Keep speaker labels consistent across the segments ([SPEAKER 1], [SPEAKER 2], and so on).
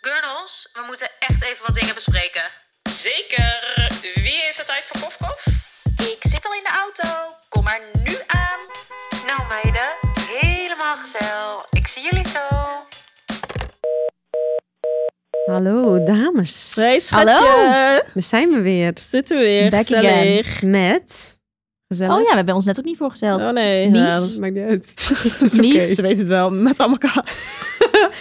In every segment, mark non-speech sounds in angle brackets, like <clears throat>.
[SPEAKER 1] Jos, we moeten echt even wat dingen bespreken.
[SPEAKER 2] Zeker. Wie heeft de tijd voor kofkof?
[SPEAKER 1] Ik zit al in de auto. Kom maar nu aan. Nou meiden, helemaal gezellig. Ik zie jullie zo.
[SPEAKER 3] Hallo dames.
[SPEAKER 4] Hey schatje.
[SPEAKER 5] Hallo.
[SPEAKER 3] We zijn we weer
[SPEAKER 4] Zitten we weer.
[SPEAKER 5] Back
[SPEAKER 4] gezellig.
[SPEAKER 3] met gezellig.
[SPEAKER 5] Oh ja, we hebben ons net ook niet voorgesteld. <laughs>
[SPEAKER 4] Oh nee.
[SPEAKER 5] Mies.
[SPEAKER 4] ja, dat is-
[SPEAKER 3] maakt niet uit.
[SPEAKER 4] dat is oké.
[SPEAKER 5] Mies.
[SPEAKER 4] Ze weet het wel. Met Amaka.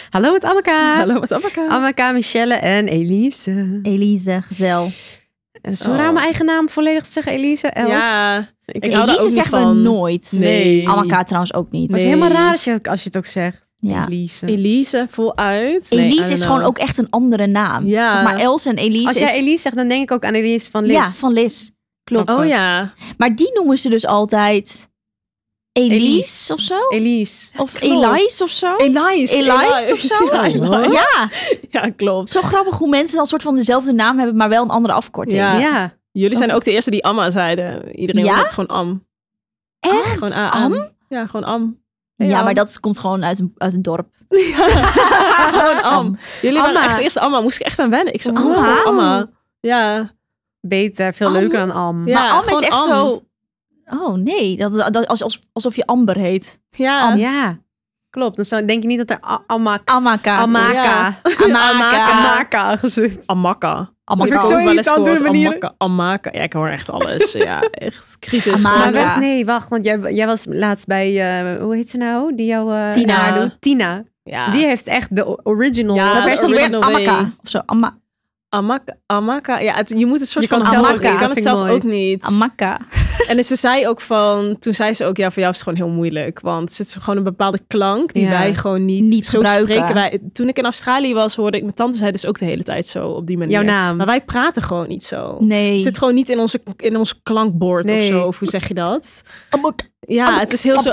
[SPEAKER 3] Hallo met Amaka.
[SPEAKER 4] Hallo met Amaka.
[SPEAKER 3] Amaka, Michelle en Elise.
[SPEAKER 5] Elise, gezel.
[SPEAKER 3] En sorry
[SPEAKER 4] Oh.
[SPEAKER 3] om mijn eigen naam volledig te zeggen, Elise. Els.
[SPEAKER 4] Ja.
[SPEAKER 3] ik,
[SPEAKER 4] ik
[SPEAKER 3] het
[SPEAKER 4] hou daar
[SPEAKER 5] Elise
[SPEAKER 4] ook niet
[SPEAKER 5] zeggen we
[SPEAKER 4] van.
[SPEAKER 5] nooit.
[SPEAKER 4] Nee.
[SPEAKER 5] Amaka trouwens ook niet.
[SPEAKER 3] is
[SPEAKER 4] Nee.
[SPEAKER 3] helemaal raar als je, als je het ook zegt.
[SPEAKER 5] Ja.
[SPEAKER 3] Elise.
[SPEAKER 4] Elise, voluit. Nee, I
[SPEAKER 5] Elise
[SPEAKER 4] don't
[SPEAKER 5] is
[SPEAKER 4] know.
[SPEAKER 5] gewoon ook echt een andere naam.
[SPEAKER 4] Ja.
[SPEAKER 5] Zeg maar Els en Elise
[SPEAKER 3] Als jij
[SPEAKER 5] is...
[SPEAKER 3] Elise zegt, dan denk ik ook aan Elise van Lis.
[SPEAKER 5] Ja, van Liz. Klopt.
[SPEAKER 4] Oh ja.
[SPEAKER 5] Maar die noemen ze dus altijd Elise,
[SPEAKER 3] Elise.
[SPEAKER 5] of zo?
[SPEAKER 3] Elise.
[SPEAKER 5] Of
[SPEAKER 4] klopt.
[SPEAKER 5] Elise of zo?
[SPEAKER 4] Elise.
[SPEAKER 5] Elise Oh. of zo?
[SPEAKER 4] Ja, Elise.
[SPEAKER 5] Ja,
[SPEAKER 4] Ja, klopt.
[SPEAKER 5] zo grappig hoe mensen dan soort van dezelfde naam hebben, maar wel een andere afkorting.
[SPEAKER 4] Ja.
[SPEAKER 3] Ja.
[SPEAKER 4] Jullie
[SPEAKER 5] Dat-
[SPEAKER 4] zijn ook de eerste die Amma zeiden. Iedereen
[SPEAKER 5] Ja?
[SPEAKER 4] had het gewoon Am.
[SPEAKER 5] Echt?
[SPEAKER 4] Gewoon a
[SPEAKER 5] Am?
[SPEAKER 4] Ja, gewoon Am. <laughs>
[SPEAKER 5] Ja, maar dat komt gewoon uit een, uit een dorp.
[SPEAKER 4] gewoon Am. Jullie
[SPEAKER 5] Amma.
[SPEAKER 4] waren echt de eerste Amma. Moest ik echt aan wennen. Ik zei, oh,
[SPEAKER 5] Wauw.
[SPEAKER 4] mijn god, Amma. Ja.
[SPEAKER 3] Beter, veel
[SPEAKER 5] Am.
[SPEAKER 3] leuker dan Am.
[SPEAKER 4] ja
[SPEAKER 5] maar Am is
[SPEAKER 4] gewoon
[SPEAKER 5] echt
[SPEAKER 4] Am.
[SPEAKER 5] zo... Oh nee, dat, dat, als- als, alsof je Amber heet.
[SPEAKER 4] Ja. <laughs>
[SPEAKER 3] Ja, klopt. Dan zou- denk je niet dat er A- Amaka...
[SPEAKER 5] Amaka.
[SPEAKER 3] Amaka.
[SPEAKER 5] Amaka.
[SPEAKER 3] Amaka gezegd.
[SPEAKER 4] Amaka.
[SPEAKER 5] Amaka.
[SPEAKER 3] Ik heb zo
[SPEAKER 4] ook wel eens
[SPEAKER 3] irritant
[SPEAKER 4] gehoord,
[SPEAKER 3] door de manieren.
[SPEAKER 4] Amaka, Amaka. Ja, ik hoor echt alles. ja, echt crisis.
[SPEAKER 5] Amaka.
[SPEAKER 3] Maar
[SPEAKER 4] gewoon.
[SPEAKER 3] wacht, nee, wacht. Want jij, jij was laatst bij, eh, hoe heet ze nou? Die jou eh,
[SPEAKER 5] Tina.
[SPEAKER 3] haar doet. Tina.
[SPEAKER 4] Ja.
[SPEAKER 3] Die heeft echt de o- original
[SPEAKER 4] Ja,
[SPEAKER 5] Oh, Dat
[SPEAKER 4] dat
[SPEAKER 5] is
[SPEAKER 4] is
[SPEAKER 5] toch weer
[SPEAKER 4] original way.
[SPEAKER 5] Amaka. Of zo. Ama-
[SPEAKER 4] Amaka. Amaka. Ja, het- je moet het soort
[SPEAKER 3] Je kan
[SPEAKER 4] van
[SPEAKER 3] het zelf
[SPEAKER 4] horen.
[SPEAKER 5] ook niet,
[SPEAKER 3] dat
[SPEAKER 4] Je kan het
[SPEAKER 3] vind ik
[SPEAKER 4] zelf
[SPEAKER 3] mooi.
[SPEAKER 4] ook niet.
[SPEAKER 5] Amaka.
[SPEAKER 4] En ze zei ook van, toen zei ze ook, ja, voor jou is het gewoon heel moeilijk. Want het is gewoon een bepaalde klank die
[SPEAKER 3] Ja.
[SPEAKER 4] wij gewoon niet,
[SPEAKER 5] Niet
[SPEAKER 4] zo
[SPEAKER 5] gebruiken.
[SPEAKER 4] spreken. Wij, toen ik in Australië was, hoorde ik mijn tante zei dus ook de hele tijd zo op die manier.
[SPEAKER 3] jouw naam.
[SPEAKER 4] Maar wij praten gewoon niet zo.
[SPEAKER 5] Nee.
[SPEAKER 4] Het zit gewoon niet in, onze, in ons klankbord of
[SPEAKER 3] Nee.
[SPEAKER 4] zo. Of hoe zeg je dat?
[SPEAKER 5] Amaka.
[SPEAKER 4] Ja, het is heel zo.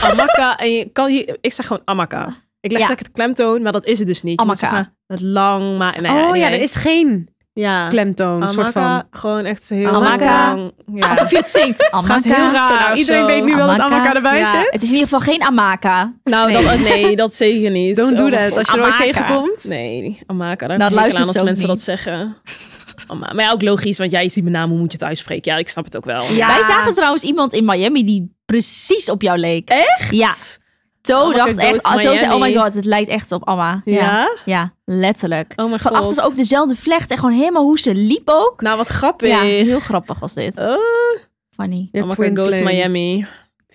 [SPEAKER 4] Amaka. En je kan je, ik zeg gewoon amaka. Ik leg
[SPEAKER 5] Ja.
[SPEAKER 4] vaak het klemtoon, maar dat is het dus niet. Je moet
[SPEAKER 5] Amaka.
[SPEAKER 4] zeg maar Het lang, maar. Nou,
[SPEAKER 3] oh ja,
[SPEAKER 4] anyway.
[SPEAKER 3] er is geen
[SPEAKER 4] Ja.
[SPEAKER 3] klemtoon.
[SPEAKER 4] Amaka,
[SPEAKER 3] soort van.
[SPEAKER 4] gewoon echt heel
[SPEAKER 5] Amaka.
[SPEAKER 4] lang. Ja.
[SPEAKER 5] Alsof je het zingt. Amaka.
[SPEAKER 4] gaat heel raar.
[SPEAKER 3] Zo, nou,
[SPEAKER 4] of
[SPEAKER 3] iedereen
[SPEAKER 4] zo.
[SPEAKER 3] weet nu wel dat
[SPEAKER 5] Amaka.
[SPEAKER 3] Amaka erbij
[SPEAKER 4] Ja.
[SPEAKER 3] zit.
[SPEAKER 5] Het is in ieder geval geen Amaka.
[SPEAKER 4] Nou,
[SPEAKER 3] Nee.
[SPEAKER 4] nee. Dat, nee, dat zeker niet.
[SPEAKER 3] Don't do
[SPEAKER 4] Oh,
[SPEAKER 3] that. Als je er ooit
[SPEAKER 5] Amaka.
[SPEAKER 3] tegenkomt.
[SPEAKER 4] Nee, Amaka. Daar
[SPEAKER 5] Nou,
[SPEAKER 4] nou,
[SPEAKER 5] luister
[SPEAKER 4] luister aan
[SPEAKER 5] ze
[SPEAKER 4] als mensen
[SPEAKER 5] ook niet.
[SPEAKER 4] dat zeggen. Ama- maar ja, ook logisch, want jij ziet mijn naam, hoe moet je het uitspreken? Ja, ik snap het ook wel.
[SPEAKER 3] Ja.
[SPEAKER 5] Wij zagen trouwens iemand in Miami die precies op jou leek. Echt? Ja. Toe
[SPEAKER 4] Amaka
[SPEAKER 5] dacht echt...
[SPEAKER 4] goes
[SPEAKER 5] ah, Toe zei, oh my
[SPEAKER 4] Miami.
[SPEAKER 5] god, het lijkt echt op Amma.
[SPEAKER 4] Ja?
[SPEAKER 5] Ja, letterlijk.
[SPEAKER 4] Oh mijn god.
[SPEAKER 5] Gewoon achter ze ook dezelfde vlecht en gewoon helemaal hoe ze liep ook.
[SPEAKER 4] Nou, wat grappig.
[SPEAKER 5] Ja, heel grappig was dit.
[SPEAKER 4] Oh,
[SPEAKER 5] Funny.
[SPEAKER 3] Ja,
[SPEAKER 4] Amaka
[SPEAKER 3] twin
[SPEAKER 4] goes
[SPEAKER 3] flame.
[SPEAKER 4] Miami.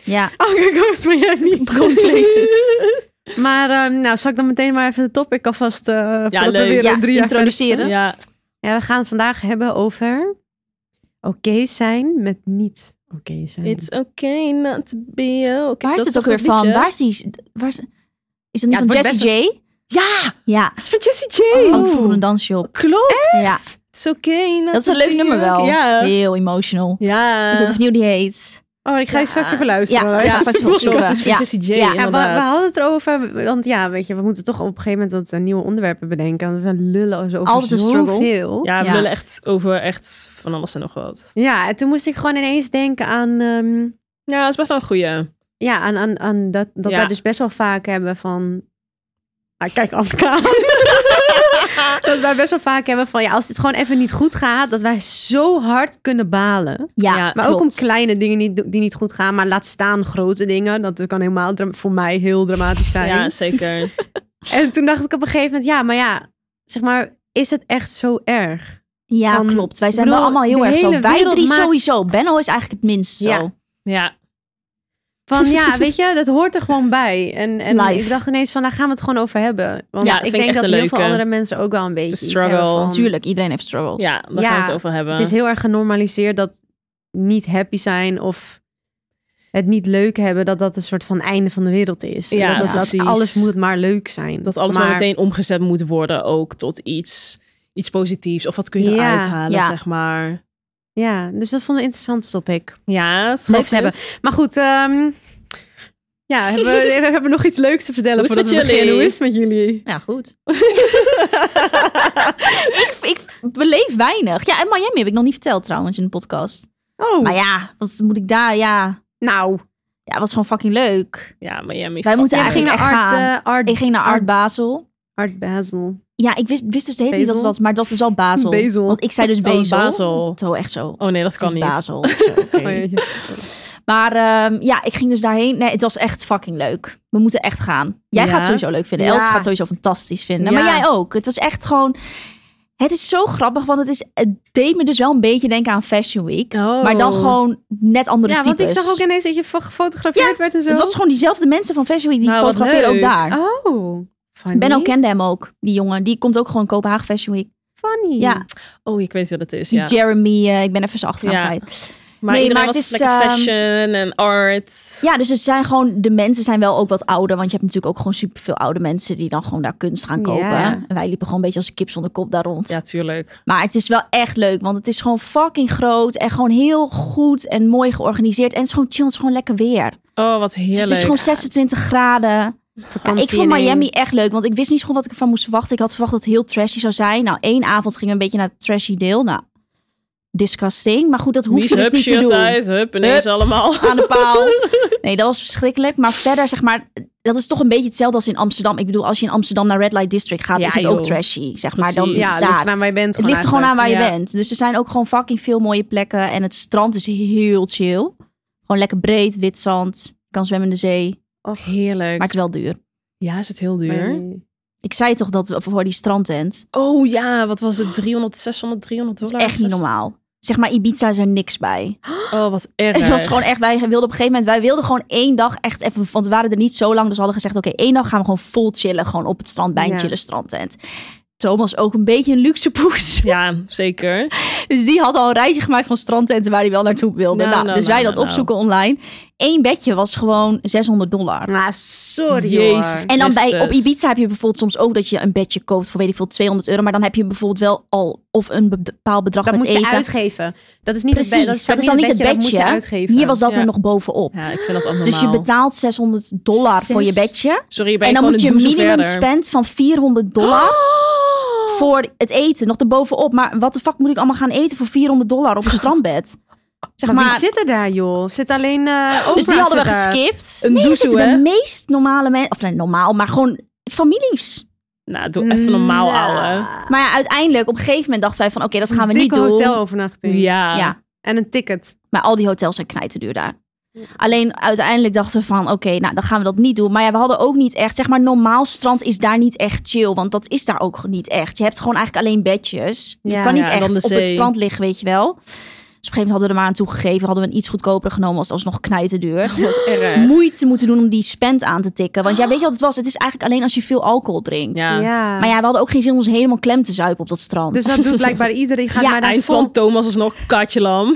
[SPEAKER 5] Ja.
[SPEAKER 3] Amaka goes Miami.
[SPEAKER 4] <laughs> places.
[SPEAKER 3] maar ehm, nou, zal ik dan meteen maar even de topic alvast... eh voordat we
[SPEAKER 4] leuk.
[SPEAKER 3] weer
[SPEAKER 5] Ja,
[SPEAKER 3] een drie jaar
[SPEAKER 5] introduceren.
[SPEAKER 3] verder
[SPEAKER 4] Ja.
[SPEAKER 3] zijn. Ja, we gaan het vandaag hebben over... Oké zijn met niet oké zijn.
[SPEAKER 4] It's okay not to be okay.
[SPEAKER 5] Waar is
[SPEAKER 4] Dat
[SPEAKER 5] het ook
[SPEAKER 4] toch
[SPEAKER 5] weer
[SPEAKER 4] dat
[SPEAKER 5] van?
[SPEAKER 4] liedje?
[SPEAKER 5] Waar is die... Waar is, is dat niet
[SPEAKER 3] Ja, het
[SPEAKER 5] van
[SPEAKER 3] wordt
[SPEAKER 5] Jessie J?
[SPEAKER 4] Ja,
[SPEAKER 5] Ja. Oh,
[SPEAKER 4] dat is van Jessie J.
[SPEAKER 5] Had ik vroeger een dansje op.
[SPEAKER 4] Klopt.
[SPEAKER 5] Ja.
[SPEAKER 4] It's okay not
[SPEAKER 5] Dat is
[SPEAKER 4] to
[SPEAKER 5] een leuk
[SPEAKER 4] be
[SPEAKER 5] nummer wel.
[SPEAKER 4] okay. Ja.
[SPEAKER 5] Heel emotional. Ik weet
[SPEAKER 4] Ja.
[SPEAKER 5] of niet hoe die heet.
[SPEAKER 3] Oh, ik ga je
[SPEAKER 4] Ja.
[SPEAKER 3] straks even
[SPEAKER 5] Ja,
[SPEAKER 3] luisteren. hoor.
[SPEAKER 5] ik ga <laughs> straks even opzoeken.
[SPEAKER 4] Klopt, het is van
[SPEAKER 5] Ja.
[SPEAKER 4] Jessie J,
[SPEAKER 5] Ja,
[SPEAKER 3] Ja, we, we
[SPEAKER 4] inderdaad.
[SPEAKER 3] hadden het erover, want ja, weet je, we moeten toch op een gegeven moment wat eh, nieuwe onderwerpen bedenken. Want we lullen zo over
[SPEAKER 5] Altijd een struggle.
[SPEAKER 3] zoveel. Ja.
[SPEAKER 4] Ja, we
[SPEAKER 5] Ja.
[SPEAKER 4] willen echt over echt van alles en nog wat.
[SPEAKER 3] en toen moest ik gewoon ineens denken aan, ehm,
[SPEAKER 4] Ja, dat is best wel een goeie.
[SPEAKER 3] ja, aan, aan, aan dat, dat
[SPEAKER 4] Ja.
[SPEAKER 3] wij dus best wel vaak hebben van... Ah, kijk,
[SPEAKER 4] <laughs>
[SPEAKER 3] Afka. dat wij best wel vaak hebben van, ja, als het gewoon even niet goed gaat, dat wij zo hard kunnen balen.
[SPEAKER 5] Ja,
[SPEAKER 4] Ja,
[SPEAKER 3] Maar ook om
[SPEAKER 5] klopt.
[SPEAKER 3] kleine dingen niet, die niet goed gaan, maar laat staan grote dingen. Dat kan helemaal, dra- voor mij heel dramatisch zijn.
[SPEAKER 4] Ja,
[SPEAKER 5] <laughs>
[SPEAKER 4] zeker.
[SPEAKER 3] En toen dacht ik op een gegeven moment, ja, maar ja, zeg maar, is het echt zo erg?
[SPEAKER 5] Ja,
[SPEAKER 3] van-
[SPEAKER 5] klopt. Wij
[SPEAKER 3] ik
[SPEAKER 5] zijn wel
[SPEAKER 3] bedoel,
[SPEAKER 5] allemaal heel
[SPEAKER 3] de
[SPEAKER 5] erg zo.
[SPEAKER 3] hele
[SPEAKER 5] Wij
[SPEAKER 3] wereld
[SPEAKER 5] drie
[SPEAKER 3] maakt-
[SPEAKER 5] sowieso. Benno is eigenlijk het minst zo.
[SPEAKER 3] Ja.
[SPEAKER 4] Ja,
[SPEAKER 3] Van ja, <laughs> weet je, dat hoort er gewoon bij. En, en
[SPEAKER 5] Live.
[SPEAKER 3] ik dacht ineens van, daar gaan we het gewoon over hebben. Want
[SPEAKER 4] Ja,
[SPEAKER 3] ik
[SPEAKER 4] vind ik
[SPEAKER 3] denk
[SPEAKER 4] echt
[SPEAKER 3] dat
[SPEAKER 4] een
[SPEAKER 3] heel veel
[SPEAKER 4] leuke.
[SPEAKER 3] andere mensen ook wel een beetje
[SPEAKER 4] De
[SPEAKER 3] iets hebben
[SPEAKER 4] struggle.
[SPEAKER 3] van-
[SPEAKER 5] Tuurlijk, iedereen heeft struggles.
[SPEAKER 4] ja daar
[SPEAKER 3] Ja,
[SPEAKER 4] gaan we het over hebben.
[SPEAKER 3] Het is heel erg genormaliseerd dat niet happy zijn of het niet leuk hebben, dat dat een soort van einde van de wereld is. En
[SPEAKER 4] Ja,
[SPEAKER 3] dat, dat,
[SPEAKER 4] precies.
[SPEAKER 3] dat alles moet maar leuk zijn.
[SPEAKER 4] Dat alles maar... meteen omgezet moet worden ook tot iets, iets positiefs. Of wat kun je
[SPEAKER 3] Ja,
[SPEAKER 4] eruit halen,
[SPEAKER 5] ja.
[SPEAKER 4] zeg maar.
[SPEAKER 3] Ja, dus dat vond ik een interessant topic.
[SPEAKER 4] Ja, het
[SPEAKER 3] Leuk te hebben. Maar goed, ehm, ja, hebben we,
[SPEAKER 4] <laughs>
[SPEAKER 3] we hebben nog iets leuks te vertellen
[SPEAKER 4] Hoe is het
[SPEAKER 3] voordat
[SPEAKER 4] met
[SPEAKER 3] we beginnen.
[SPEAKER 4] jullie?
[SPEAKER 3] Hoe is het met jullie?
[SPEAKER 5] Ja, goed. ik, ik beleef weinig. Ja, en Miami heb ik nog niet verteld trouwens in de podcast.
[SPEAKER 3] Oh,
[SPEAKER 5] Maar ja, wat moet ik daar? Ja,
[SPEAKER 3] nou.
[SPEAKER 5] ja het was gewoon fucking leuk.
[SPEAKER 4] <laughs> Ja, Miami.
[SPEAKER 5] Wij
[SPEAKER 4] fuck
[SPEAKER 5] moeten
[SPEAKER 4] me.
[SPEAKER 3] Jij ging
[SPEAKER 5] eigenlijk
[SPEAKER 3] naar
[SPEAKER 5] echt
[SPEAKER 3] Art,
[SPEAKER 5] gaan.
[SPEAKER 3] eh, Art,
[SPEAKER 5] Ik ging naar Art Basel.
[SPEAKER 3] Art Basel.
[SPEAKER 5] Ja, ik wist, wist dus de hele tijd niet dat
[SPEAKER 4] Bezel?
[SPEAKER 5] het was, maar dat was dus wel Basel.
[SPEAKER 4] Bezel.
[SPEAKER 5] Want ik zei dus
[SPEAKER 4] <laughs> Oh,
[SPEAKER 5] Bezel.
[SPEAKER 4] Basel.
[SPEAKER 5] Zo, echt zo.
[SPEAKER 4] Oh nee, dat
[SPEAKER 5] Het
[SPEAKER 4] kan
[SPEAKER 5] is
[SPEAKER 4] niet.
[SPEAKER 5] Basel. Zo, oké.
[SPEAKER 4] Oh, ja, ja.
[SPEAKER 5] Maar ehm, ja, ik ging dus daarheen. Nee, het was echt fucking leuk. We moeten echt gaan. Jij
[SPEAKER 4] Ja.
[SPEAKER 5] gaat het sowieso leuk vinden.
[SPEAKER 4] Ja.
[SPEAKER 5] Els gaat het sowieso fantastisch vinden.
[SPEAKER 4] Ja.
[SPEAKER 5] Maar jij ook. Het was echt gewoon... Het is zo grappig, want het, is, het deed me dus wel een beetje denken aan Fashion Week.
[SPEAKER 4] Oh.
[SPEAKER 5] Maar dan gewoon net andere
[SPEAKER 3] Ja, want
[SPEAKER 5] types.
[SPEAKER 3] ik zag ook ineens dat je fo- gefotografeerd werd en zo.
[SPEAKER 5] Het was gewoon diezelfde mensen van Fashion Week die
[SPEAKER 4] Nou, wat
[SPEAKER 5] fotograferen ook
[SPEAKER 4] leuk. Ah,
[SPEAKER 5] daar.
[SPEAKER 3] Oh, funny.
[SPEAKER 5] Benno kende hem ook, die jongen. Die komt ook gewoon Kopenhagen Fashion Week.
[SPEAKER 3] funny.
[SPEAKER 5] Ja,
[SPEAKER 4] Oh, ik weet wat het is.
[SPEAKER 5] die
[SPEAKER 4] Ja.
[SPEAKER 5] Jeremy, eh, ik ben even zijn achternaam
[SPEAKER 4] Ja.
[SPEAKER 5] kwijt.
[SPEAKER 4] Maar
[SPEAKER 5] Nee,
[SPEAKER 4] iedereen
[SPEAKER 5] maar het
[SPEAKER 4] was
[SPEAKER 5] is,
[SPEAKER 4] lekker
[SPEAKER 5] ehm,
[SPEAKER 4] fashion en art.
[SPEAKER 5] Ja, dus het zijn gewoon, de mensen zijn wel ook wat ouder. Want je hebt natuurlijk ook gewoon superveel oude mensen die dan gewoon daar kunst gaan kopen.
[SPEAKER 3] Ja.
[SPEAKER 5] En wij liepen gewoon een beetje als een kip zonder kop daar rond.
[SPEAKER 4] Ja, tuurlijk.
[SPEAKER 5] Maar het is wel echt leuk, want het is gewoon fucking groot. En gewoon heel goed en mooi georganiseerd. En het is gewoon chill, het is gewoon lekker weer.
[SPEAKER 4] Oh, wat heerlijk.
[SPEAKER 5] Dus het is gewoon 26 graden. Ja, ik vond Miami echt leuk, want ik wist niet zo goed wat ik ervan moest verwachten. Ik had verwacht dat het heel trashy zou zijn. Nou, één avond gingen we een beetje naar het trashy deel. Nou, disgusting. Maar goed, dat hoef
[SPEAKER 4] Mies,
[SPEAKER 5] je dus
[SPEAKER 4] hup,
[SPEAKER 5] niet te
[SPEAKER 4] shirt
[SPEAKER 5] doen.
[SPEAKER 4] uit, hup, ineens allemaal.
[SPEAKER 5] Aan de paal. Nee, dat was verschrikkelijk. Maar verder, zeg maar, dat is toch een beetje hetzelfde als in Amsterdam. Ik bedoel, als je in Amsterdam naar Red Light District gaat,
[SPEAKER 4] Ja,
[SPEAKER 5] is het
[SPEAKER 4] joh.
[SPEAKER 5] ook trashy, zeg maar. Dan
[SPEAKER 4] Precies.
[SPEAKER 5] is
[SPEAKER 3] Ja,
[SPEAKER 5] het
[SPEAKER 3] het ligt
[SPEAKER 5] daar.
[SPEAKER 3] eraan waar je bent.
[SPEAKER 5] Het ligt er gewoon aan waar je
[SPEAKER 4] Ja.
[SPEAKER 5] bent. Dus er zijn ook gewoon fucking veel mooie plekken. En het strand is heel chill. Gewoon lekker breed, wit zand. Kan zwemmen in de zee.
[SPEAKER 4] Heerlijk.
[SPEAKER 5] Maar het is wel duur.
[SPEAKER 4] Ja, is het heel duur?
[SPEAKER 5] Ik zei toch dat we voor die strandtent.
[SPEAKER 4] Oh ja, wat was het? 300, 600, 300
[SPEAKER 5] Dat
[SPEAKER 4] dollar?
[SPEAKER 5] is echt niet normaal. Zeg maar, Ibiza is er niks bij.
[SPEAKER 4] Oh, wat erg.
[SPEAKER 5] Het was gewoon echt, wij wilden op een gegeven moment, wij wilden gewoon één dag echt even, want we waren er niet zo lang, dus we hadden gezegd, oké, één dag gaan we gewoon vol chillen, gewoon op het strand bij een
[SPEAKER 3] Ja.
[SPEAKER 5] chille strandtent. Thomas ook een beetje een luxe poes. <laughs>
[SPEAKER 4] Ja, zeker.
[SPEAKER 5] Dus die had al een reisje gemaakt van strandtenten waar hij wel naartoe wilde.
[SPEAKER 4] Nou,
[SPEAKER 5] Nou,
[SPEAKER 4] nou,
[SPEAKER 5] dus wij
[SPEAKER 4] nou,
[SPEAKER 5] dat
[SPEAKER 4] nou,
[SPEAKER 5] opzoeken online. Eén bedje was gewoon 600 dollar.
[SPEAKER 3] Maar Ah, sorry
[SPEAKER 4] Jezus.
[SPEAKER 3] hoor.
[SPEAKER 5] En dan bij, op
[SPEAKER 4] Christus.
[SPEAKER 5] Ibiza heb je bijvoorbeeld soms ook dat je een bedje koopt voor weet ik veel 200 euro. Maar dan heb je bijvoorbeeld wel al of een bepaald bedrag
[SPEAKER 3] Dat
[SPEAKER 5] met
[SPEAKER 3] moet je
[SPEAKER 5] eten.
[SPEAKER 3] uitgeven. Dat is niet het
[SPEAKER 5] Precies,
[SPEAKER 3] be-
[SPEAKER 5] dat is,
[SPEAKER 3] vaak
[SPEAKER 5] dan niet het
[SPEAKER 3] Dat moet
[SPEAKER 5] bedje.
[SPEAKER 3] je uitgeven.
[SPEAKER 5] Hier was dat
[SPEAKER 4] Ja.
[SPEAKER 5] er nog bovenop.
[SPEAKER 4] Ja, ik vind dat allemaal
[SPEAKER 5] Dus je betaalt 600 dollar voor je bedje.
[SPEAKER 4] Sorry, je bent
[SPEAKER 5] En dan
[SPEAKER 4] gewoon
[SPEAKER 5] moet je
[SPEAKER 4] een
[SPEAKER 5] een
[SPEAKER 4] douche
[SPEAKER 5] minimum Oh!
[SPEAKER 4] verder.
[SPEAKER 5] spend van 400 dollar voor het eten. Nog erbovenop. Maar wat de fuck moet ik allemaal gaan eten voor 400 dollar op een strandbed? Zeg
[SPEAKER 3] Maar, wie
[SPEAKER 5] maar.
[SPEAKER 3] zit er daar, joh? Zit alleen eh
[SPEAKER 5] Dus die
[SPEAKER 3] Oprah
[SPEAKER 5] hadden we
[SPEAKER 3] zit daar.
[SPEAKER 5] geskipt.
[SPEAKER 4] Een
[SPEAKER 5] nee, er
[SPEAKER 4] douche,
[SPEAKER 5] zitten
[SPEAKER 4] hè?
[SPEAKER 5] de meest normale mensen. Of nee, normaal, maar gewoon families.
[SPEAKER 4] Nou, doe
[SPEAKER 5] Mm,
[SPEAKER 4] even normaal, ouwe.
[SPEAKER 5] Maar ja, uiteindelijk, op een gegeven moment dachten wij van... Oké, dat gaan we
[SPEAKER 3] Dikke
[SPEAKER 5] niet doen.
[SPEAKER 3] hotelovernachting.
[SPEAKER 4] Ja.
[SPEAKER 5] Ja.
[SPEAKER 3] En een ticket.
[SPEAKER 5] Maar al die hotels zijn knijterduur daar. Alleen uiteindelijk dachten we van, oké, nou dan gaan we dat niet doen. Maar ja, we hadden ook niet echt, zeg maar, normaal strand is daar niet echt chill. Want dat is daar ook niet echt. Je hebt gewoon eigenlijk alleen bedjes. Dus je
[SPEAKER 3] Ja,
[SPEAKER 5] kan niet
[SPEAKER 4] ja, dan de
[SPEAKER 5] echt op het
[SPEAKER 4] zee.
[SPEAKER 5] strand liggen, weet je wel. Dus op een gegeven moment hadden we er maar aan toegegeven. Hadden we een iets goedkoper genomen, als het alsnog knijterduur.
[SPEAKER 4] Wat erg.
[SPEAKER 5] Moeite moeten doen om die spend aan te tikken. Want ja, weet je wat het was? Het is eigenlijk alleen als je veel alcohol drinkt.
[SPEAKER 4] Ja.
[SPEAKER 3] Ja.
[SPEAKER 5] Maar ja, we hadden ook geen zin om ons helemaal klem te zuipen op dat strand. <laughs>
[SPEAKER 3] Dus dat doet blijkbaar iedereen. Die gaat
[SPEAKER 5] Ja,
[SPEAKER 3] maar daar
[SPEAKER 4] Eindstand Thomas is nog katje
[SPEAKER 5] <laughs>
[SPEAKER 4] lam.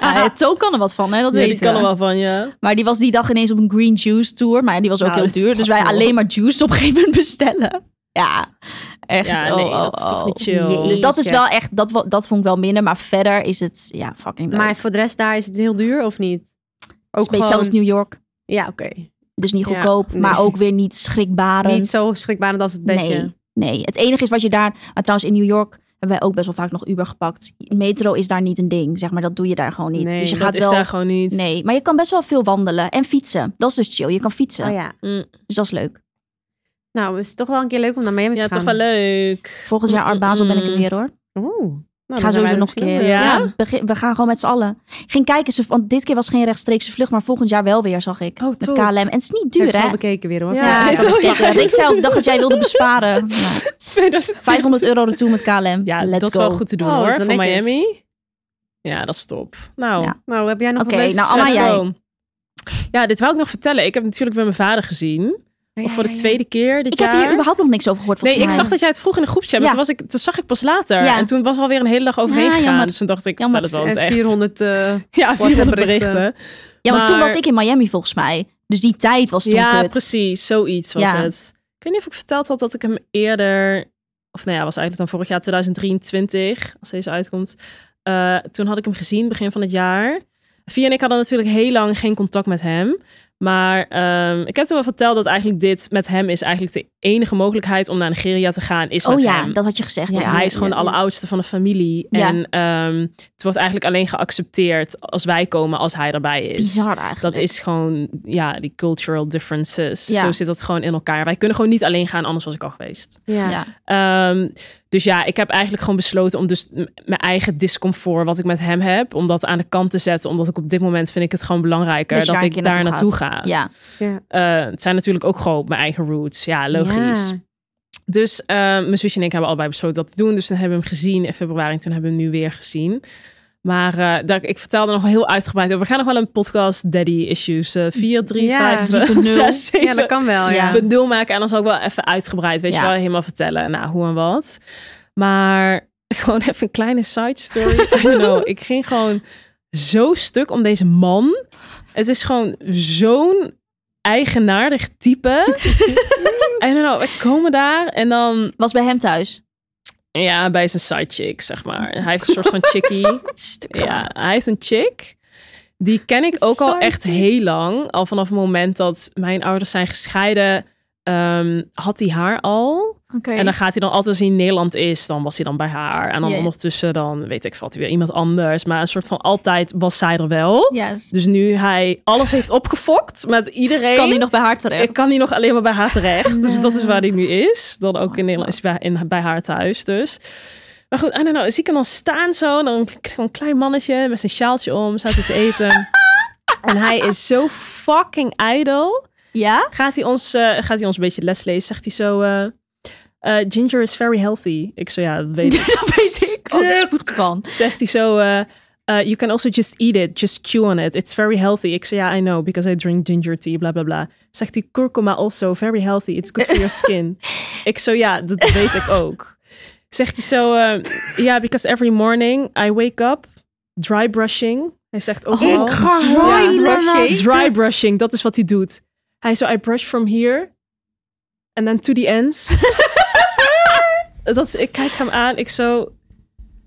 [SPEAKER 5] Ja, Toe kan er wat van, hè? Dat
[SPEAKER 4] Ja,
[SPEAKER 5] weet
[SPEAKER 4] die kan er wel van, ja.
[SPEAKER 5] Maar die was die dag ineens op een green juice tour. Maar ja, die was ook
[SPEAKER 4] Nou,
[SPEAKER 5] heel
[SPEAKER 4] dat
[SPEAKER 5] duur. Dus wij
[SPEAKER 4] pakt wel.
[SPEAKER 5] alleen maar juice op een gegeven moment bestellen. Ja, echt.
[SPEAKER 4] Ja,
[SPEAKER 5] oh,
[SPEAKER 4] nee,
[SPEAKER 5] oh,
[SPEAKER 4] dat is toch
[SPEAKER 5] oh.
[SPEAKER 4] niet chill.
[SPEAKER 5] Dus dat is
[SPEAKER 3] Jeetje.
[SPEAKER 5] wel echt, dat, wa- dat vond ik wel minder. Maar verder is het, ja, fucking leuk.
[SPEAKER 3] Maar voor de rest daar is het heel duur of niet?
[SPEAKER 5] het is een beetje zelfs New York.
[SPEAKER 3] Ja, oké.
[SPEAKER 5] Dus niet
[SPEAKER 3] Ja,
[SPEAKER 5] goedkoop,
[SPEAKER 3] nee.
[SPEAKER 5] maar ook weer niet schrikbarend.
[SPEAKER 3] Niet zo schrikbarend als het bedje. Oh
[SPEAKER 5] Nee, nee, het enige is wat je daar... Maar trouwens, in New York hebben wij ook best wel vaak nog Uber gepakt. Metro is daar niet een ding, zeg maar. Dat doe je daar gewoon niet.
[SPEAKER 3] Nee,
[SPEAKER 5] dus je
[SPEAKER 4] Dat
[SPEAKER 5] gaat
[SPEAKER 4] is
[SPEAKER 5] wel...
[SPEAKER 4] daar gewoon niet.
[SPEAKER 5] Nee, maar je kan best wel veel wandelen en fietsen. Dat is dus chill. Je kan fietsen.
[SPEAKER 3] Oh ja.
[SPEAKER 4] Mm.
[SPEAKER 5] Dus dat is leuk.
[SPEAKER 3] Nou, is het toch wel een keer leuk om naar Miami
[SPEAKER 4] Ja,
[SPEAKER 3] te gaan.
[SPEAKER 4] toch wel leuk. Mm,
[SPEAKER 5] Volgend jaar Art Basel ben ik er
[SPEAKER 4] <laughs> Oh,
[SPEAKER 5] weer hoor.
[SPEAKER 3] Oeh. Nou,
[SPEAKER 5] Ik
[SPEAKER 3] dan
[SPEAKER 5] ga
[SPEAKER 3] zijn wij
[SPEAKER 5] sowieso
[SPEAKER 3] er
[SPEAKER 5] nog een
[SPEAKER 3] misschien
[SPEAKER 5] keer. eh,
[SPEAKER 3] wel.
[SPEAKER 4] Ja?
[SPEAKER 5] begin- we gaan gewoon met z'n allen. Ik ging kijken, ze- want dit keer was geen rechtstreekse vlucht, maar volgend jaar wel weer, zag ik.
[SPEAKER 4] Oh,
[SPEAKER 5] met
[SPEAKER 4] top.
[SPEAKER 5] KLM. En het is niet
[SPEAKER 3] Heb
[SPEAKER 5] duur,
[SPEAKER 3] ze al
[SPEAKER 5] hè?
[SPEAKER 3] bekeken weer hoor.
[SPEAKER 4] Ja.
[SPEAKER 5] Ja, ik,
[SPEAKER 4] Zo,
[SPEAKER 5] had
[SPEAKER 4] ja.
[SPEAKER 5] gekeken. ik zei ook, dacht dat jij wilde
[SPEAKER 4] <laughs>
[SPEAKER 5] besparen. Nou,
[SPEAKER 4] 2020.
[SPEAKER 5] 500 euro ertoe met KLM.
[SPEAKER 4] Ja,
[SPEAKER 5] Let's
[SPEAKER 4] dat is
[SPEAKER 5] go.
[SPEAKER 4] wel goed te doen
[SPEAKER 3] Oh, dat is
[SPEAKER 4] hoor,
[SPEAKER 3] wel
[SPEAKER 4] voor
[SPEAKER 3] netjes.
[SPEAKER 4] Miami. Ja, dat is top. Nou,
[SPEAKER 5] Ja.
[SPEAKER 3] <laughs> Nou, heb jij nog
[SPEAKER 5] Oké,
[SPEAKER 3] een leuke
[SPEAKER 5] nou,
[SPEAKER 3] succes?
[SPEAKER 5] Amma, jij.
[SPEAKER 4] Let's go. Ja, dit wou ik nog vertellen. Ik heb natuurlijk bij mijn vader gezien. Of voor de tweede keer dit
[SPEAKER 5] Ik heb
[SPEAKER 4] jaar.
[SPEAKER 5] hier überhaupt nog niks over gehoord,
[SPEAKER 4] Nee,
[SPEAKER 5] volgens
[SPEAKER 4] ik
[SPEAKER 5] mij.
[SPEAKER 4] zag dat jij het vroeg in de groepchat.
[SPEAKER 5] Ja.
[SPEAKER 4] Maar toen, was ik, toen zag ik pas later.
[SPEAKER 5] Ja.
[SPEAKER 4] En toen was er alweer een hele dag overheen
[SPEAKER 5] Ja,
[SPEAKER 4] gegaan.
[SPEAKER 5] jammer.
[SPEAKER 4] Dus toen dacht ik,
[SPEAKER 5] Jammer.
[SPEAKER 4] vertel het wel.
[SPEAKER 3] En
[SPEAKER 4] want echt.
[SPEAKER 3] 400... eh,
[SPEAKER 4] <laughs> ja, 400
[SPEAKER 3] WhatsApp-berichten.
[SPEAKER 4] berichten.
[SPEAKER 5] Ja, want toen
[SPEAKER 4] maar-
[SPEAKER 5] was ik in Miami, volgens mij. Dus die tijd was toen
[SPEAKER 4] Ja,
[SPEAKER 5] kut.
[SPEAKER 4] precies. Zoiets was
[SPEAKER 5] Ja.
[SPEAKER 4] het. Ik weet niet of ik verteld had dat ik hem eerder... Of nou ja, was eigenlijk dan vorig jaar 2023, als deze uitkomt. Eh, toen had ik hem gezien, begin van het jaar. Via en ik hadden natuurlijk heel lang geen contact met hem. Maar ehm, ik heb toen wel verteld dat eigenlijk dit met hem is eigenlijk de enige mogelijkheid om naar Nigeria te gaan is
[SPEAKER 5] Oh
[SPEAKER 4] met
[SPEAKER 5] ja,
[SPEAKER 4] hem.
[SPEAKER 5] dat had je gezegd.
[SPEAKER 4] Want
[SPEAKER 5] ja.
[SPEAKER 4] hij is gewoon de
[SPEAKER 3] ja.
[SPEAKER 4] alleroudste van de familie.
[SPEAKER 5] Ja.
[SPEAKER 4] En ehm, het wordt eigenlijk alleen geaccepteerd als wij komen, als hij erbij is.
[SPEAKER 5] Bizar eigenlijk.
[SPEAKER 4] Dat is gewoon, ja, die cultural differences.
[SPEAKER 5] Ja.
[SPEAKER 4] Zo zit dat gewoon in elkaar. Wij kunnen gewoon niet alleen gaan, anders was ik al geweest.
[SPEAKER 3] Ja.
[SPEAKER 5] Ja.
[SPEAKER 4] Ehm, dus ja, ik heb eigenlijk gewoon besloten om dus m- mijn eigen discomfort, wat ik met hem heb, om dat aan de kant te zetten. Omdat ik op dit moment vind ik het gewoon belangrijker
[SPEAKER 5] Dus
[SPEAKER 4] dat
[SPEAKER 5] waar
[SPEAKER 4] ik
[SPEAKER 5] je
[SPEAKER 4] daar naartoe ga.
[SPEAKER 5] gaat. Ja.
[SPEAKER 3] Ja.
[SPEAKER 4] Eh, het zijn natuurlijk ook gewoon mijn eigen roots. Ja, logisch.
[SPEAKER 3] Ja.
[SPEAKER 4] Dus eh, mijn zusje en ik hebben allebei besloten dat te doen. Dus dan hebben we hem gezien in februari. En toen hebben we hem nu weer gezien. Maar eh, daar, ik vertelde nog wel heel uitgebreid over. We gaan nog wel een podcast Daddy Issues eh 4, 3,
[SPEAKER 3] Ja,
[SPEAKER 4] <laughs> 5,
[SPEAKER 5] 3.0.
[SPEAKER 4] 6, 7.
[SPEAKER 3] Ja, dat kan wel. Ja.
[SPEAKER 5] Ja.
[SPEAKER 4] Punt nul maken. En dan zal ik wel even uitgebreid, weet
[SPEAKER 5] Ja.
[SPEAKER 4] je wel, helemaal vertellen. Nou, hoe en wat. Maar <laughs> gewoon even een kleine side story. I don't know. Ik ging gewoon zo stuk om deze man. Het is gewoon zo'n eigenaardig type. I don't know. We komen daar en dan...
[SPEAKER 5] Was bij hem thuis.
[SPEAKER 4] Ja, bij zijn side chick, zeg maar. Hij heeft een soort van
[SPEAKER 5] <laughs>
[SPEAKER 4] chickie. Ja, hij heeft een chick. Die ken ik ook al
[SPEAKER 3] Side
[SPEAKER 4] echt heel lang. Al vanaf het moment dat mijn ouders zijn gescheiden, ehm, had hij haar al.
[SPEAKER 5] Oké.
[SPEAKER 4] En dan gaat hij dan altijd als hij in Nederland is, dan was hij dan bij haar. En dan
[SPEAKER 5] Ja, ja.
[SPEAKER 4] ondertussen, dan weet ik, valt hij weer iemand anders. Maar een soort van altijd was zij er wel.
[SPEAKER 5] Yes.
[SPEAKER 4] Dus nu hij alles heeft opgefokt met iedereen.
[SPEAKER 5] Kan die nog bij haar
[SPEAKER 4] Ik
[SPEAKER 5] terecht?
[SPEAKER 4] kan hier nog alleen maar bij haar terecht. Dus dat is waar hij nu is. Dan ook in Nederland is hij bij, in, bij haar thuis dus. Maar goed, I don't know. Zie ik hem dan staan zo. Dan een klein mannetje met zijn sjaaltje om. Staat hij te eten. en hij is zo fucking ijdel.
[SPEAKER 5] Ja?
[SPEAKER 4] Gaat hij ons, eh, gaat hij ons een beetje les lezen? Zegt hij zo... eh, eh, ginger is very healthy. Ik zo, ja, dat weet ik.
[SPEAKER 5] dat weet ik. Oh, ik spuug ervan.
[SPEAKER 4] <laughs> Zegt hij zo... eh, eh, you can also just eat it. Just chew on it. It's very healthy. Ik zei, ja, I know. Because I drink ginger tea. Bla, bla, bla. Zegt hij, kurkuma also. Very healthy. It's good for your skin. ik zo, ja, dat weet ik ook. Zegt hij zo... eh, yeah, because every morning I wake up. Dry brushing. Hij zegt ook wel.
[SPEAKER 3] Ik ga helemaal...
[SPEAKER 5] brushing.
[SPEAKER 4] Dry brushing, dat is wat hij doet. Hij zo, I brush from here and then to the
[SPEAKER 5] <laughs>
[SPEAKER 4] ends. dat is, ik kijk hem aan, ik zo...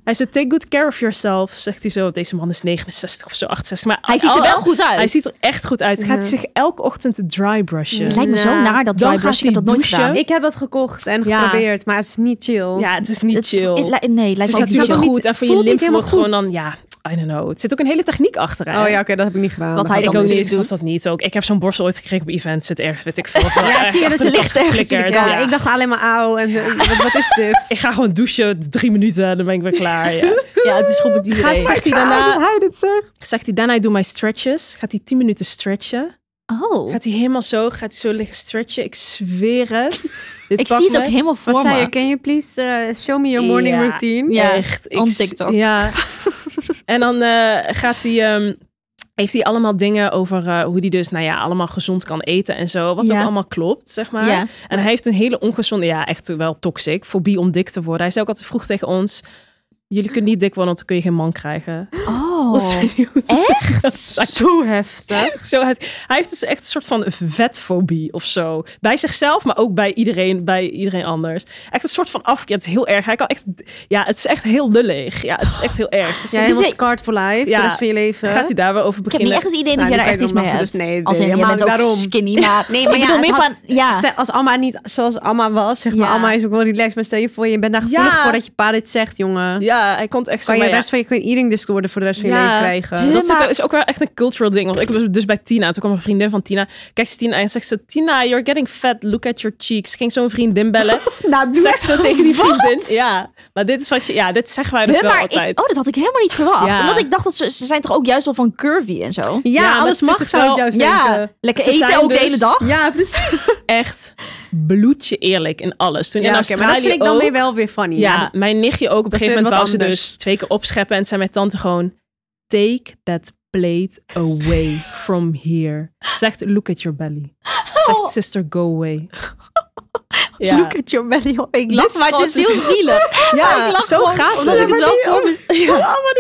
[SPEAKER 4] Hij zo, take good care of yourself, zegt hij zo. Deze man is 69 of zo, 68. Maar
[SPEAKER 5] Hij ziet er
[SPEAKER 4] al-
[SPEAKER 5] wel goed uit.
[SPEAKER 4] Hij ziet er echt goed uit. Gaat hij zich elke ochtend dry brushen?
[SPEAKER 5] Het lijkt me zo
[SPEAKER 3] Ja.
[SPEAKER 5] naar dat
[SPEAKER 4] Dan
[SPEAKER 5] dry
[SPEAKER 4] gaat
[SPEAKER 5] brushing. Ik
[SPEAKER 4] hij
[SPEAKER 5] heb dat nooit
[SPEAKER 4] douchen.
[SPEAKER 5] gedaan.
[SPEAKER 3] Ik heb dat gekocht en
[SPEAKER 5] Ja.
[SPEAKER 3] geprobeerd, maar het is niet chill. Oh
[SPEAKER 4] Ja, het is niet
[SPEAKER 5] Het is-
[SPEAKER 4] chill.
[SPEAKER 5] het li- nee,
[SPEAKER 4] het is
[SPEAKER 5] lijkt me ook niet
[SPEAKER 4] natuurlijk
[SPEAKER 5] chill.
[SPEAKER 3] chill.
[SPEAKER 4] goed. En voor je
[SPEAKER 3] Voelt niet
[SPEAKER 4] lymf wordt
[SPEAKER 3] helemaal
[SPEAKER 4] gewoon dan, ja, I don't know. Het zit ook een hele techniek achter. hè?
[SPEAKER 3] Oh ja, oké, dat heb ik niet gedaan.
[SPEAKER 5] Wat
[SPEAKER 3] Dat
[SPEAKER 5] hij
[SPEAKER 3] had
[SPEAKER 4] Ik
[SPEAKER 5] dan
[SPEAKER 4] ook
[SPEAKER 5] doet.
[SPEAKER 4] niet, ik snap dat niet ook. Ik heb zo'n borstel ooit gekregen op event. Zit ergens, weet ik
[SPEAKER 5] <laughs>
[SPEAKER 4] veel. Ja,
[SPEAKER 5] zie je, dat ze ligt ergens in de
[SPEAKER 3] Ja,
[SPEAKER 5] kast.
[SPEAKER 3] ik dacht alleen maar auw en eh, wat, wat is dit?
[SPEAKER 5] <laughs>
[SPEAKER 4] Ik ga gewoon douchen, drie minuten, dan ben ik weer klaar. <laughs> Ja.
[SPEAKER 5] Ja, het is goed met die
[SPEAKER 4] Gaat,
[SPEAKER 5] idee.
[SPEAKER 4] zegt, hij daarna,
[SPEAKER 3] hij dit zegt.
[SPEAKER 4] zegt hij daarna, ik doe mijn stretches. Gaat hij tien minuten stretchen.
[SPEAKER 5] Oh.
[SPEAKER 4] Gaat hij helemaal zo, gaat hij zo liggen stretchen. Ik zweer <laughs> het. Dit
[SPEAKER 5] Ik
[SPEAKER 4] pakt
[SPEAKER 5] zie het
[SPEAKER 4] me.
[SPEAKER 5] ook helemaal
[SPEAKER 3] Wat
[SPEAKER 5] voor
[SPEAKER 3] zei je?
[SPEAKER 5] me.
[SPEAKER 3] Can you please eh, show me your morning
[SPEAKER 4] Ja.
[SPEAKER 3] routine?
[SPEAKER 5] Ja,
[SPEAKER 4] Echt.
[SPEAKER 5] on
[SPEAKER 4] s-
[SPEAKER 5] TikTok.
[SPEAKER 4] <laughs> Ja. en dan eh, gaat hij... ehm, heeft hij allemaal dingen over eh, hoe hij dus, nou ja, allemaal gezond kan eten en zo. Wat
[SPEAKER 5] Ja.
[SPEAKER 4] ook allemaal klopt, zeg maar.
[SPEAKER 5] Ja.
[SPEAKER 4] En hij heeft een hele ongezonde, ja, echt wel toxic, fobie om dik te worden. Hij zei ook altijd vroeg tegen ons, jullie kunnen niet dik worden, want dan kun je geen man krijgen.
[SPEAKER 5] Oh.
[SPEAKER 4] Dat zei hij hoe te zeggen. Dat zei hij
[SPEAKER 3] Zo <laughs> heftig.
[SPEAKER 4] zo uit. Hij heeft dus echt een soort van vetfobie of zo. Bij zichzelf, maar ook bij iedereen, bij iedereen anders. Echt een soort van afkeer. Het is heel erg. Hij kan echt, ja, het is echt heel lullig. Ja, het is echt heel erg. Het is
[SPEAKER 3] Jij
[SPEAKER 4] een-
[SPEAKER 3] helemaal
[SPEAKER 5] zei-
[SPEAKER 3] scarred for life,
[SPEAKER 4] Ja.
[SPEAKER 3] de rest van je leven.
[SPEAKER 4] Gaat hij daar wel over
[SPEAKER 5] Ik heb niet
[SPEAKER 4] beginnen?
[SPEAKER 5] echt het idee dat
[SPEAKER 3] Nou, die
[SPEAKER 5] jij daar echt
[SPEAKER 3] kijk,
[SPEAKER 5] iets
[SPEAKER 3] dan
[SPEAKER 5] mee
[SPEAKER 3] mag je
[SPEAKER 5] hebt.
[SPEAKER 3] dus nee
[SPEAKER 5] Als in,
[SPEAKER 3] doen.
[SPEAKER 5] je
[SPEAKER 3] Ja,
[SPEAKER 5] bent ook
[SPEAKER 3] maar daarom.
[SPEAKER 5] skinny, maar...
[SPEAKER 3] Nee,
[SPEAKER 5] Ik
[SPEAKER 3] maar ja,
[SPEAKER 5] bedoel
[SPEAKER 3] het
[SPEAKER 5] meer
[SPEAKER 3] had-
[SPEAKER 5] van... Ja.
[SPEAKER 3] Stel- Als Alma niet zoals Alma was, zeg maar.
[SPEAKER 5] Ja.
[SPEAKER 3] Alma is ook wel relaxed, maar stel je voor, je bent daar gevoelig
[SPEAKER 4] Ja.
[SPEAKER 3] voor dat je pa dit zegt, jongen.
[SPEAKER 4] Ja, hij komt echt zo
[SPEAKER 3] Kan je
[SPEAKER 4] maar ja.
[SPEAKER 3] best van je queen eating disorder voor de rest van je
[SPEAKER 4] Ja.
[SPEAKER 3] leven krijgen?
[SPEAKER 4] Dat zit,
[SPEAKER 5] maar-
[SPEAKER 4] is ook wel echt een cultural ding. Want ik was dus bij Tina. Toen kwam een vriendin van Tina. Kijk ze Tina en zegt ze... Tina, you're getting fat. Look at your cheeks. Ging zo'n
[SPEAKER 3] <laughs>
[SPEAKER 4] vriendin bellen.
[SPEAKER 3] Nou,
[SPEAKER 4] zegt ze tegen die vriendin. Ja, maar dit is wat je... Ja, dit zeggen wij dus
[SPEAKER 5] Huh,
[SPEAKER 4] wel
[SPEAKER 5] maar ik-
[SPEAKER 4] altijd.
[SPEAKER 5] oh, dat had ik helemaal niet verwacht.
[SPEAKER 4] Ja.
[SPEAKER 5] Omdat ik dacht dat ze, ze zijn toch ook juist wel van curvy en zo.
[SPEAKER 3] Ja,
[SPEAKER 4] Ja, maar
[SPEAKER 3] alles
[SPEAKER 4] het is
[SPEAKER 3] mag
[SPEAKER 4] dus
[SPEAKER 3] zou ik
[SPEAKER 4] wel-
[SPEAKER 3] juist
[SPEAKER 5] Ja,
[SPEAKER 3] denken.
[SPEAKER 5] lekker
[SPEAKER 4] Ze
[SPEAKER 5] eten
[SPEAKER 4] zijn
[SPEAKER 5] ook de
[SPEAKER 4] dus-
[SPEAKER 5] hele dag.
[SPEAKER 3] <laughs> Ja, precies.
[SPEAKER 4] echt bloedje eerlijk in alles. Toen
[SPEAKER 3] Ja,
[SPEAKER 4] in
[SPEAKER 3] oké,
[SPEAKER 4] Australië
[SPEAKER 3] maar dat vind ik dan
[SPEAKER 4] ook,
[SPEAKER 3] weer wel weer funny.
[SPEAKER 4] Ja, mijn nichtje ook. Op een
[SPEAKER 3] Dat is
[SPEAKER 4] gegeven moment
[SPEAKER 3] weer wat
[SPEAKER 4] wou ze
[SPEAKER 3] anders.
[SPEAKER 4] dus twee keer opscheppen. En zei mijn tante gewoon... Take that plate away from here. Zegt, look at your belly. Zegt, sister, go away. Ja.
[SPEAKER 5] Look at your belly. hoor. Ik
[SPEAKER 4] Dit
[SPEAKER 5] lach,
[SPEAKER 4] is
[SPEAKER 5] maar het is
[SPEAKER 4] gewoon-
[SPEAKER 5] heel zielig.
[SPEAKER 4] Ja,
[SPEAKER 5] ik lach
[SPEAKER 4] zo
[SPEAKER 5] gewoon,
[SPEAKER 4] gaat
[SPEAKER 5] omdat
[SPEAKER 4] het.
[SPEAKER 5] ik het wel voor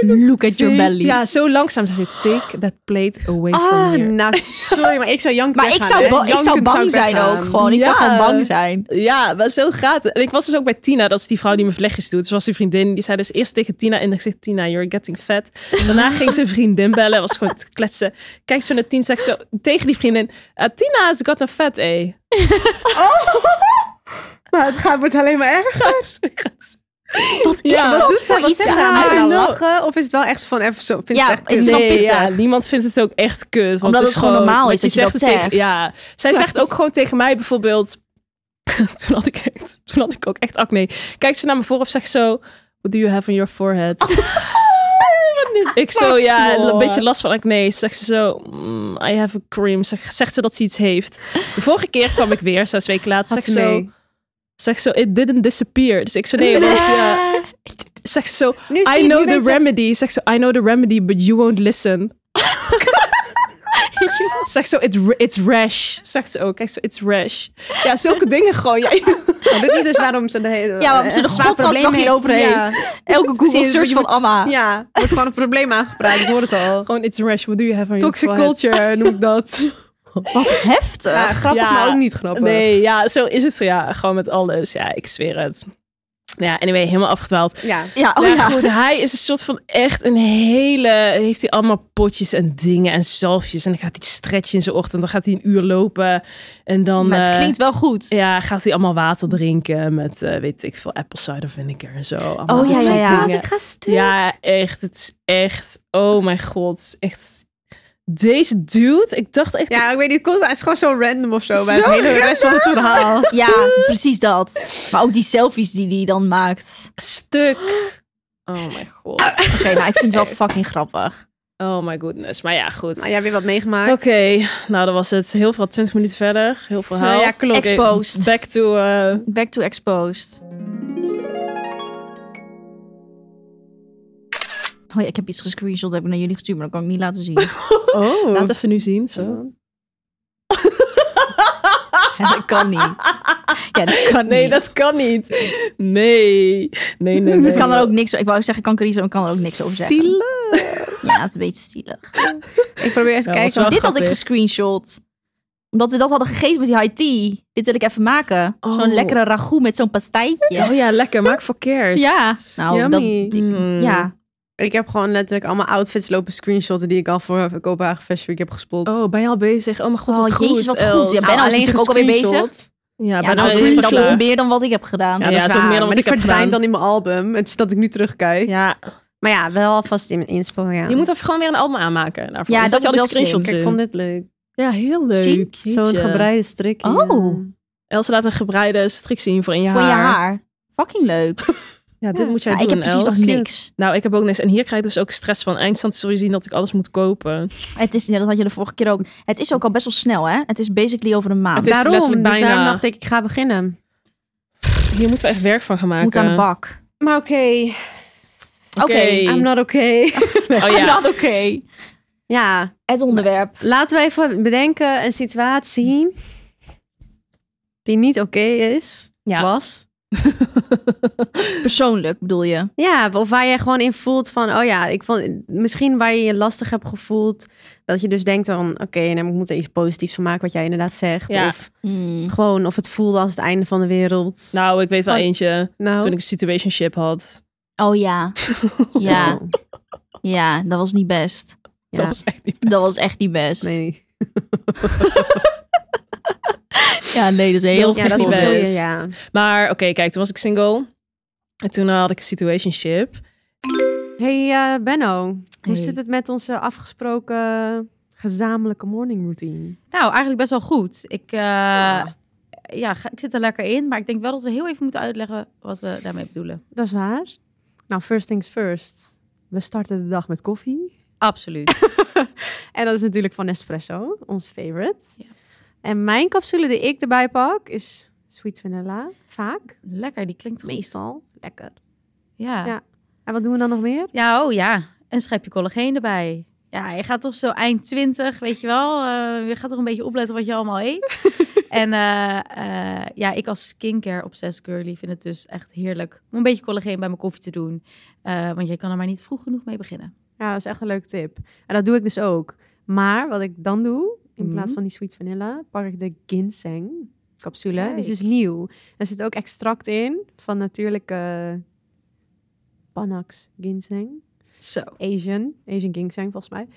[SPEAKER 5] <laughs> me... Look at your belly.
[SPEAKER 4] Ja, zo langzaam. Ze zei, take that plate away from
[SPEAKER 3] Ah,
[SPEAKER 4] here.
[SPEAKER 3] nou, sorry, maar ik zou janken
[SPEAKER 5] Maar ik zou, ba- ik zou bang zijn ook gewoon. Ik zou
[SPEAKER 4] Ja.
[SPEAKER 5] gewoon bang zijn.
[SPEAKER 4] Ja, maar zo gaat het. En ik was dus ook bij Tina, dat is die vrouw die mijn vlechtjes doet. Zoals die vriendin, die zei dus eerst tegen Tina in de gezicht, Tina, you're getting fat. Daarna ging ze een vriendin bellen, was gewoon te kletsen. Kijkt ze naar eh." Tina, zegt ze tegen die vriendin, "Ah, Tina has got a fat, eh.
[SPEAKER 3] Ja, het gaat, wordt alleen maar erg.
[SPEAKER 4] <laughs>
[SPEAKER 5] Wat is
[SPEAKER 4] Ja,
[SPEAKER 5] dat
[SPEAKER 3] doet ze?
[SPEAKER 5] voor
[SPEAKER 3] Wat
[SPEAKER 5] iets
[SPEAKER 3] zegt ze? Is het
[SPEAKER 5] aan?
[SPEAKER 3] nou
[SPEAKER 5] haar?
[SPEAKER 3] lachen of is het wel echt van even zo? Vind
[SPEAKER 5] Ja,
[SPEAKER 3] je het echt
[SPEAKER 5] is
[SPEAKER 3] kut?
[SPEAKER 5] het wel
[SPEAKER 4] Nee, ja,
[SPEAKER 5] pissig.
[SPEAKER 4] niemand vindt het ook echt kut. Want
[SPEAKER 5] Omdat
[SPEAKER 4] is
[SPEAKER 5] het gewoon normaal
[SPEAKER 4] want
[SPEAKER 5] is dat je dat
[SPEAKER 4] het tegen-
[SPEAKER 5] zegt.
[SPEAKER 4] ja, zij
[SPEAKER 5] Ja, dus-
[SPEAKER 4] zegt
[SPEAKER 5] precies.
[SPEAKER 4] ook gewoon tegen mij bijvoorbeeld... <laughs> toen, had ik echt, toen had ik ook echt acne. Kijkt ze naar me voor of zegt zo... What do you have on your
[SPEAKER 5] <laughs>
[SPEAKER 4] forehead? ik zo, ja,
[SPEAKER 5] voor?
[SPEAKER 4] een beetje last van acne. Zegt ze zo, "Mm, I have a cream. Zeg- zegt ze dat ze iets heeft. De vorige keer kwam ik weer, zes weken later.
[SPEAKER 3] Had
[SPEAKER 4] Zegt
[SPEAKER 3] ze
[SPEAKER 4] zo,
[SPEAKER 3] mee.
[SPEAKER 4] zegt zo, it didn't disappear. Dus ik zo,
[SPEAKER 5] <laughs>
[SPEAKER 4] nee, want, ja. Zegt ze zo,
[SPEAKER 3] Nu zie
[SPEAKER 4] I
[SPEAKER 3] je-
[SPEAKER 4] know
[SPEAKER 3] nu
[SPEAKER 4] the
[SPEAKER 3] weet je-
[SPEAKER 4] remedy. Zegt zo, I know the remedy, but you won't listen. <laughs> Zegt zo, it, it's rash. Zegt ze ook. Kijk zo, it's rash. Ja, zulke dingen gewoon. Ja,
[SPEAKER 3] Nou, dit is dus waarom ze de hele.
[SPEAKER 5] Ja, waarom ze de
[SPEAKER 3] eh, zwaar
[SPEAKER 5] godkans
[SPEAKER 3] probleem
[SPEAKER 5] nog niet over
[SPEAKER 3] Ja.
[SPEAKER 5] Elke Google
[SPEAKER 3] Serieus,
[SPEAKER 5] search
[SPEAKER 3] je
[SPEAKER 5] van
[SPEAKER 3] moet-
[SPEAKER 5] Amma.
[SPEAKER 3] Ja, er wordt gewoon een probleem aangepraat. Ik hoor het al.
[SPEAKER 4] gewoon, it's rash. What do you have on
[SPEAKER 3] Toxic
[SPEAKER 4] your forehead?
[SPEAKER 3] culture noem ik <laughs> dat.
[SPEAKER 5] Wat heftig.
[SPEAKER 3] Ja, grappig,
[SPEAKER 4] Ja.
[SPEAKER 3] maar ook niet grappig.
[SPEAKER 4] Nee, ja, zo is het. Ja, gewoon met alles. Ja, ik zweer het. Ja, anyway, helemaal afgedwaald.
[SPEAKER 3] Ja.
[SPEAKER 5] Ja, oh
[SPEAKER 4] ja,
[SPEAKER 5] ja.
[SPEAKER 4] goed. Hij is een soort van echt een hele. Heeft hij allemaal potjes en dingen en zalfjes. En dan gaat hij stretchen in zijn ochtend. Dan gaat hij een uur lopen. En dan.
[SPEAKER 5] Maar het
[SPEAKER 4] eh,
[SPEAKER 5] klinkt wel goed.
[SPEAKER 4] Ja, gaat hij allemaal water drinken met, eh, weet ik veel, apple cider vinegar en zo. Allemaal
[SPEAKER 5] Oh, ja,
[SPEAKER 4] dat
[SPEAKER 5] ja,
[SPEAKER 4] soort
[SPEAKER 5] ja.
[SPEAKER 4] dingen.
[SPEAKER 3] ga stuk.
[SPEAKER 4] Ja, echt. Het is echt. Oh mijn god. het is Echt. Deze dude. Ik dacht echt.
[SPEAKER 3] Ja, ik weet niet, het, komt, het is gewoon zo random of zo. bij
[SPEAKER 4] Zo
[SPEAKER 3] het hele rest van het verhaal.
[SPEAKER 5] Ja, precies dat. Maar ook die selfies die die dan maakt.
[SPEAKER 4] Stuk. Oh mijn god.
[SPEAKER 5] Oké, nou, ik vind het wel fucking grappig.
[SPEAKER 4] Oh my goodness. Maar ja, goed.
[SPEAKER 3] Nou, jij hebt weer wat meegemaakt.
[SPEAKER 4] Oké, nou dat was het. Heel veel, 20 minuten verder. Heel veel
[SPEAKER 3] Nou
[SPEAKER 4] haal.
[SPEAKER 3] ja, klopt.
[SPEAKER 4] Oké,
[SPEAKER 5] Exposed.
[SPEAKER 4] Back to... eh,
[SPEAKER 5] Back to exposed. Oh ja, ik heb iets gescreenshot, heb ik naar jullie gestuurd, maar dat kan ik niet laten zien.
[SPEAKER 3] Oh.
[SPEAKER 4] <laughs> Laat even nu zien. Zo.
[SPEAKER 5] <laughs> dat kan niet. Ja, dat kan
[SPEAKER 4] Nee,
[SPEAKER 5] niet.
[SPEAKER 4] dat kan niet. Nee. Nee, nee, nee.
[SPEAKER 5] <laughs> Ik kan er ook niks Ik wou zeggen, kan ik er kan er ook niks over zeggen.
[SPEAKER 3] Zielig.
[SPEAKER 5] Ja, het is een beetje stielig.
[SPEAKER 3] Ik probeer even te
[SPEAKER 4] Ja, was
[SPEAKER 3] kijken.
[SPEAKER 4] wel
[SPEAKER 5] Dit had ik
[SPEAKER 4] grappig.
[SPEAKER 5] gescreenshot. Omdat we dat hadden gegeten met die high tea. Dit wil ik even maken. Zo'n
[SPEAKER 4] Oh.
[SPEAKER 5] lekkere ragout met zo'n pastijtje.
[SPEAKER 4] Oh ja, lekker. Maak voor kerst.
[SPEAKER 5] Ja. Nou, dat,
[SPEAKER 3] Yummy.
[SPEAKER 5] ik-
[SPEAKER 4] Mm.
[SPEAKER 5] ja.
[SPEAKER 3] Ik heb gewoon letterlijk allemaal outfits lopen screenshotten die ik al voor Kopenhagen Fashion Week heb gespot.
[SPEAKER 4] Oh, ben je al bezig? Oh mijn god, wat
[SPEAKER 5] Oh,
[SPEAKER 4] goed.
[SPEAKER 5] jezus, wat goed.
[SPEAKER 4] Els.
[SPEAKER 5] Ja, ben
[SPEAKER 4] ja,
[SPEAKER 5] je nou is natuurlijk ook alweer
[SPEAKER 3] gescreenshot.
[SPEAKER 5] ja
[SPEAKER 4] bijna
[SPEAKER 5] nou,
[SPEAKER 4] al
[SPEAKER 5] dat is-
[SPEAKER 4] bezig.
[SPEAKER 5] dat is meer dan wat ik heb gedaan.
[SPEAKER 4] Ja, dat is ook
[SPEAKER 3] waar,
[SPEAKER 4] meer dan
[SPEAKER 3] maar
[SPEAKER 4] wat
[SPEAKER 3] die
[SPEAKER 4] ik heb
[SPEAKER 3] verdwijnt
[SPEAKER 4] gedaan.
[SPEAKER 3] dan in mijn album. Het is dat ik nu terugkijk.
[SPEAKER 4] Ja,
[SPEAKER 3] Maar ja, wel vast in mijn inspo, ja.
[SPEAKER 4] je moet even gewoon weer een album aanmaken. Daarvoor.
[SPEAKER 5] Ja,
[SPEAKER 4] Dus
[SPEAKER 5] dat
[SPEAKER 4] je
[SPEAKER 5] is
[SPEAKER 4] al die
[SPEAKER 5] wel slim.
[SPEAKER 4] screenshots
[SPEAKER 3] Kijk, ik
[SPEAKER 4] in.
[SPEAKER 3] vond dit leuk.
[SPEAKER 4] Ja, heel
[SPEAKER 5] Zie?
[SPEAKER 4] leuk.
[SPEAKER 3] Zo'n
[SPEAKER 4] Jeetje.
[SPEAKER 3] gebreide strikje.
[SPEAKER 5] Oh.
[SPEAKER 4] Els laat een gebreide strik zien voor in je
[SPEAKER 5] Voor
[SPEAKER 4] haar.
[SPEAKER 5] je haar. Fucking leuk.
[SPEAKER 4] Ja, dit moet jij
[SPEAKER 5] Ja, Nou,
[SPEAKER 4] doen,
[SPEAKER 5] ik heb precies
[SPEAKER 4] Els.
[SPEAKER 5] nog niks.
[SPEAKER 4] Nou, ik heb ook niks. En hier krijg ik dus ook stress van. Eindstand zul je zien dat ik alles moet kopen.
[SPEAKER 5] Het is, ja, dat had je de vorige keer ook. Het is ook al best wel snel, hè? Het is basically over een maand.
[SPEAKER 4] Het is
[SPEAKER 3] daarom,
[SPEAKER 4] letterlijk
[SPEAKER 3] dus
[SPEAKER 4] bijna.
[SPEAKER 3] daarom dacht ik, ik ga beginnen.
[SPEAKER 4] Hier moeten we echt werk van gaan maken.
[SPEAKER 5] Moet aan de bak.
[SPEAKER 3] Maar oké,
[SPEAKER 5] Oké.
[SPEAKER 3] I'm not
[SPEAKER 4] <laughs>
[SPEAKER 3] okay.
[SPEAKER 4] Oh
[SPEAKER 5] <laughs>
[SPEAKER 4] ja.
[SPEAKER 5] Not Nou, oké.
[SPEAKER 3] ja,
[SPEAKER 5] Het onderwerp.
[SPEAKER 3] laten we even bedenken een situatie die niet oké is,
[SPEAKER 4] Ja.
[SPEAKER 3] was.
[SPEAKER 5] Persoonlijk bedoel je.
[SPEAKER 3] Ja, of waar je gewoon in voelt van, oh ja, ik vond, misschien waar je je lastig hebt gevoeld. Dat je dus denkt van, oké, nou, ik moet er iets positiefs van maken wat jij inderdaad zegt.
[SPEAKER 4] Ja.
[SPEAKER 3] Of
[SPEAKER 6] Hmm.
[SPEAKER 3] gewoon, of het voelde als het einde van de wereld.
[SPEAKER 4] Nou, ik weet wel
[SPEAKER 3] Van-
[SPEAKER 4] eentje.
[SPEAKER 3] Nou,
[SPEAKER 4] Toen ik een situationship had.
[SPEAKER 5] Oh ja.
[SPEAKER 6] <laughs>
[SPEAKER 3] zo.
[SPEAKER 5] Ja. Ja, dat was niet best.
[SPEAKER 3] Ja.
[SPEAKER 4] Dat was echt niet
[SPEAKER 5] Dat was echt niet best.
[SPEAKER 3] Nee.
[SPEAKER 5] Ja, nee, dat is een heel
[SPEAKER 4] was
[SPEAKER 3] Ja,
[SPEAKER 5] slecht
[SPEAKER 4] echt
[SPEAKER 3] dat is
[SPEAKER 4] niet
[SPEAKER 5] voorbeeld.
[SPEAKER 3] wel,
[SPEAKER 4] best.
[SPEAKER 3] ja.
[SPEAKER 4] Maar oké, kijk, toen was ik single. En toen had ik een situationship.
[SPEAKER 3] Hey eh, Benno, hoe
[SPEAKER 5] Hey.
[SPEAKER 3] zit het met onze afgesproken gezamenlijke morning routine?
[SPEAKER 6] Nou, eigenlijk best wel goed. Ik, eh, ja, ga- ik zit er lekker in, maar ik denk wel dat we heel even moeten uitleggen wat we daarmee bedoelen.
[SPEAKER 3] Dat is waar. Nou, first things first. We starten de dag met koffie.
[SPEAKER 5] <laughs>
[SPEAKER 6] Absoluut.
[SPEAKER 3] En dat is natuurlijk van Nespresso, ons favorite.
[SPEAKER 6] Ja.
[SPEAKER 3] En mijn capsule die ik erbij pak is sweet vanilla. Vaak.
[SPEAKER 6] lekker, die klinkt goed.
[SPEAKER 3] Meestal. Lekker.
[SPEAKER 6] Ja.
[SPEAKER 3] Ja.
[SPEAKER 6] ja.
[SPEAKER 3] En wat doen we dan nog meer?
[SPEAKER 6] oh ja. Een schepje collageen erbij. Ja, je gaat toch zo eind 20, weet je wel. eh, je gaat toch een beetje opletten wat je allemaal eet.
[SPEAKER 3] <laughs>
[SPEAKER 6] en eh, eh, ja, ik als skincare obsessed girly vind het dus echt heerlijk om een beetje collageen bij mijn koffie te doen. Eh, want je kan er maar niet vroeg genoeg mee beginnen.
[SPEAKER 3] Ja, dat is echt een leuke tip. En dat doe ik dus ook. Maar wat ik dan doe, in
[SPEAKER 4] Mhm.
[SPEAKER 3] plaats van die sweet vanilla, pak ik de ginseng capsule. Die is dus
[SPEAKER 6] Kijk.
[SPEAKER 3] nieuw. Er zit ook extract in van natuurlijke Panax ginseng.
[SPEAKER 6] Zo.
[SPEAKER 3] Asian. Asian ginseng, volgens mij.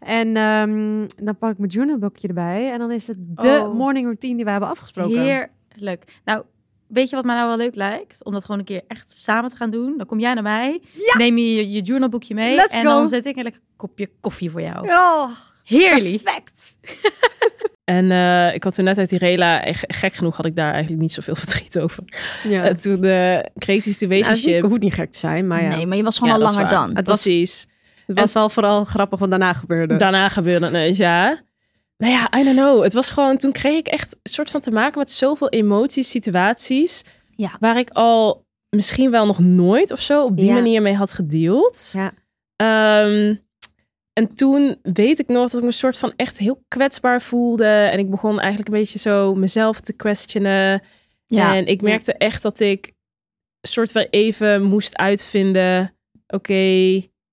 [SPEAKER 3] En ehm, dan pak ik mijn Junebokje erbij. En dan is het de
[SPEAKER 6] Oh.
[SPEAKER 3] morning routine die we hebben afgesproken.
[SPEAKER 6] Heerlijk. Nou, weet je wat mij nou wel leuk lijkt? Om dat gewoon een keer echt samen te gaan doen. Dan kom jij naar mij, neem je je, je journalboekje mee
[SPEAKER 3] Let's
[SPEAKER 6] en
[SPEAKER 3] go.
[SPEAKER 6] dan zet ik een lekker kopje koffie voor jou.
[SPEAKER 3] Oh,
[SPEAKER 6] Heerlijk.
[SPEAKER 3] perfect.
[SPEAKER 4] En eh, ik had toen net uit die rela, en ge- gek genoeg had ik daar eigenlijk niet zoveel <laughs> verdriet over.
[SPEAKER 3] Ja.
[SPEAKER 4] En toen eh, kreeg ik die
[SPEAKER 3] Nou,
[SPEAKER 4] situationship.
[SPEAKER 3] het hoeft niet gek te zijn, maar ja.
[SPEAKER 5] Nee, maar je was gewoon
[SPEAKER 4] Ja,
[SPEAKER 5] al
[SPEAKER 4] dat is
[SPEAKER 5] langer
[SPEAKER 4] waar.
[SPEAKER 5] dan.
[SPEAKER 3] Het was,
[SPEAKER 4] Precies.
[SPEAKER 3] het was wel vooral grappig wat daarna gebeurde.
[SPEAKER 4] Daarna gebeurde het, ja. Nou ja, I don't know. Het was gewoon, toen kreeg ik echt een soort van te maken met zoveel emoties, situaties.
[SPEAKER 5] Ja.
[SPEAKER 4] Waar ik al misschien wel nog nooit of zo op die
[SPEAKER 3] Ja.
[SPEAKER 4] manier mee had gedeeld.
[SPEAKER 3] Ja.
[SPEAKER 4] Ehm, en toen weet ik nog dat ik me soort van echt heel kwetsbaar voelde. En ik begon eigenlijk een beetje zo mezelf te questionen.
[SPEAKER 5] Ja.
[SPEAKER 4] En ik merkte echt dat ik soort wel even moest uitvinden. Oké,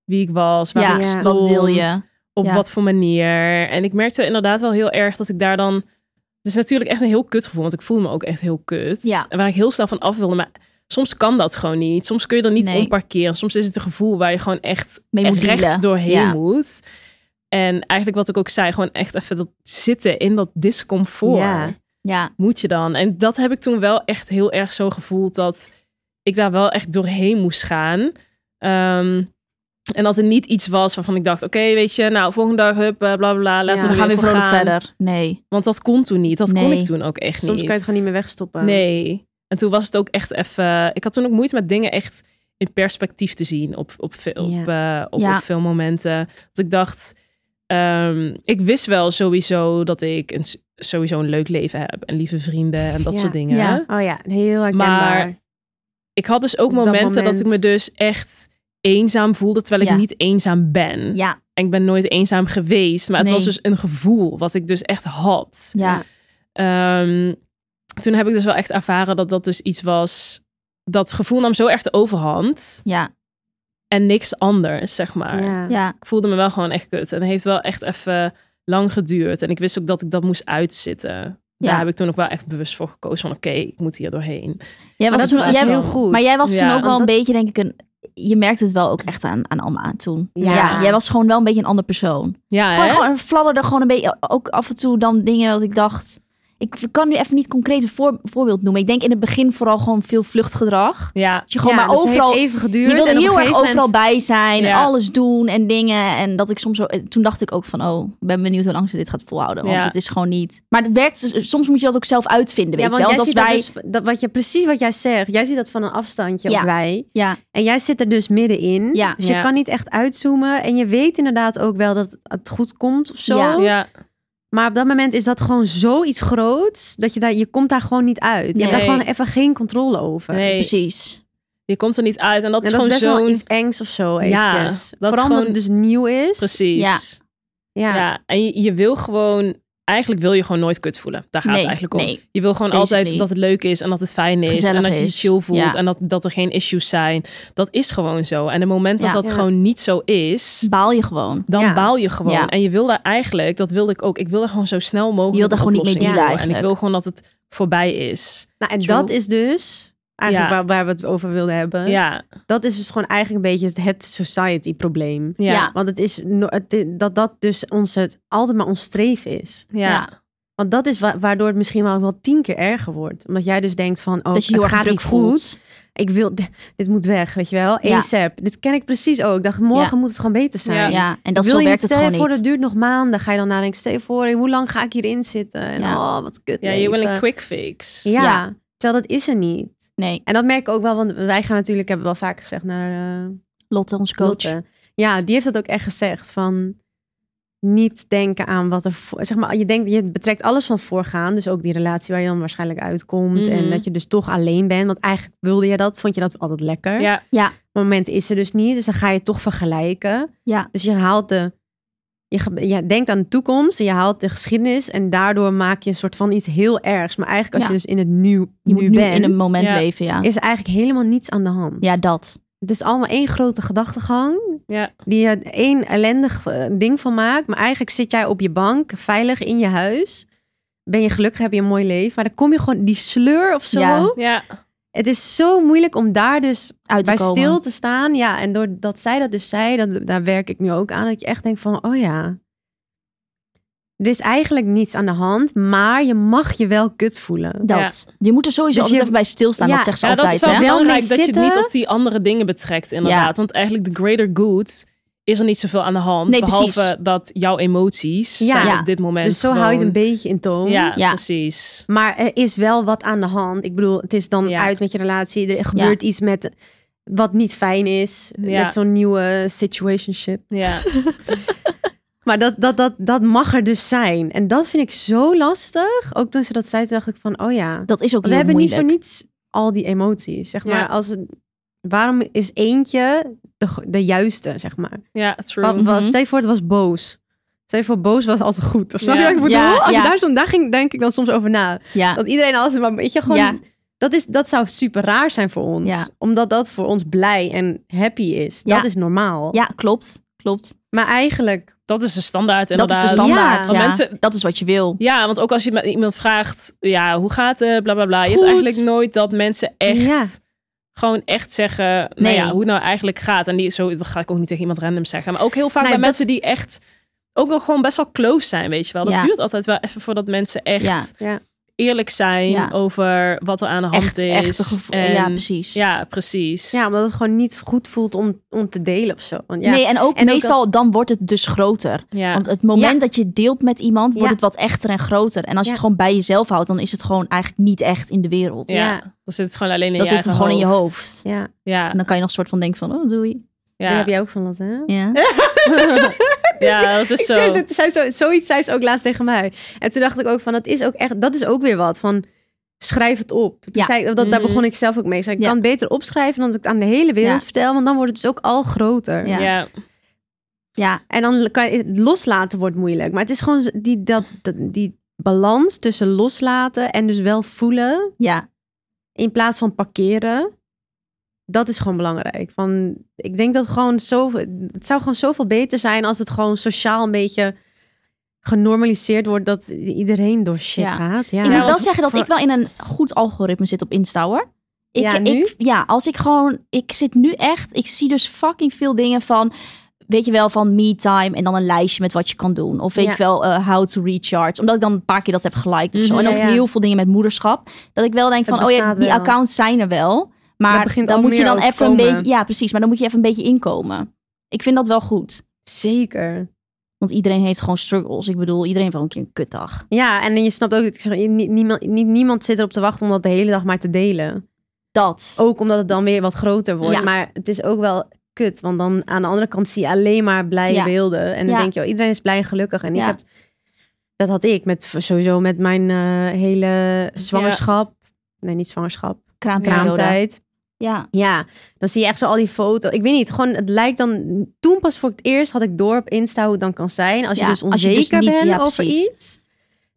[SPEAKER 4] wie ik was, waar
[SPEAKER 5] Ja,
[SPEAKER 4] ik
[SPEAKER 3] ja.
[SPEAKER 4] stond,
[SPEAKER 5] wat wil je?
[SPEAKER 4] op
[SPEAKER 5] Ja.
[SPEAKER 4] wat voor manier. En ik merkte inderdaad wel heel erg dat ik daar dan... Het is natuurlijk echt een heel kut gevoel, want ik voelde me ook echt heel kut.
[SPEAKER 5] Ja.
[SPEAKER 4] En waar ik heel snel van af wilde, maar soms kan dat gewoon niet. Soms kun je er niet
[SPEAKER 5] Nee.
[SPEAKER 4] om parkeren. Soms is het een gevoel waar je gewoon echt,
[SPEAKER 5] Mee
[SPEAKER 4] echt
[SPEAKER 5] moet
[SPEAKER 4] recht
[SPEAKER 5] dealen.
[SPEAKER 4] doorheen
[SPEAKER 5] Ja.
[SPEAKER 4] moet. En eigenlijk wat ik ook zei, gewoon echt even dat zitten in dat discomfort
[SPEAKER 3] Ja.
[SPEAKER 5] Ja,
[SPEAKER 4] moet je dan? En dat heb ik toen wel echt heel erg zo gevoeld dat ik daar wel echt doorheen moest gaan. Ehm, en dat er niet iets was waarvan ik dacht, oké, weet je, nou, volgende dag, hup, eh, bla bla bla, laten
[SPEAKER 3] Ja,
[SPEAKER 4] we er
[SPEAKER 5] we gaan weer
[SPEAKER 4] weer voor
[SPEAKER 5] vrolijk
[SPEAKER 4] gaan.
[SPEAKER 5] verder. Nee.
[SPEAKER 4] Want dat kon toen niet, dat kon
[SPEAKER 5] Nee.
[SPEAKER 4] ik toen ook echt
[SPEAKER 3] Soms
[SPEAKER 4] niet.
[SPEAKER 3] kan je het gewoon niet meer wegstoppen.
[SPEAKER 4] Nee. En toen was het ook echt even, ik had toen ook moeite met dingen echt in perspectief te zien op, op, veel-
[SPEAKER 3] Ja.
[SPEAKER 4] op, eh, op,
[SPEAKER 5] Ja.
[SPEAKER 4] op veel momenten. Dat ik dacht, ehm, ik wist wel sowieso dat ik een, sowieso een leuk leven heb en lieve vrienden en dat
[SPEAKER 3] Ja.
[SPEAKER 4] soort dingen
[SPEAKER 5] Ja.
[SPEAKER 3] Oh ja, heel herkenbaar.
[SPEAKER 4] Maar- ik had dus ook
[SPEAKER 3] Op dat
[SPEAKER 4] momenten dat,
[SPEAKER 3] moment.
[SPEAKER 4] ik me dus echt eenzaam voelde, terwijl
[SPEAKER 5] Ja.
[SPEAKER 4] ik niet eenzaam ben.
[SPEAKER 5] Ja,
[SPEAKER 4] En ik ben nooit eenzaam geweest, maar het
[SPEAKER 5] Nee.
[SPEAKER 4] was dus een gevoel wat ik dus echt had.
[SPEAKER 5] ja,
[SPEAKER 4] Ehm, toen heb ik dus wel echt ervaren dat dat dus iets was. Dat gevoel nam zo echt de overhand
[SPEAKER 5] ja,
[SPEAKER 4] en niks anders, zeg maar.
[SPEAKER 3] ja.
[SPEAKER 5] ja.
[SPEAKER 4] Ik voelde me wel gewoon echt kut en het heeft wel echt even lang geduurd. En ik wist ook dat ik dat moest uitzitten. Daar
[SPEAKER 5] Ja.
[SPEAKER 4] heb ik toen ook wel echt bewust voor gekozen van oké, ik moet hier doorheen.
[SPEAKER 5] Jij was
[SPEAKER 3] dat
[SPEAKER 5] toen,
[SPEAKER 3] is dus
[SPEAKER 5] jij,
[SPEAKER 3] heel goed.
[SPEAKER 5] Maar jij was
[SPEAKER 4] Ja.
[SPEAKER 5] toen ook wel
[SPEAKER 3] Want
[SPEAKER 5] een beetje, denk ik, een... Je merkte het wel ook echt aan, aan Alma toen.
[SPEAKER 3] Ja.
[SPEAKER 5] Ja. jij was gewoon wel een beetje een ander persoon.
[SPEAKER 4] Ja,
[SPEAKER 5] Gewoon,
[SPEAKER 4] hè?
[SPEAKER 5] gewoon, er fladderden gewoon een beetje, ook af en toe dan dingen dat ik dacht... Ik kan nu even niet concreet een voor- voorbeeld noemen. Ik denk in het begin vooral gewoon veel vluchtgedrag.
[SPEAKER 4] ja.
[SPEAKER 5] Dat je gewoon
[SPEAKER 3] Ja,
[SPEAKER 5] maar
[SPEAKER 3] dus het heeft
[SPEAKER 5] overal...
[SPEAKER 3] even geduurd.
[SPEAKER 5] Je wilde
[SPEAKER 3] en op een
[SPEAKER 5] heel erg
[SPEAKER 3] gegeven
[SPEAKER 5] overal
[SPEAKER 3] moment-
[SPEAKER 5] bij zijn. En
[SPEAKER 4] Ja.
[SPEAKER 5] alles doen en dingen. En dat ik soms zo... eh, Toen dacht ik ook van, oh, ik ben benieuwd hoe lang ze dit gaat volhouden. Want
[SPEAKER 4] Ja.
[SPEAKER 5] het is gewoon niet... Maar het werkt, soms moet je dat ook zelf uitvinden, weet
[SPEAKER 3] Ja, want
[SPEAKER 5] je wel.
[SPEAKER 3] jij
[SPEAKER 5] Want als
[SPEAKER 3] ziet dat
[SPEAKER 5] wij...
[SPEAKER 3] dus, dat wat je, precies wat jij zegt. Jij ziet dat van een afstandje,
[SPEAKER 5] Ja.
[SPEAKER 3] of wij.
[SPEAKER 5] Ja,
[SPEAKER 3] En jij zit er dus middenin.
[SPEAKER 5] Ja.
[SPEAKER 3] Dus
[SPEAKER 4] Ja.
[SPEAKER 3] je kan niet echt uitzoomen. En je weet inderdaad ook wel dat het goed komt of zo.
[SPEAKER 5] Ja.
[SPEAKER 4] ja.
[SPEAKER 3] Maar op dat moment is dat gewoon zoiets groots. Dat je daar, je komt daar gewoon niet uit. Je hebt daar
[SPEAKER 4] Nee.
[SPEAKER 3] gewoon even geen controle over.
[SPEAKER 4] Nee,
[SPEAKER 5] precies.
[SPEAKER 4] je komt er niet uit. En dat
[SPEAKER 3] En
[SPEAKER 4] is
[SPEAKER 3] dat is
[SPEAKER 4] gewoon
[SPEAKER 3] best wel
[SPEAKER 4] zo'n...
[SPEAKER 3] iets engs of zo.
[SPEAKER 4] Ja,
[SPEAKER 3] Eventjes.
[SPEAKER 4] dat is
[SPEAKER 3] Vooral omdat het
[SPEAKER 4] gewoon-
[SPEAKER 3] dus nieuw is.
[SPEAKER 4] Precies. Ja.
[SPEAKER 3] Ja.
[SPEAKER 4] En je, je wil gewoon... Eigenlijk wil je gewoon nooit kut voelen. Daar gaat
[SPEAKER 5] Nee,
[SPEAKER 4] het eigenlijk om.
[SPEAKER 5] nee.
[SPEAKER 4] Je wil gewoon altijd
[SPEAKER 5] Basically.
[SPEAKER 4] dat het leuk is en dat het fijn is.
[SPEAKER 5] Gezellig
[SPEAKER 4] en dat je je
[SPEAKER 5] is.
[SPEAKER 4] chill voelt
[SPEAKER 5] Ja.
[SPEAKER 4] en dat, dat er geen issues zijn. Dat is gewoon zo. En het moment dat
[SPEAKER 5] Ja.
[SPEAKER 4] dat
[SPEAKER 3] Ja.
[SPEAKER 4] gewoon niet zo is,
[SPEAKER 5] baal je gewoon.
[SPEAKER 4] dan
[SPEAKER 3] Ja.
[SPEAKER 4] baal je gewoon.
[SPEAKER 5] Ja.
[SPEAKER 4] En je wil daar eigenlijk, dat wilde ik ook, ik wilde gewoon zo snel mogelijk
[SPEAKER 5] Je wil daar
[SPEAKER 4] een
[SPEAKER 5] gewoon niet mee
[SPEAKER 4] oplossing
[SPEAKER 5] dealen
[SPEAKER 4] voor. En ik wil
[SPEAKER 5] eigenlijk.
[SPEAKER 4] gewoon dat het voorbij is.
[SPEAKER 3] Nou, en
[SPEAKER 5] True.
[SPEAKER 3] dat is dus eigenlijk
[SPEAKER 4] Ja.
[SPEAKER 3] waar, waar we het over wilden hebben.
[SPEAKER 4] Ja,
[SPEAKER 3] Dat is dus gewoon eigenlijk een beetje het- het society probleem.
[SPEAKER 4] ja,
[SPEAKER 5] Ja.
[SPEAKER 4] ja.
[SPEAKER 3] Want het is no- het i- dat dat dus onze, altijd maar ons streven is.
[SPEAKER 5] Ja.
[SPEAKER 3] Want dat is wa- waardoor het misschien wel, wel tien keer erger wordt. Omdat jij dus denkt van, oh,
[SPEAKER 5] dat je
[SPEAKER 3] het
[SPEAKER 5] heel erg
[SPEAKER 3] gaat
[SPEAKER 5] druk
[SPEAKER 3] niet goed.
[SPEAKER 5] voelt.
[SPEAKER 3] Ik wil, d- dit moet weg, weet je wel.
[SPEAKER 5] Ja.
[SPEAKER 3] ASAP. Dit ken ik precies ook. Ik dacht, morgen moet het gewoon beter zijn.
[SPEAKER 5] Ja.
[SPEAKER 4] Ja.
[SPEAKER 5] en dat
[SPEAKER 3] wil
[SPEAKER 5] zo
[SPEAKER 3] je
[SPEAKER 5] werkt
[SPEAKER 3] niet, stel
[SPEAKER 5] het
[SPEAKER 3] je
[SPEAKER 5] gewoon
[SPEAKER 3] voor, dat
[SPEAKER 5] niet.
[SPEAKER 3] duurt nog maanden. Ga je dan nadenken, stel je voor, hoe lang ga ik hierin zitten? En
[SPEAKER 5] Ja.
[SPEAKER 3] oh, wat kut
[SPEAKER 4] je wil
[SPEAKER 3] leven.
[SPEAKER 4] een quick fix.
[SPEAKER 3] Ja,
[SPEAKER 5] Ja.
[SPEAKER 3] terwijl dat is er niet.
[SPEAKER 5] Nee,
[SPEAKER 3] En dat merk ik ook wel, want wij gaan natuurlijk, hebben we wel vaker gezegd, naar eh,
[SPEAKER 5] Lotte, onze coach.
[SPEAKER 3] Lotte. Ja, die heeft dat ook echt gezegd. Van niet denken aan wat er. voor- Zeg maar, je, denkt, je betrekt alles van voorgaan. Dus ook die relatie waar je dan waarschijnlijk uitkomt. En
[SPEAKER 4] Mhm.
[SPEAKER 3] dat je dus toch alleen bent. Want eigenlijk wilde je dat. Vond je dat altijd lekker.
[SPEAKER 4] Ja.
[SPEAKER 3] Maar het moment is er dus niet. Dus dan ga je toch vergelijken.
[SPEAKER 5] Ja.
[SPEAKER 3] Dus je haalt de. Je, ge- je denkt aan de toekomst en je haalt de geschiedenis. En daardoor maak je een soort van iets heel ergs. Maar eigenlijk als
[SPEAKER 5] Ja.
[SPEAKER 3] je dus in het nu,
[SPEAKER 5] Je moet
[SPEAKER 3] nu
[SPEAKER 5] nu
[SPEAKER 3] bent,
[SPEAKER 5] in een moment
[SPEAKER 4] Ja.
[SPEAKER 5] leven, ja.
[SPEAKER 3] is er eigenlijk helemaal niets aan de hand.
[SPEAKER 5] Ja, dat.
[SPEAKER 3] Het is allemaal één grote gedachtegang.
[SPEAKER 4] Ja.
[SPEAKER 3] Die je één ellendig eh, ding van maakt. Maar eigenlijk zit jij op je bank, veilig in je huis. Ben je gelukkig, heb je een mooi leven. Maar dan kom je gewoon die sleur of zo.
[SPEAKER 5] Ja.
[SPEAKER 4] Ja.
[SPEAKER 3] Het is zo moeilijk om daar dus
[SPEAKER 5] Uit te
[SPEAKER 3] bij
[SPEAKER 5] komen.
[SPEAKER 3] stil te staan. Ja, en doordat zij dat dus zei, dat, daar werk ik nu ook aan. Dat je echt denkt van, oh ja. er is eigenlijk niets aan de hand, maar je mag je wel kut voelen.
[SPEAKER 5] Dat. Je moet er sowieso
[SPEAKER 3] Dus
[SPEAKER 5] altijd
[SPEAKER 3] je-
[SPEAKER 5] even bij stilstaan.
[SPEAKER 3] Ja,
[SPEAKER 5] dat zegt ze
[SPEAKER 4] Ja, dat
[SPEAKER 5] altijd.
[SPEAKER 4] is wel
[SPEAKER 5] hè?
[SPEAKER 3] Wel
[SPEAKER 4] belangrijk
[SPEAKER 3] mee
[SPEAKER 4] dat je het niet
[SPEAKER 3] zitten.
[SPEAKER 4] op die andere dingen betrekt, inderdaad. Want eigenlijk de greater good is er niet zoveel aan de hand.
[SPEAKER 5] Nee,
[SPEAKER 4] behalve
[SPEAKER 5] precies.
[SPEAKER 4] dat jouw emoties
[SPEAKER 3] Ja.
[SPEAKER 4] zijn
[SPEAKER 5] Ja.
[SPEAKER 4] op dit moment
[SPEAKER 3] Dus zo hou je het een
[SPEAKER 4] gewoon-
[SPEAKER 3] beetje in toom.
[SPEAKER 4] Ja,
[SPEAKER 5] Ja.
[SPEAKER 4] precies.
[SPEAKER 3] Maar er is wel wat aan de hand. Ik bedoel, het is dan
[SPEAKER 4] Ja.
[SPEAKER 3] uit met je relatie. Er gebeurt iets met wat niet fijn is.
[SPEAKER 4] Ja.
[SPEAKER 3] Met zo'n nieuwe situationship.
[SPEAKER 4] Ja.
[SPEAKER 3] Maar dat, dat, dat, dat mag er dus zijn. En dat vind ik zo lastig. Ook toen ze dat zei, toen dacht ik van, oh ja.
[SPEAKER 5] Dat is ook
[SPEAKER 3] we
[SPEAKER 5] heel
[SPEAKER 3] hebben
[SPEAKER 5] moeilijk.
[SPEAKER 3] niet voor niets al die emoties. Zeg maar,
[SPEAKER 4] Ja.
[SPEAKER 3] als het, waarom is eentje de, go- de juiste, zeg maar?
[SPEAKER 4] Ja,
[SPEAKER 3] Wat,
[SPEAKER 4] true.
[SPEAKER 3] wat-
[SPEAKER 5] Mhm.
[SPEAKER 3] stel je voor, het was boos. Stel je voor, boos was altijd goed. Of snap je
[SPEAKER 4] Ja.
[SPEAKER 3] wat ik bedoel?
[SPEAKER 5] Ja,
[SPEAKER 3] als
[SPEAKER 5] ja.
[SPEAKER 3] je daar zo'n dag ging, denk ik dan soms over na.
[SPEAKER 5] Ja.
[SPEAKER 3] Dat iedereen altijd maar een beetje gewoon...
[SPEAKER 5] Ja.
[SPEAKER 3] Dat, is, dat zou super raar zijn voor ons.
[SPEAKER 5] Ja.
[SPEAKER 3] Omdat dat voor ons blij en happy is.
[SPEAKER 5] Ja.
[SPEAKER 3] Dat is normaal.
[SPEAKER 5] ja, klopt. Klopt.
[SPEAKER 3] Maar eigenlijk...
[SPEAKER 4] Dat is de standaard,
[SPEAKER 5] Dat is
[SPEAKER 4] inderdaad.
[SPEAKER 5] de standaard.
[SPEAKER 4] Want
[SPEAKER 5] Ja.
[SPEAKER 4] mensen-
[SPEAKER 5] Dat is wat je wil.
[SPEAKER 4] Ja, want ook als je het met iemand vraagt, ja, hoe gaat het, bla bla bla. Je hebt
[SPEAKER 3] Goed.
[SPEAKER 4] eigenlijk nooit dat mensen echt,
[SPEAKER 3] Ja.
[SPEAKER 4] gewoon echt zeggen, nou
[SPEAKER 5] Nee.
[SPEAKER 4] ja, hoe het nou eigenlijk gaat. En die, zo, dat ga ik ook niet tegen iemand random zeggen. Maar ook heel vaak
[SPEAKER 3] Nee,
[SPEAKER 4] bij
[SPEAKER 3] dat-
[SPEAKER 4] mensen die echt ook nog gewoon best wel close zijn, weet je wel. Dat
[SPEAKER 5] Ja.
[SPEAKER 4] duurt altijd wel even voordat mensen echt
[SPEAKER 5] Ja.
[SPEAKER 3] Ja.
[SPEAKER 4] eerlijk zijn
[SPEAKER 5] Ja.
[SPEAKER 4] over wat er aan de hand
[SPEAKER 5] Echt,
[SPEAKER 4] is.
[SPEAKER 5] echt gevoel.
[SPEAKER 4] En-
[SPEAKER 5] Ja, precies.
[SPEAKER 4] Ja, precies.
[SPEAKER 3] Ja, omdat het gewoon niet goed voelt om, om te delen of zo. Want ja,
[SPEAKER 5] Nee, en ook
[SPEAKER 3] En ook
[SPEAKER 5] meestal dan wordt het dus groter.
[SPEAKER 4] Ja.
[SPEAKER 5] Want het moment dat je deelt met iemand, wordt
[SPEAKER 3] Ja.
[SPEAKER 5] het wat echter en groter. En als
[SPEAKER 3] Ja.
[SPEAKER 5] je het gewoon bij jezelf houdt, dan is het gewoon eigenlijk niet echt in de wereld.
[SPEAKER 4] ja.
[SPEAKER 3] ja.
[SPEAKER 4] Dan zit het gewoon alleen in
[SPEAKER 5] Dan
[SPEAKER 4] je
[SPEAKER 5] zit het
[SPEAKER 4] eigen
[SPEAKER 5] gewoon in je hoofd. Nou,
[SPEAKER 3] ja.
[SPEAKER 4] Ja,
[SPEAKER 5] En dan kan je nog een soort van denken van, oh, doei.
[SPEAKER 3] Die
[SPEAKER 4] ja.
[SPEAKER 3] heb jij ook van dat, hè?
[SPEAKER 5] Ja.
[SPEAKER 4] <laughs> ja, dat is
[SPEAKER 3] Ik
[SPEAKER 4] zo.
[SPEAKER 3] zweer het, zij zo. Zoiets zei ze ook laatst tegen mij. En toen dacht ik ook van, dat is ook echt, dat is ook weer wat. Van, schrijf het op. Toen
[SPEAKER 5] Ja.
[SPEAKER 3] zei ik- dat, Daar
[SPEAKER 4] Mhm.
[SPEAKER 3] begon ik zelf ook mee. Ik zei, ik
[SPEAKER 5] Ja.
[SPEAKER 3] kan het beter opschrijven dan dat ik het aan de hele wereld
[SPEAKER 5] Ja.
[SPEAKER 3] vertel. Want dan wordt het dus ook al groter.
[SPEAKER 5] Ja.
[SPEAKER 4] ja.
[SPEAKER 5] ja.
[SPEAKER 3] En dan kan je, het loslaten wordt moeilijk. Maar het is gewoon z- die, dat, dat- die balans tussen loslaten en dus wel voelen.
[SPEAKER 5] Ja.
[SPEAKER 3] In plaats van parkeren. Dat is gewoon belangrijk. Van, ik denk dat gewoon zo, het zou gewoon zoveel beter zijn als het gewoon sociaal een beetje genormaliseerd wordt dat iedereen door shit
[SPEAKER 5] Ja.
[SPEAKER 3] gaat. Ja.
[SPEAKER 5] Ik moet wel
[SPEAKER 4] want
[SPEAKER 5] zeggen dat
[SPEAKER 4] voor-
[SPEAKER 5] ik wel in een goed algoritme zit op Insta hoor. Ik,
[SPEAKER 3] Ja, nu?
[SPEAKER 5] Ik, ja, als ik gewoon... Ik zit nu echt... Ik zie dus fucking veel dingen van... Weet je wel, van me time en dan een lijstje met wat je kan doen. Of weet
[SPEAKER 3] Ja.
[SPEAKER 5] je wel, eh, how to recharge. Omdat ik dan een paar keer dat heb geliked of zo.
[SPEAKER 4] Mhm,
[SPEAKER 5] En ook
[SPEAKER 3] ja, ja.
[SPEAKER 5] heel veel dingen met moederschap. Dat ik wel denk
[SPEAKER 3] Het
[SPEAKER 5] van, oh ja,
[SPEAKER 3] bestaat
[SPEAKER 5] die
[SPEAKER 3] wel.
[SPEAKER 5] accounts zijn er wel.
[SPEAKER 3] Maar
[SPEAKER 5] Maar
[SPEAKER 3] het begint
[SPEAKER 5] dan
[SPEAKER 3] al
[SPEAKER 5] moet je
[SPEAKER 3] meer
[SPEAKER 5] dan
[SPEAKER 3] ook te
[SPEAKER 5] even een
[SPEAKER 3] komen.
[SPEAKER 5] beetje... Ja, precies. Maar dan moet je even een beetje inkomen. Ik vind dat wel goed.
[SPEAKER 3] Zeker.
[SPEAKER 5] Want iedereen heeft gewoon struggles. Ik bedoel, iedereen heeft wel een keer een kutdag.
[SPEAKER 3] Ja, en je snapt ook, dat ik zeg, nie- niemand, nie- niemand zit erop te wachten om dat de hele dag maar te delen.
[SPEAKER 5] Dat.
[SPEAKER 3] Ook omdat het dan weer wat groter wordt.
[SPEAKER 5] Ja.
[SPEAKER 3] Maar het is ook wel kut. Want dan aan de andere kant zie je alleen maar blij
[SPEAKER 5] Ja.
[SPEAKER 3] beelden. En dan
[SPEAKER 5] Ja.
[SPEAKER 3] denk je, oh, iedereen is blij en gelukkig. En ik
[SPEAKER 5] Ja.
[SPEAKER 3] heb, dat had ik met, sowieso met mijn eh, hele zwangerschap. Nee, niet zwangerschap.
[SPEAKER 5] Kraamperiode.
[SPEAKER 3] Kraamtijd.
[SPEAKER 5] Ja.
[SPEAKER 3] Ja, dan zie je echt zo al die foto's. Ik weet niet, gewoon het lijkt dan... Toen pas voor het eerst had ik door op Insta hoe het dan kan zijn. Als je
[SPEAKER 5] Ja,
[SPEAKER 3] dus
[SPEAKER 5] als je
[SPEAKER 3] onzeker
[SPEAKER 5] dus niet-
[SPEAKER 3] bent
[SPEAKER 5] ja,
[SPEAKER 3] over
[SPEAKER 5] precies.
[SPEAKER 3] iets.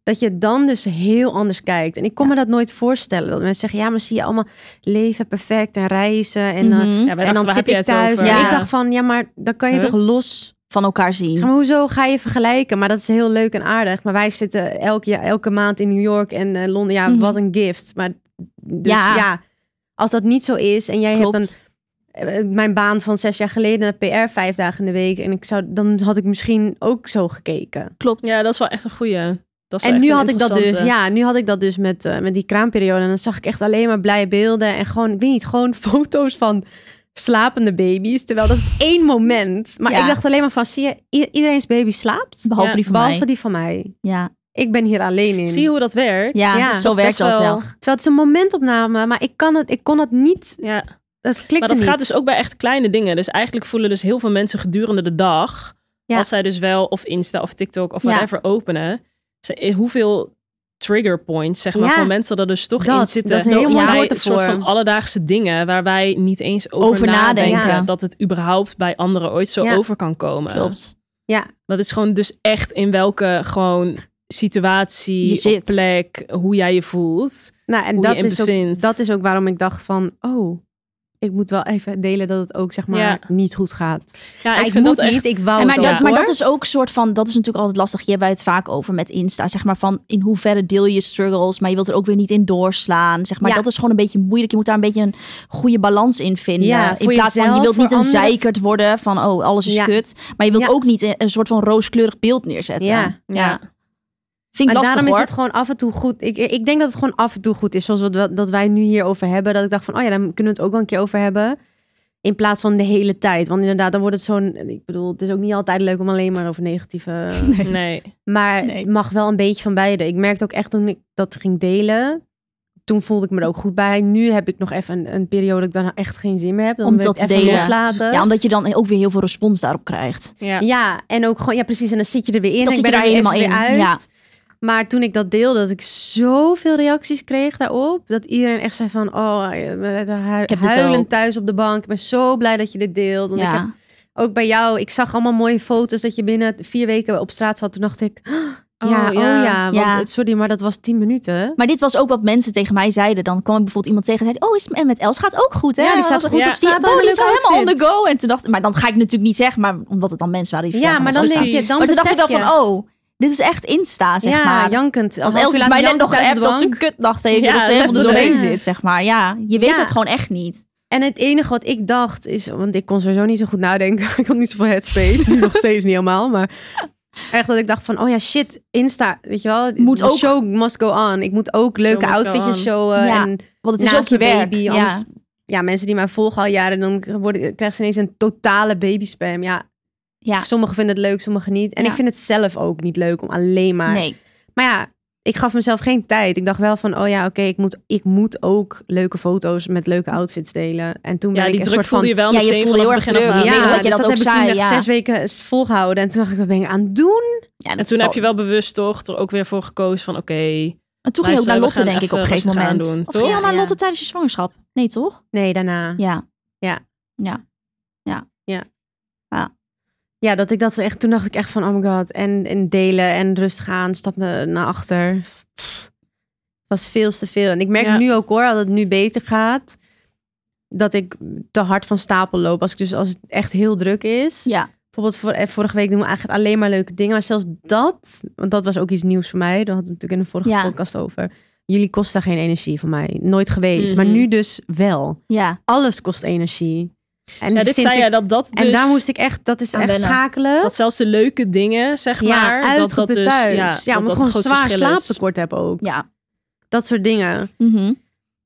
[SPEAKER 3] Dat je dan dus heel anders kijkt. En ik kon
[SPEAKER 5] Ja.
[SPEAKER 3] me dat nooit voorstellen. Dat mensen zeggen, ja, maar zie je allemaal leven perfect en reizen. En, eh,
[SPEAKER 4] Ja, wij
[SPEAKER 5] Mhm.
[SPEAKER 3] en
[SPEAKER 4] dachten,
[SPEAKER 3] dan
[SPEAKER 4] waar
[SPEAKER 3] zit
[SPEAKER 4] heb je
[SPEAKER 3] ik
[SPEAKER 4] het
[SPEAKER 3] thuis.
[SPEAKER 4] over?
[SPEAKER 3] En
[SPEAKER 5] Ja.
[SPEAKER 3] ik dacht van, ja, maar dan kan je
[SPEAKER 4] Huh?
[SPEAKER 3] toch los...
[SPEAKER 5] van elkaar zien.
[SPEAKER 3] Zeg maar, hoezo ga je vergelijken? Maar dat is heel leuk en aardig. Maar wij zitten elk jaar, elke maand in New York en eh, Londen. Ja,
[SPEAKER 5] Mhm.
[SPEAKER 3] wat een gift. Maar dus,
[SPEAKER 5] Ja.
[SPEAKER 3] ja. als dat niet zo is en jij hebt een
[SPEAKER 5] Klopt.
[SPEAKER 3] eh, mijn baan van zes jaar geleden naar PR vijf dagen in de week. En ik zou, dan had ik misschien ook zo gekeken.
[SPEAKER 5] Klopt.
[SPEAKER 4] Ja, dat is wel echt een goeie. Dat is wel
[SPEAKER 3] En
[SPEAKER 4] echt
[SPEAKER 3] nu
[SPEAKER 4] een
[SPEAKER 3] had ik dat dus.
[SPEAKER 4] interessante.
[SPEAKER 3] Ja, nu had ik dat dus met, eh, met die kraamperiode. En dan zag ik echt alleen maar blije beelden. En gewoon, ik weet niet, gewoon <laughs> foto's van slapende baby's. Terwijl dat is één moment. Maar
[SPEAKER 5] Ja.
[SPEAKER 3] ik dacht alleen maar van, zie je, i- iedereen's baby slaapt.
[SPEAKER 5] Behalve
[SPEAKER 4] Ja,
[SPEAKER 5] die van
[SPEAKER 3] Behalve
[SPEAKER 5] mij.
[SPEAKER 3] die van mij.
[SPEAKER 5] Ja.
[SPEAKER 3] Ik ben hier alleen in.
[SPEAKER 4] Zie je hoe dat werkt?
[SPEAKER 5] Ja,
[SPEAKER 3] Ja.
[SPEAKER 5] zo werkt
[SPEAKER 4] Best
[SPEAKER 5] dat
[SPEAKER 4] wel.
[SPEAKER 5] wel.
[SPEAKER 3] Terwijl het is een momentopname, maar ik, kan het, ik kon het niet.
[SPEAKER 4] Ja.
[SPEAKER 3] Het klikte
[SPEAKER 4] Maar dat
[SPEAKER 3] niet.
[SPEAKER 4] gaat dus ook bij echt kleine dingen. Dus eigenlijk voelen dus heel veel mensen gedurende de dag,
[SPEAKER 3] Ja.
[SPEAKER 4] als zij dus wel of Insta of TikTok of
[SPEAKER 5] Ja.
[SPEAKER 4] whatever openen, ze- eh, hoeveel trigger points, zeg maar,
[SPEAKER 3] Ja.
[SPEAKER 4] van mensen er dus toch
[SPEAKER 3] Dat-
[SPEAKER 4] in zitten.
[SPEAKER 3] dat is een heel
[SPEAKER 5] mooi
[SPEAKER 4] bij
[SPEAKER 3] woord
[SPEAKER 4] een soort
[SPEAKER 3] ervoor.
[SPEAKER 4] van alledaagse dingen waar wij niet eens over,
[SPEAKER 5] Over nadenken.
[SPEAKER 4] nadenken.
[SPEAKER 3] Ja.
[SPEAKER 4] Dat het überhaupt bij anderen ooit zo
[SPEAKER 3] Ja.
[SPEAKER 4] over kan komen.
[SPEAKER 5] Klopt.
[SPEAKER 3] Ja,
[SPEAKER 4] Dat is gewoon dus echt in welke gewoon
[SPEAKER 5] Je
[SPEAKER 4] situatie,
[SPEAKER 5] zit.
[SPEAKER 4] op plek, hoe jij je voelt,
[SPEAKER 3] nou, en
[SPEAKER 4] hoe
[SPEAKER 3] dat
[SPEAKER 4] je in
[SPEAKER 3] is, ook,
[SPEAKER 4] bevindt.
[SPEAKER 3] dat is ook waarom ik dacht van, oh, ik moet wel even delen dat het ook zeg maar
[SPEAKER 4] Ja.
[SPEAKER 3] niet goed gaat.
[SPEAKER 4] ja,
[SPEAKER 3] ik moet niet, ik wou
[SPEAKER 5] En maar,
[SPEAKER 3] het
[SPEAKER 5] dat,
[SPEAKER 3] ook,
[SPEAKER 5] maar
[SPEAKER 3] hoor.
[SPEAKER 5] dat is ook soort van, dat is natuurlijk altijd lastig. Je hebt het vaak over met Insta, zeg maar van in hoeverre deel je je struggles, maar je wilt er ook weer niet in doorslaan. Zeg maar,
[SPEAKER 3] Ja.
[SPEAKER 5] dat is gewoon een beetje moeilijk. Je moet daar een beetje een goede balans in vinden.
[SPEAKER 3] Ja,
[SPEAKER 5] in
[SPEAKER 3] voor
[SPEAKER 5] plaats van, je
[SPEAKER 3] jezelf,
[SPEAKER 5] wilt niet
[SPEAKER 3] voor
[SPEAKER 5] een
[SPEAKER 3] anderen.
[SPEAKER 5] zeikerd worden van, oh, alles is
[SPEAKER 3] Ja.
[SPEAKER 5] kut. Maar je wilt
[SPEAKER 3] Ja.
[SPEAKER 5] ook niet een, een soort van rooskleurig beeld neerzetten.
[SPEAKER 3] Ja.
[SPEAKER 5] ja.
[SPEAKER 4] Ja.
[SPEAKER 5] Vind ik
[SPEAKER 3] Maar
[SPEAKER 5] lastig
[SPEAKER 3] daarom
[SPEAKER 5] hoor.
[SPEAKER 3] is het gewoon af en toe goed. Ik, ik denk dat het gewoon af en toe goed is. Zoals wat, we- dat wij nu hierover hebben. Dat ik dacht van, oh ja, dan kunnen we het ook wel een keer over hebben. In plaats van de hele tijd. Want inderdaad, dan wordt het zo'n... Ik bedoel, het is ook niet altijd leuk om alleen maar over negatieve...
[SPEAKER 5] <laughs>
[SPEAKER 4] Nee.
[SPEAKER 3] Maar
[SPEAKER 5] Nee.
[SPEAKER 3] het mag wel een beetje van beide. Ik merkte ook echt toen ik dat ging delen... Toen voelde ik me er ook goed bij. Nu heb ik nog even een, een periode dat ik dan echt geen zin meer heb. Dan
[SPEAKER 5] Om
[SPEAKER 3] wil ik
[SPEAKER 5] dat te
[SPEAKER 3] het even
[SPEAKER 5] delen.
[SPEAKER 3] loslaten.
[SPEAKER 5] Ja, omdat je dan ook weer heel veel respons daarop krijgt.
[SPEAKER 4] Ja.
[SPEAKER 3] Ja, en ook gewoon, ja precies. En dan zit je er weer in.
[SPEAKER 5] Dan
[SPEAKER 3] en
[SPEAKER 5] zit
[SPEAKER 3] ik ben
[SPEAKER 5] je
[SPEAKER 3] er
[SPEAKER 5] er
[SPEAKER 3] even
[SPEAKER 5] helemaal
[SPEAKER 3] weer
[SPEAKER 5] in,
[SPEAKER 3] Uit.
[SPEAKER 5] ja.
[SPEAKER 3] Maar toen ik dat deelde, dat ik zoveel reacties kreeg daarop. Dat iedereen echt zei van, oh, ik
[SPEAKER 5] dit
[SPEAKER 3] heb huilend
[SPEAKER 5] ook.
[SPEAKER 3] thuis op de bank. Ik ben zo blij dat je dit deelt. Want ik heb-
[SPEAKER 5] Ja.
[SPEAKER 3] ook bij jou, ik zag allemaal mooie foto's dat je binnen vier weken op straat zat. Toen dacht ik, <gasps> oh, ja,
[SPEAKER 4] ja.
[SPEAKER 3] oh ja, want,
[SPEAKER 5] Ja.
[SPEAKER 3] sorry, maar dat was tien minuten.
[SPEAKER 5] Maar dit was ook wat mensen tegen mij zeiden. Dan kwam ik bijvoorbeeld iemand tegen en zei... Oh, is het met Els? Gaat ook goed, hè?
[SPEAKER 3] Ja, die
[SPEAKER 5] Dat
[SPEAKER 3] staat
[SPEAKER 5] was
[SPEAKER 3] goed
[SPEAKER 5] een-
[SPEAKER 3] op straat,
[SPEAKER 5] Die, oh,
[SPEAKER 3] had
[SPEAKER 5] die
[SPEAKER 3] een
[SPEAKER 5] is
[SPEAKER 3] leuke
[SPEAKER 5] helemaal on
[SPEAKER 3] outfit.
[SPEAKER 5] the go. En toen dacht ik... Maar dan ga ik natuurlijk niet zeggen. Maar omdat het dan mensen waren die
[SPEAKER 3] ja,
[SPEAKER 5] ver van
[SPEAKER 3] maar
[SPEAKER 5] ons
[SPEAKER 3] dan
[SPEAKER 5] afstaan.
[SPEAKER 3] denk je,
[SPEAKER 4] precies.
[SPEAKER 3] dan
[SPEAKER 5] Maar toen dacht ik
[SPEAKER 3] besef
[SPEAKER 5] dan
[SPEAKER 3] je.
[SPEAKER 5] van... Oh, dit is echt Insta, zeg
[SPEAKER 3] ja,
[SPEAKER 5] maar.
[SPEAKER 3] jankend.
[SPEAKER 5] Want
[SPEAKER 3] Half
[SPEAKER 5] Els
[SPEAKER 3] uur
[SPEAKER 5] is
[SPEAKER 3] later
[SPEAKER 5] mij net nog
[SPEAKER 3] jankend thuis op de
[SPEAKER 5] geappt dat ze
[SPEAKER 3] bank.
[SPEAKER 5] een kutdag tegen.
[SPEAKER 4] Ja,
[SPEAKER 5] dat ze helemaal er
[SPEAKER 4] letterlijk.
[SPEAKER 5] doorheen zit, zeg maar. Ja, je weet
[SPEAKER 3] Ja.
[SPEAKER 5] het gewoon echt niet.
[SPEAKER 3] En het enige wat ik dacht is, want ik kon sowieso niet zo goed nadenken. <laughs> Ik had niet zoveel headspace. Nu nog steeds niet helemaal. Maar echt dat ik dacht van, oh ja, shit, Insta, weet je wel.
[SPEAKER 5] Moet
[SPEAKER 3] the
[SPEAKER 5] ook-
[SPEAKER 3] Show must go on. Ik moet ook
[SPEAKER 4] Show
[SPEAKER 3] leuke
[SPEAKER 4] must go
[SPEAKER 3] outfitjes
[SPEAKER 4] on.
[SPEAKER 3] showen.
[SPEAKER 5] Ja,
[SPEAKER 3] en
[SPEAKER 5] Want het is
[SPEAKER 3] naast
[SPEAKER 5] ook je
[SPEAKER 3] mijn
[SPEAKER 5] werk.
[SPEAKER 3] baby.
[SPEAKER 5] ja.
[SPEAKER 3] Anders, ja. mensen die mij volgen al jaren, dan worden, krijgen ze ineens een totale baby spam. Ja,
[SPEAKER 5] Ja.
[SPEAKER 3] sommigen vinden het leuk, sommigen niet. En
[SPEAKER 5] Ja.
[SPEAKER 3] ik vind het zelf ook niet leuk om alleen maar...
[SPEAKER 5] Nee.
[SPEAKER 3] Maar ja, ik gaf mezelf geen tijd. Ik dacht wel van, oh ja, oké, ik, moet, ik moet ook leuke foto's met leuke outfits delen. En toen ben
[SPEAKER 4] Ja,
[SPEAKER 3] ik
[SPEAKER 4] die
[SPEAKER 3] een
[SPEAKER 4] druk
[SPEAKER 3] soort van... dus
[SPEAKER 4] voelde je wel
[SPEAKER 5] Ja, je
[SPEAKER 4] meteen
[SPEAKER 5] voelde
[SPEAKER 4] vanaf het
[SPEAKER 5] heel erg
[SPEAKER 4] begin af
[SPEAKER 5] druk.
[SPEAKER 4] aan.
[SPEAKER 5] Ja. weet dat je dat ook
[SPEAKER 3] heb ik
[SPEAKER 5] zei,
[SPEAKER 3] toen echt
[SPEAKER 5] ja.
[SPEAKER 3] zes weken volgehouden. En toen dacht ik, wat ben ik aan het doen?
[SPEAKER 5] Ja,
[SPEAKER 4] En toen heb je wel bewust toch er ook weer voor gekozen van oké,
[SPEAKER 5] En toen ging je ook
[SPEAKER 4] Luister,
[SPEAKER 5] naar
[SPEAKER 4] we
[SPEAKER 5] Lotte,
[SPEAKER 4] gaan
[SPEAKER 5] denk ik,
[SPEAKER 4] even
[SPEAKER 5] op een gegeven
[SPEAKER 4] rustig aan
[SPEAKER 5] moment.
[SPEAKER 4] doen,
[SPEAKER 5] of ging je
[SPEAKER 4] toch?
[SPEAKER 5] al naar
[SPEAKER 3] Ja.
[SPEAKER 5] Lotte tijdens je zwangerschap? Nee, toch?
[SPEAKER 3] Nee, daarna. Ja.
[SPEAKER 5] Ja.
[SPEAKER 3] Ja.
[SPEAKER 5] Ja. Ja.
[SPEAKER 3] dat ik dat echt... Toen dacht ik echt van, oh my god. En, en delen en rustig aan, stap na- naar achter. Pff, was veel te veel. En ik merk
[SPEAKER 4] Ja.
[SPEAKER 3] nu ook hoor, dat het nu beter gaat... dat ik te hard van stapel loop. Als, ik dus, als het echt heel druk is...
[SPEAKER 5] Ja.
[SPEAKER 3] Bijvoorbeeld voor, eh, vorige week doen we eigenlijk alleen maar leuke dingen. Maar zelfs dat, want dat was ook iets nieuws voor mij. Daar hadden we het natuurlijk in de vorige
[SPEAKER 5] Ja.
[SPEAKER 3] podcast over. Jullie kosten geen energie van mij. Nooit geweest.
[SPEAKER 4] Mhm.
[SPEAKER 3] Maar nu dus wel.
[SPEAKER 5] Ja.
[SPEAKER 3] Alles kost energie. En,
[SPEAKER 4] ja, dit
[SPEAKER 3] sinds
[SPEAKER 4] zei
[SPEAKER 3] ik-
[SPEAKER 4] jij dat dat dus
[SPEAKER 3] en daar moest ik echt, dat is
[SPEAKER 5] aan
[SPEAKER 3] echt
[SPEAKER 5] wennen.
[SPEAKER 3] schakelen.
[SPEAKER 4] dat zelfs de leuke dingen zeg maar
[SPEAKER 3] ja,
[SPEAKER 4] dat dat
[SPEAKER 3] uitgeput
[SPEAKER 4] dus
[SPEAKER 3] thuis.
[SPEAKER 4] ja,
[SPEAKER 3] Ja,
[SPEAKER 4] dat
[SPEAKER 3] omdat
[SPEAKER 4] dat een
[SPEAKER 3] ik gewoon
[SPEAKER 4] groot
[SPEAKER 3] zwaar
[SPEAKER 4] verschil is.
[SPEAKER 3] slaaptekort heb ook.
[SPEAKER 5] Ja.
[SPEAKER 3] Dat soort dingen.
[SPEAKER 5] Mhm.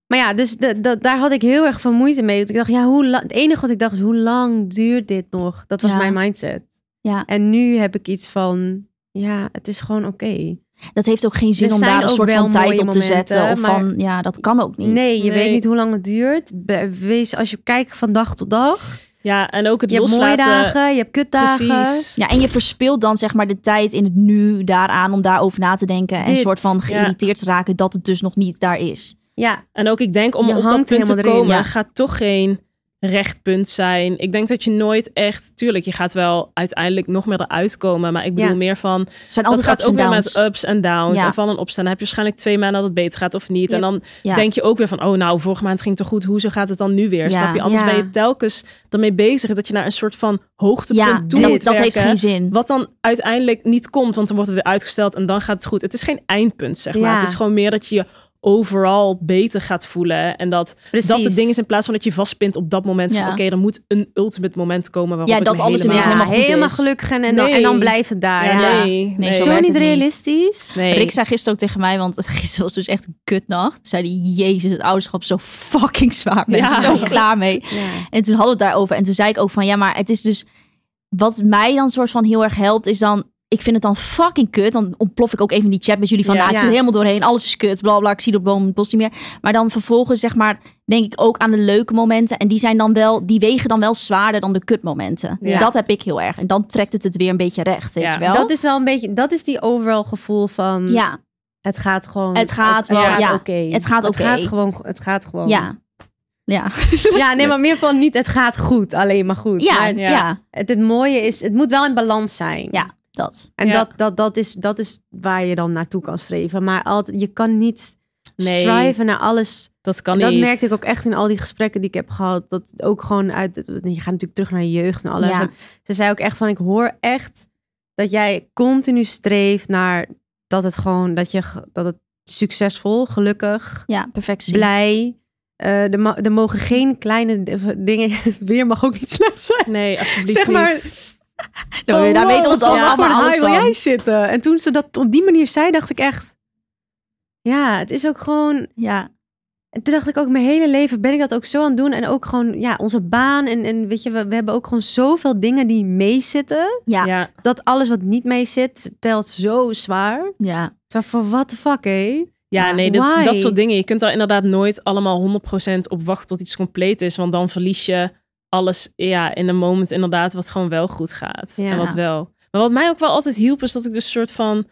[SPEAKER 3] Maar ja, dus de- de- daar had ik heel erg veel moeite mee. Want ik dacht, ja, hoe la- het enige wat ik dacht is, hoe lang duurt dit nog? Dat was
[SPEAKER 5] Ja.
[SPEAKER 3] mijn mindset.
[SPEAKER 5] Ja.
[SPEAKER 3] En nu heb ik iets van, ja, het is gewoon oké.
[SPEAKER 5] Dat heeft ook geen zin
[SPEAKER 3] Er
[SPEAKER 5] om daar
[SPEAKER 3] zijn
[SPEAKER 5] een
[SPEAKER 3] ook
[SPEAKER 5] soort
[SPEAKER 3] wel
[SPEAKER 5] van tijd
[SPEAKER 3] mooie
[SPEAKER 5] op te
[SPEAKER 3] momenten,
[SPEAKER 5] zetten. Of
[SPEAKER 3] maar-
[SPEAKER 5] van, ja, dat kan ook niet.
[SPEAKER 3] Nee, je
[SPEAKER 4] Nee.
[SPEAKER 3] weet niet hoe lang het duurt. Be- Wees, als je kijkt van dag tot dag.
[SPEAKER 4] Ja, en ook het
[SPEAKER 3] Je hebt mooie
[SPEAKER 4] loslaten.
[SPEAKER 3] dagen, je hebt kutdagen.
[SPEAKER 4] Precies.
[SPEAKER 5] Ja, en je verspilt dan zeg maar de tijd in het nu daaraan om daarover na te denken. En een
[SPEAKER 3] Dit,
[SPEAKER 5] soort van
[SPEAKER 3] ja.
[SPEAKER 5] geïrriteerd te raken dat het dus nog niet daar is.
[SPEAKER 3] Ja,
[SPEAKER 4] En ook ik denk om
[SPEAKER 3] Je
[SPEAKER 4] op dat
[SPEAKER 3] hangt
[SPEAKER 4] punt te
[SPEAKER 3] helemaal erin,
[SPEAKER 4] komen
[SPEAKER 5] ja.
[SPEAKER 4] gaat toch geen rechtpunt zijn. Ik denk dat je nooit echt, tuurlijk, je gaat wel uiteindelijk nog meer eruit komen, maar ik bedoel
[SPEAKER 3] Ja.
[SPEAKER 4] meer van
[SPEAKER 5] Het zijn
[SPEAKER 4] dat
[SPEAKER 5] altijd
[SPEAKER 4] gaat
[SPEAKER 5] ups en
[SPEAKER 4] ook weer
[SPEAKER 5] downs.
[SPEAKER 4] met ups en downs
[SPEAKER 5] Ja.
[SPEAKER 4] en vallen en opstaan. Dan heb je waarschijnlijk twee maanden dat het beter gaat of niet. En dan
[SPEAKER 5] Ja.
[SPEAKER 4] denk je ook weer van, oh nou, vorige maand ging het toch goed. Hoezo gaat het dan nu weer?
[SPEAKER 5] Ja.
[SPEAKER 4] Snap je? Anders
[SPEAKER 3] Ja.
[SPEAKER 4] ben je telkens ermee bezig dat je naar een soort van hoogtepunt
[SPEAKER 5] ja,
[SPEAKER 4] toe
[SPEAKER 5] dat,
[SPEAKER 4] moet
[SPEAKER 5] dat heeft
[SPEAKER 4] werken.
[SPEAKER 5] geen zin.
[SPEAKER 4] Wat dan uiteindelijk niet komt, want dan wordt het weer uitgesteld en dan gaat het goed. Het is geen eindpunt, zeg maar.
[SPEAKER 3] Ja.
[SPEAKER 4] Het is gewoon meer dat je je overal beter gaat voelen. En dat
[SPEAKER 3] precies.
[SPEAKER 4] dat het ding is in plaats van dat je vastpint op dat moment.
[SPEAKER 5] Ja.
[SPEAKER 4] van Oké, er moet een ultimate moment komen waarop
[SPEAKER 5] Ja,
[SPEAKER 4] ik
[SPEAKER 5] dat
[SPEAKER 4] me
[SPEAKER 5] alles
[SPEAKER 3] Ja,
[SPEAKER 5] ineens
[SPEAKER 4] helemaal...
[SPEAKER 5] helemaal
[SPEAKER 3] helemaal,
[SPEAKER 5] goed is.
[SPEAKER 3] gelukkig en, en, dan,
[SPEAKER 4] Nee.
[SPEAKER 3] en dan blijft het daar.
[SPEAKER 4] Ja,
[SPEAKER 3] Ja,
[SPEAKER 4] nee. nee.
[SPEAKER 5] Nee,
[SPEAKER 3] Zo,
[SPEAKER 5] zo werkt
[SPEAKER 3] niet
[SPEAKER 5] het niet.
[SPEAKER 3] realistisch.
[SPEAKER 4] Nee.
[SPEAKER 5] Rick zei gisteren ook tegen mij, want <laughs> gisteren was dus echt een kutnacht. Zei die jezus, het ouderschap is zo fucking zwaar. Ben ik
[SPEAKER 4] Ja.
[SPEAKER 5] zo klaar mee.
[SPEAKER 3] Ja.
[SPEAKER 5] En toen hadden we het daarover. En toen zei ik ook van, ja, maar het is dus... Wat mij dan soort van heel erg helpt, is dan... Ik vind het dan fucking kut. Dan ontplof ik ook even in die chat met jullie van...
[SPEAKER 4] Ja.
[SPEAKER 5] nou, ik zit
[SPEAKER 3] Ja.
[SPEAKER 5] er helemaal doorheen. Alles is kut, bla bla. Ik zie de boom het bos niet meer. Maar dan vervolgens, zeg maar, denk ik ook aan de leuke momenten. En die zijn dan wel... Die wegen dan wel zwaarder dan de kutmomenten.
[SPEAKER 3] Ja.
[SPEAKER 5] Dat heb ik heel erg. En dan trekt het het weer een beetje recht, weet
[SPEAKER 4] Ja.
[SPEAKER 5] je wel?
[SPEAKER 3] Dat is wel een beetje, dat is die overal gevoel van,
[SPEAKER 5] ja,
[SPEAKER 3] het gaat gewoon.
[SPEAKER 5] Het gaat
[SPEAKER 3] het
[SPEAKER 5] wel,
[SPEAKER 3] gaat
[SPEAKER 5] ja.
[SPEAKER 3] oké.
[SPEAKER 5] Het gaat oké.
[SPEAKER 3] Het gaat gewoon, het gaat gewoon.
[SPEAKER 5] ja. Ja.
[SPEAKER 3] ja, nee, maar meer van niet het gaat goed, alleen maar goed.
[SPEAKER 5] Ja,
[SPEAKER 3] Maar
[SPEAKER 5] ja,
[SPEAKER 3] het, het mooie is, het moet wel in balans zijn.
[SPEAKER 5] Ja. dat.
[SPEAKER 3] En
[SPEAKER 4] Ja.
[SPEAKER 3] dat, dat, dat, is, dat is waar je dan naartoe kan streven. Maar altijd, je kan niet
[SPEAKER 4] Nee.
[SPEAKER 3] striven naar alles.
[SPEAKER 4] Dat kan
[SPEAKER 3] En dat
[SPEAKER 4] niet.
[SPEAKER 3] merkte ik ook echt in al die gesprekken die ik heb gehad. Dat ook gewoon uit... het- want Je gaat natuurlijk terug naar je jeugd en alles.
[SPEAKER 5] Ja.
[SPEAKER 3] En ze zei ook echt van, ik hoor echt dat jij continu streeft naar dat het gewoon... Dat, je, ge- dat het succesvol, gelukkig,
[SPEAKER 5] Ja, perfectie.
[SPEAKER 3] blij... eh, er, ma- er mogen geen kleine d- dingen... eh, <laughs> Weer mag ook niet slecht zijn.
[SPEAKER 4] Nee, alsjeblieft
[SPEAKER 3] Zeg maar,
[SPEAKER 4] niet.
[SPEAKER 5] Nou, daar weten we ons
[SPEAKER 3] al
[SPEAKER 5] allemaal
[SPEAKER 3] voor een
[SPEAKER 5] alles
[SPEAKER 3] haai wil
[SPEAKER 5] van.
[SPEAKER 3] jij zitten? En toen ze dat op die manier zei, dacht ik echt... Ja, het is ook gewoon...
[SPEAKER 5] Ja.
[SPEAKER 3] En toen dacht ik ook, mijn hele leven ben ik dat ook zo aan het doen. En ook gewoon, ja, onze baan. En, en weet je, we, we hebben ook gewoon zoveel dingen die meezitten.
[SPEAKER 5] Ja.
[SPEAKER 4] Ja.
[SPEAKER 3] Dat alles wat niet meezit, telt zo zwaar.
[SPEAKER 5] Ja.
[SPEAKER 3] Zo van, what the fuck, hé?
[SPEAKER 4] Ja,
[SPEAKER 5] Ja,
[SPEAKER 4] nee, dat,
[SPEAKER 3] why?
[SPEAKER 4] dat soort dingen. Je kunt daar inderdaad nooit allemaal 100% op wachten tot iets compleet is. Want dan verlies je alles ja, in een moment inderdaad wat gewoon wel goed gaat.
[SPEAKER 3] Ja.
[SPEAKER 4] En wat wel. Maar wat mij ook wel altijd hielp, is dat ik dus een soort van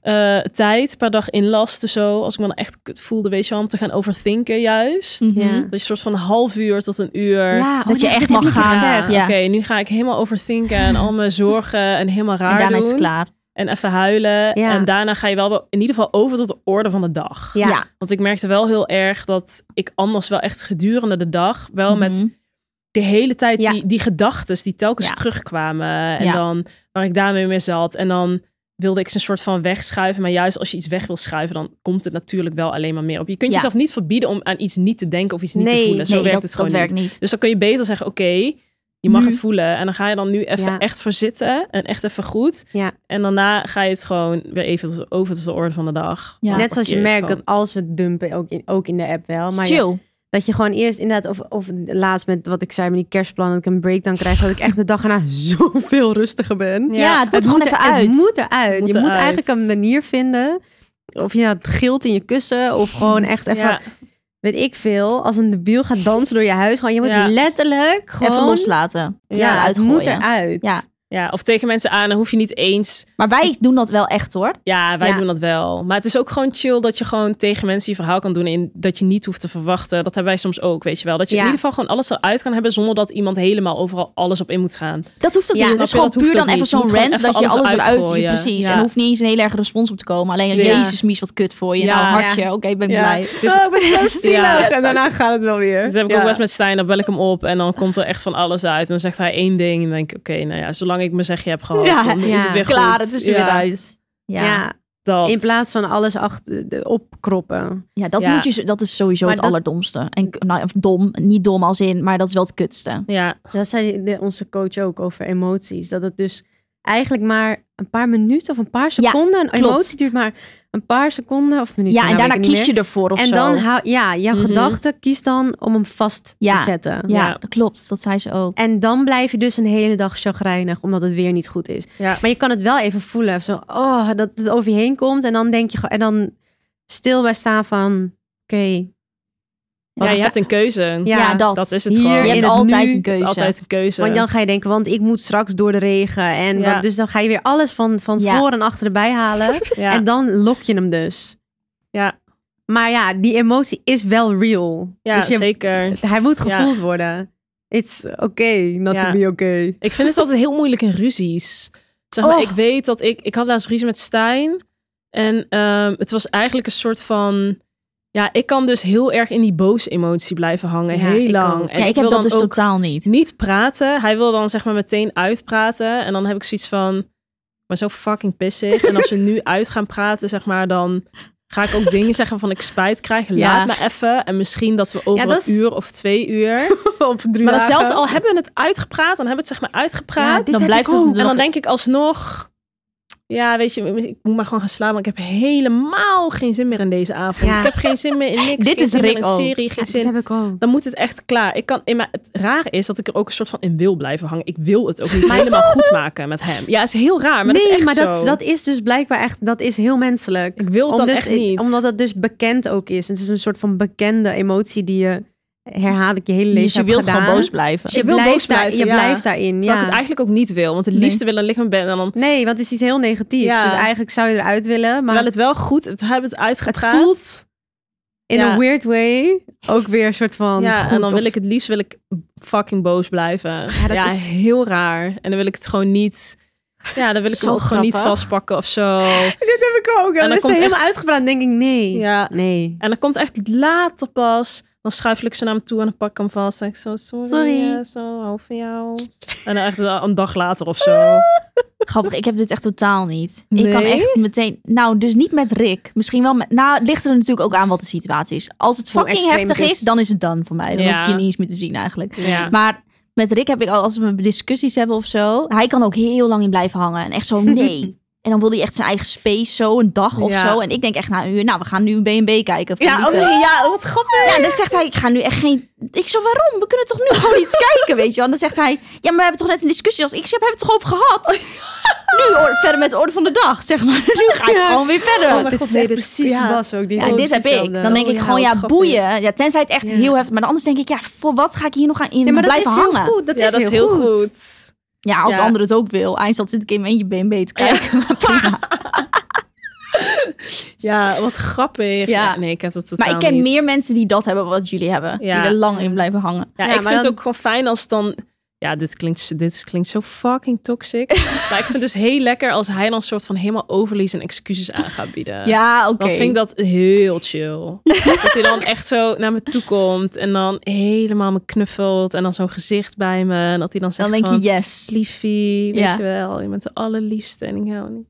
[SPEAKER 4] eh, tijd per dag inlaste. Zo, als ik me dan echt kut voelde, weet je wel, om te gaan overthinken juist.
[SPEAKER 5] Mhm.
[SPEAKER 3] Ja.
[SPEAKER 4] Dat je een soort van een half uur tot een uur...
[SPEAKER 3] Ja,
[SPEAKER 5] Dat je
[SPEAKER 3] dit-
[SPEAKER 5] echt
[SPEAKER 3] dit heb
[SPEAKER 5] mag
[SPEAKER 3] ik niet
[SPEAKER 5] gaan.
[SPEAKER 3] gezegd.
[SPEAKER 5] Ja.
[SPEAKER 4] Oké, nu ga ik helemaal overthinken
[SPEAKER 5] <laughs>
[SPEAKER 4] en al mijn zorgen en helemaal raar
[SPEAKER 5] En daarna
[SPEAKER 4] doen.
[SPEAKER 5] is het klaar.
[SPEAKER 4] En even huilen.
[SPEAKER 3] Ja.
[SPEAKER 4] En daarna ga je wel wel in ieder geval over tot de orde van de dag.
[SPEAKER 3] Ja.
[SPEAKER 5] Ja.
[SPEAKER 4] Want ik merkte wel heel erg dat ik anders wel echt gedurende de dag
[SPEAKER 3] Oh,
[SPEAKER 4] wel met
[SPEAKER 5] Mhm.
[SPEAKER 4] de hele tijd
[SPEAKER 5] Ja.
[SPEAKER 4] die, die gedachten die telkens
[SPEAKER 5] Ja.
[SPEAKER 4] terugkwamen. En
[SPEAKER 5] Ja.
[SPEAKER 4] dan waar ik daarmee mee zat. En dan wilde ik ze een soort van wegschuiven. Maar juist als je iets weg wil schuiven, dan komt het natuurlijk wel alleen maar meer op. Je kunt
[SPEAKER 5] Ja.
[SPEAKER 4] jezelf niet verbieden om aan iets niet te denken of iets niet
[SPEAKER 3] Nee,
[SPEAKER 4] te voelen. Zo
[SPEAKER 5] nee,
[SPEAKER 4] werkt
[SPEAKER 5] dat,
[SPEAKER 4] het gewoon
[SPEAKER 5] dat
[SPEAKER 4] niet.
[SPEAKER 5] werkt Mhm. niet.
[SPEAKER 4] Dus dan kun je beter zeggen, oké, je mag
[SPEAKER 5] Nu.
[SPEAKER 4] het voelen. En dan ga je dan nu even
[SPEAKER 3] Ja.
[SPEAKER 4] echt voor zitten en echt even goed.
[SPEAKER 3] Ja.
[SPEAKER 4] En daarna ga je het gewoon weer even tot- over tot de orde van de dag.
[SPEAKER 5] Ja.
[SPEAKER 4] Dan
[SPEAKER 3] Net zoals je
[SPEAKER 4] parkeer
[SPEAKER 3] merkt
[SPEAKER 4] het
[SPEAKER 3] dat als we dumpen, ook in, ook in de app wel. Maar ja,
[SPEAKER 5] Chill.
[SPEAKER 3] dat je gewoon eerst inderdaad, of, of laatst met wat ik zei, met die kerstplan, dat ik een breakdown krijg. Dat ik echt de dag erna <laughs> zoveel rustiger ben.
[SPEAKER 5] Ja, het moet gewoon
[SPEAKER 3] er-
[SPEAKER 5] even uit.
[SPEAKER 3] Het moet eruit.
[SPEAKER 4] Het moet
[SPEAKER 3] je moet
[SPEAKER 4] eruit.
[SPEAKER 3] eigenlijk een manier vinden. Of je nou het gilt in je kussen. Of gewoon echt
[SPEAKER 4] gewoon.
[SPEAKER 3] even,
[SPEAKER 4] Ja.
[SPEAKER 3] weet ik veel. Als een debiel gaat dansen door je huis. Gewoon, je moet
[SPEAKER 4] Ja.
[SPEAKER 3] letterlijk gewoon...
[SPEAKER 5] Even loslaten.
[SPEAKER 3] Ja,
[SPEAKER 5] Ja,
[SPEAKER 3] het moet
[SPEAKER 5] uitgooien.
[SPEAKER 3] eruit.
[SPEAKER 5] Ja.
[SPEAKER 4] Ja, of tegen mensen aan, dan hoef je niet eens.
[SPEAKER 5] Maar wij doen dat wel echt hoor.
[SPEAKER 4] Ja, wij
[SPEAKER 3] Ja.
[SPEAKER 4] doen dat wel. Maar het is ook gewoon chill dat je gewoon tegen mensen je verhaal kan doen. En dat je niet hoeft te verwachten. Dat hebben wij soms ook, weet je wel. Dat je
[SPEAKER 3] Ja.
[SPEAKER 4] in ieder geval gewoon alles eruit kan hebben. zonder dat iemand helemaal overal alles op in moet gaan.
[SPEAKER 5] Dat hoeft ook
[SPEAKER 3] Ja,
[SPEAKER 5] niet.
[SPEAKER 4] snap
[SPEAKER 5] Het is
[SPEAKER 4] je,
[SPEAKER 5] gewoon
[SPEAKER 4] dat hoeft
[SPEAKER 5] puur
[SPEAKER 4] ook
[SPEAKER 5] dan even
[SPEAKER 4] niet.
[SPEAKER 5] zo'n
[SPEAKER 4] Je moet gewoon
[SPEAKER 5] rant
[SPEAKER 4] even
[SPEAKER 5] dat je
[SPEAKER 4] alles
[SPEAKER 5] alles eruit
[SPEAKER 4] uitgooien.
[SPEAKER 5] Precies.
[SPEAKER 4] Ja.
[SPEAKER 5] En er hoeft niet eens een hele erge respons op te komen. Alleen,
[SPEAKER 4] Ja.
[SPEAKER 5] jezus mies, wat kut voor je.
[SPEAKER 4] Ja.
[SPEAKER 5] Nou, hartje. Oké, ik ben blij.
[SPEAKER 3] Oh, ik ben zo zielig.
[SPEAKER 4] Ja.
[SPEAKER 3] en Nou, daarna gaat het wel weer.
[SPEAKER 4] Dat Dus heb ik
[SPEAKER 3] Ja.
[SPEAKER 4] ook wel eens met Stijn. Dan bel ik hem op en dan komt er echt van alles uit. En dan zegt hij één ding. En dan denk ik, oké, nou ja, zolang ik mijn zegje heb gehad,
[SPEAKER 5] Ja,
[SPEAKER 4] dan is
[SPEAKER 3] ja.
[SPEAKER 4] het weer
[SPEAKER 5] Klaar,
[SPEAKER 4] goed.
[SPEAKER 5] het is er weer
[SPEAKER 4] Ja,
[SPEAKER 5] uit. Ja,
[SPEAKER 3] Ja.
[SPEAKER 5] ja.
[SPEAKER 4] Dat.
[SPEAKER 3] in plaats van alles achter, de, opkroppen.
[SPEAKER 5] dat,
[SPEAKER 4] Ja.
[SPEAKER 5] Moet je, zo- dat is sowieso
[SPEAKER 3] Maar
[SPEAKER 5] het
[SPEAKER 3] dat-
[SPEAKER 5] allerdomste. En, k- nou, of dom, niet dom als in, maar dat is wel het kutste.
[SPEAKER 4] Ja,
[SPEAKER 3] Dat zei de- onze coach ook over emoties. Dat het dus eigenlijk maar een paar minuten of een paar seconden. een
[SPEAKER 5] klopt.
[SPEAKER 3] emotie duurt maar een paar seconden of minuten.
[SPEAKER 5] ja, en
[SPEAKER 3] nou, weet
[SPEAKER 5] daarna
[SPEAKER 3] ik niet
[SPEAKER 5] kies je ervoor of
[SPEAKER 3] en
[SPEAKER 5] zo.
[SPEAKER 3] dan hou, ja, jouw
[SPEAKER 4] Mhm.
[SPEAKER 3] gedachte kies dan om hem vast
[SPEAKER 5] Ja.
[SPEAKER 3] te zetten.
[SPEAKER 5] ja,
[SPEAKER 4] Ja.
[SPEAKER 5] dat klopt. Dat zei ze ook.
[SPEAKER 3] En dan blijf je dus een hele dag chagrijnig, omdat het weer niet goed is.
[SPEAKER 4] Ja.
[SPEAKER 3] Maar je kan het wel even voelen, zo, oh, dat het over je heen komt. En dan denk je, ge- en dan stil bij staan van, oké,
[SPEAKER 4] ja, je hebt een keuze.
[SPEAKER 3] ja,
[SPEAKER 5] Ja, dat.
[SPEAKER 4] Dat is het
[SPEAKER 3] Hier
[SPEAKER 4] gewoon.
[SPEAKER 5] je hebt
[SPEAKER 3] in het
[SPEAKER 5] altijd
[SPEAKER 3] nu,
[SPEAKER 5] een keuze.
[SPEAKER 4] Altijd een keuze.
[SPEAKER 3] want dan ga je denken, want ik moet straks door de regen. En
[SPEAKER 4] Ja.
[SPEAKER 3] wat- dus dan ga je weer alles van, van
[SPEAKER 5] Ja.
[SPEAKER 3] voor en achter erbij halen.
[SPEAKER 4] <laughs> ja.
[SPEAKER 3] En dan lok je hem dus.
[SPEAKER 4] Ja.
[SPEAKER 3] Maar ja, die emotie is wel real.
[SPEAKER 4] Ja,
[SPEAKER 3] dus je,
[SPEAKER 4] zeker.
[SPEAKER 3] Hij moet
[SPEAKER 4] Ja.
[SPEAKER 3] gevoeld worden. It's okay not
[SPEAKER 4] Ja.
[SPEAKER 3] to be okay.
[SPEAKER 4] Ik vind het altijd heel moeilijk in ruzies. Zeg maar,
[SPEAKER 5] Oh.
[SPEAKER 4] ik weet dat ik... Ik had laatst ruzie met Stijn. En ehm, het was eigenlijk een soort van... Ja, ik kan dus heel erg in die boos emotie blijven hangen.
[SPEAKER 3] Ja,
[SPEAKER 4] heel
[SPEAKER 3] ik
[SPEAKER 4] lang.
[SPEAKER 3] ook.
[SPEAKER 4] En
[SPEAKER 5] Ja, ik heb
[SPEAKER 4] wil
[SPEAKER 5] dat
[SPEAKER 4] dan
[SPEAKER 5] dus
[SPEAKER 4] ook
[SPEAKER 5] totaal niet.
[SPEAKER 4] niet praten. Hij wil dan zeg maar meteen uitpraten. En dan heb ik zoiets van... Maar zo fucking pissig. En als we nu uit gaan praten, zeg maar, dan... Ga ik ook <laughs> dingen zeggen van ik spijt krijg. Laat
[SPEAKER 5] Ja.
[SPEAKER 4] me even. En misschien dat we over
[SPEAKER 3] Ja, dat
[SPEAKER 4] een
[SPEAKER 3] is-
[SPEAKER 4] uur of twee uur...
[SPEAKER 3] <laughs> Op drie
[SPEAKER 4] Maar
[SPEAKER 3] dagen.
[SPEAKER 4] dan zelfs al hebben we het uitgepraat, dan hebben we het zeg maar uitgepraat.
[SPEAKER 3] dit
[SPEAKER 5] dan
[SPEAKER 3] heb
[SPEAKER 5] blijft
[SPEAKER 3] ik
[SPEAKER 5] het
[SPEAKER 3] ook.
[SPEAKER 4] en dan denk ik alsnog, ja, weet je, ik moet maar gewoon gaan slapen. want Ik heb helemaal geen zin meer in deze avond.
[SPEAKER 3] Ja.
[SPEAKER 4] Ik heb geen zin meer in
[SPEAKER 3] <laughs>
[SPEAKER 4] niks.
[SPEAKER 5] Dit
[SPEAKER 4] geen
[SPEAKER 5] is
[SPEAKER 4] zin meer in
[SPEAKER 5] Rick
[SPEAKER 4] een
[SPEAKER 5] ook.
[SPEAKER 4] serie, geen
[SPEAKER 3] Ja, dit
[SPEAKER 4] zin.
[SPEAKER 3] heb ik ook.
[SPEAKER 4] Dan moet het echt klaar. Ik kan, in maar het raar is dat ik er ook een soort van in wil blijven hangen. Ik wil
[SPEAKER 3] <laughs>
[SPEAKER 4] het ook niet helemaal goed maken met hem. Ja, is heel raar, maar
[SPEAKER 3] nee,
[SPEAKER 4] dat is echt
[SPEAKER 3] maar dat,
[SPEAKER 4] zo.
[SPEAKER 3] dat is dus blijkbaar echt, dat is heel menselijk.
[SPEAKER 4] ik wil het dan
[SPEAKER 3] Omdat-
[SPEAKER 4] echt niet.
[SPEAKER 3] Omdat het dus bekend ook is. Het is een soort van bekende emotie die je herhaaldelijk je hele leven
[SPEAKER 5] Dus je
[SPEAKER 3] hebt
[SPEAKER 5] wilt
[SPEAKER 3] gedaan. Dus
[SPEAKER 5] gewoon boos blijven.
[SPEAKER 3] Je,
[SPEAKER 4] Je wil
[SPEAKER 3] blijft,
[SPEAKER 4] boos blijven,
[SPEAKER 3] daar, je
[SPEAKER 4] ja.
[SPEAKER 3] blijft daarin.
[SPEAKER 4] Terwijl ik
[SPEAKER 3] Ja.
[SPEAKER 4] het eigenlijk ook niet wil. Want het liefste wil dan liggen in bed en dan...
[SPEAKER 3] Nee, want het is iets heel negatiefs.
[SPEAKER 4] Ja.
[SPEAKER 3] Dus eigenlijk zou je eruit willen. Maar
[SPEAKER 4] Terwijl het wel goed, we hebben het
[SPEAKER 3] het
[SPEAKER 4] uitgepraat.
[SPEAKER 3] voelt in
[SPEAKER 4] Ja.
[SPEAKER 3] een weird way ook weer een soort van...
[SPEAKER 4] Ja,
[SPEAKER 3] goed
[SPEAKER 4] en dan
[SPEAKER 3] of-
[SPEAKER 4] wil ik het liefst wil ik fucking boos blijven. Ja,
[SPEAKER 3] dat is-
[SPEAKER 4] heel raar. En dan wil ik het gewoon niet. Ja, dan wil ik
[SPEAKER 3] Zo
[SPEAKER 4] hem ook gewoon niet
[SPEAKER 3] grappig.
[SPEAKER 4] vastpakken of zo.
[SPEAKER 3] <laughs> Dit heb ik ook. En
[SPEAKER 4] dan
[SPEAKER 3] dan is het
[SPEAKER 4] komt
[SPEAKER 3] helemaal
[SPEAKER 4] echt-
[SPEAKER 3] uitgepraat. Dan denk ik, nee.
[SPEAKER 4] Ja.
[SPEAKER 3] Nee.
[SPEAKER 4] En dan komt echt later pas. Dan schuifel ik ze naar hem toe en dan pak ik hem vast. En ik zo, sorry,
[SPEAKER 5] Sorry.
[SPEAKER 4] eh, zo, hou van jou. En dan echt een dag later of zo.
[SPEAKER 5] <laughs> Ah. Grappig, ik heb dit echt totaal niet.
[SPEAKER 4] Nee?
[SPEAKER 5] Ik kan echt meteen... Nou, dus niet met Rick. Misschien wel met... Nou, het ligt er natuurlijk ook aan wat de situatie is. Als het
[SPEAKER 3] Hoe
[SPEAKER 5] fucking
[SPEAKER 3] extreem
[SPEAKER 5] heftig
[SPEAKER 3] het
[SPEAKER 5] is,
[SPEAKER 3] is.
[SPEAKER 5] dan is het dan voor mij. Dan
[SPEAKER 4] Ja.
[SPEAKER 5] hoef ik je niet eens meer te zien eigenlijk.
[SPEAKER 4] Ja.
[SPEAKER 5] Maar Met Rick heb ik al, als we discussies hebben of zo. Hij kan ook heel lang in blijven hangen. En echt <laughs> zo, nee. en dan wil hij echt zijn eigen space zo, een dag of
[SPEAKER 4] Ja.
[SPEAKER 5] zo. En ik denk echt na een uur, nou, we gaan nu een B&B kijken. Van Lieke.
[SPEAKER 4] ja, wat grappig.
[SPEAKER 5] Ja, dan zegt hij, ik ga nu echt geen... Ik zo, waarom? We kunnen toch nu gewoon iets kijken, weet je wel? En dan zegt hij, ja, maar we hebben toch net een discussie als ik heb hebben we het toch over gehad? Nu or- verder met de orde van de dag, zeg maar. Nu ga ik gewoon weer verder.
[SPEAKER 4] Oh mijn
[SPEAKER 3] dit
[SPEAKER 4] god,
[SPEAKER 3] is
[SPEAKER 4] nee,
[SPEAKER 3] echt
[SPEAKER 4] dit-
[SPEAKER 3] precies
[SPEAKER 4] ja.
[SPEAKER 3] Bas ook. Die
[SPEAKER 5] Ja,
[SPEAKER 3] gewoon
[SPEAKER 5] dit heb ik.
[SPEAKER 3] hetzelfde.
[SPEAKER 5] Dan denk
[SPEAKER 4] Oh
[SPEAKER 5] ik
[SPEAKER 4] ja,
[SPEAKER 5] gewoon,
[SPEAKER 4] wat
[SPEAKER 5] ja,
[SPEAKER 4] grappig.
[SPEAKER 5] boeien. Ja, tenzij het echt heel heftig... Maar anders denk ik, ja, voor wat ga ik hier nog aan in
[SPEAKER 3] Ja, maar dat
[SPEAKER 5] blijven
[SPEAKER 3] is heel
[SPEAKER 5] hangen?
[SPEAKER 3] goed. Dat
[SPEAKER 4] ja,
[SPEAKER 3] is
[SPEAKER 4] dat is heel goed. goed.
[SPEAKER 5] Ja, als
[SPEAKER 4] Ja.
[SPEAKER 5] de ander het ook wil. Eindstand zit ik in mijn eentje BNB te kijken. maar prima.
[SPEAKER 4] Ja, wat grappig.
[SPEAKER 5] Ja.
[SPEAKER 4] Nee, ik heb dat totaal
[SPEAKER 5] Maar ik ken
[SPEAKER 4] niet.
[SPEAKER 5] meer mensen die dat hebben wat jullie hebben.
[SPEAKER 4] Ja.
[SPEAKER 5] Die er lang in blijven hangen.
[SPEAKER 3] Ja,
[SPEAKER 4] Ja, ik
[SPEAKER 3] maar
[SPEAKER 4] vind het
[SPEAKER 3] dan-
[SPEAKER 4] ook gewoon fijn als dan... Ja, dit klinkt, dit klinkt zo fucking toxic.
[SPEAKER 5] <laughs>
[SPEAKER 4] maar ik vind het dus heel lekker als hij dan soort van helemaal overlees en excuses aan gaat bieden.
[SPEAKER 5] Ja, oké.
[SPEAKER 4] Dan vind ik dat heel
[SPEAKER 5] <laughs>
[SPEAKER 4] chill. dat hij dan echt zo naar me toe komt en dan helemaal me knuffelt en dan zo'n gezicht bij me. En dat hij dan zegt
[SPEAKER 5] Dan denk
[SPEAKER 4] van, <laughs>
[SPEAKER 5] je, yes.
[SPEAKER 4] liefie, weet
[SPEAKER 5] Ja.
[SPEAKER 4] je wel, je bent de allerliefste en ik hou niet.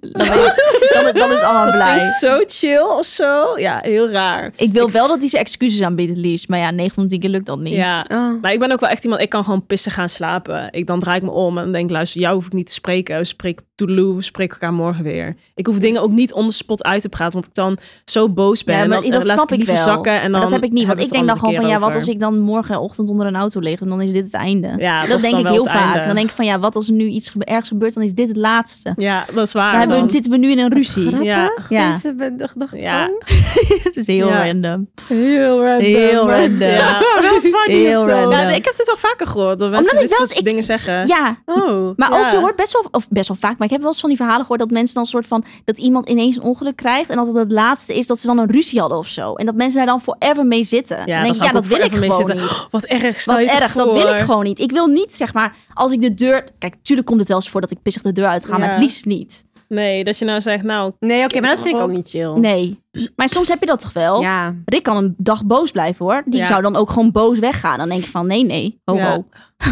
[SPEAKER 5] Dan, dan is allemaal blij.
[SPEAKER 4] Zo chill of zo. Ja, heel raar.
[SPEAKER 5] Ik wil wel dat hij zijn excuses aanbiedt, Lies. Maar ja, 9 van 10 keer lukt dat niet.
[SPEAKER 4] Ja,
[SPEAKER 3] Oh.
[SPEAKER 4] Maar ik ben ook wel echt iemand, ik kan gewoon pissen gaan slapen. Ik, dan draai ik me om en denk, luister, jou hoef ik niet te spreken. We spreken toedeloe, we spreken elkaar morgen weer. Ik hoef dingen ook niet on the spot uit te praten, want ik dan zo boos ben.
[SPEAKER 5] Ja,
[SPEAKER 4] en
[SPEAKER 5] maar
[SPEAKER 4] dan, eh,
[SPEAKER 5] dat
[SPEAKER 4] laat
[SPEAKER 5] snap
[SPEAKER 4] ik
[SPEAKER 5] ik
[SPEAKER 4] liever
[SPEAKER 5] wel.
[SPEAKER 4] zakken. En dan
[SPEAKER 5] Maar dat heb ik niet. Want
[SPEAKER 4] hebben
[SPEAKER 5] ik
[SPEAKER 4] we het
[SPEAKER 5] denk dan
[SPEAKER 4] een
[SPEAKER 5] gewoon van,
[SPEAKER 4] andere
[SPEAKER 5] ja, wat
[SPEAKER 4] keer
[SPEAKER 5] als ik dan morgenochtend onder een auto lig? En dan is dit het einde.
[SPEAKER 4] Ja, dat
[SPEAKER 5] dat
[SPEAKER 4] is
[SPEAKER 5] denk
[SPEAKER 4] dan
[SPEAKER 5] ik
[SPEAKER 4] wel
[SPEAKER 5] heel
[SPEAKER 4] het
[SPEAKER 5] vaak.
[SPEAKER 4] einde.
[SPEAKER 5] Dan denk ik van, ja, wat als er nu iets gebe- ergs gebeurt? Dan is dit het laatste.
[SPEAKER 4] over. Ja, dat is waar.
[SPEAKER 5] dan hebben we,
[SPEAKER 4] dan.
[SPEAKER 5] zitten we nu in een ruzie.
[SPEAKER 4] Ja,
[SPEAKER 5] Ja. <laughs>
[SPEAKER 3] Deze ben- de gedachte
[SPEAKER 4] Ja.
[SPEAKER 3] van.
[SPEAKER 5] Dat is heel
[SPEAKER 4] Ja.
[SPEAKER 5] random.
[SPEAKER 4] heel random.
[SPEAKER 5] Heel random.
[SPEAKER 4] Ja. <laughs>
[SPEAKER 5] Heel random.
[SPEAKER 4] Nou, ik heb dit al vaker gehoord, dat mensen
[SPEAKER 5] Omdat ik
[SPEAKER 4] dit
[SPEAKER 5] wel
[SPEAKER 4] soort
[SPEAKER 5] eens... ik-
[SPEAKER 4] dingen zeggen.
[SPEAKER 5] Ja,
[SPEAKER 3] Oh.
[SPEAKER 5] Maar
[SPEAKER 4] Ja.
[SPEAKER 5] ook, je hoort best wel, of best wel vaak, maar ik heb wel eens van die verhalen gehoord dat mensen dan soort van, dat iemand ineens een ongeluk krijgt en dat het het laatste is dat ze dan een ruzie hadden of zo. En dat mensen daar dan forever mee zitten. dan denk ik,
[SPEAKER 4] zou
[SPEAKER 5] ja,
[SPEAKER 4] ik
[SPEAKER 5] dat
[SPEAKER 4] ook
[SPEAKER 5] wil ik
[SPEAKER 4] forever mee
[SPEAKER 5] gewoon
[SPEAKER 4] zitten.
[SPEAKER 5] niet.
[SPEAKER 4] Oh, Wat erg, stel
[SPEAKER 5] Wat
[SPEAKER 4] je toch
[SPEAKER 5] erg, dat wil
[SPEAKER 4] voor.
[SPEAKER 5] ik gewoon niet. Ik wil niet, zeg maar, als ik de deur... Kijk, tuurlijk komt het wel eens voor dat ik pissig de deur uitga, maar
[SPEAKER 4] Ja.
[SPEAKER 5] het liefst niet.
[SPEAKER 4] Nee, dat je nou zegt,
[SPEAKER 5] <laughs>
[SPEAKER 4] nou,
[SPEAKER 3] Nee, oké, maar dat vind ik ook niet chill.
[SPEAKER 5] Nee. Maar soms heb je dat toch wel?
[SPEAKER 3] Oh. Ja.
[SPEAKER 5] Rick kan een dag boos blijven, hoor. Die
[SPEAKER 4] Ja.
[SPEAKER 5] zou dan ook gewoon boos weggaan. Dan denk ik van, nee, nee. Ho,
[SPEAKER 4] Ja.
[SPEAKER 5] ho.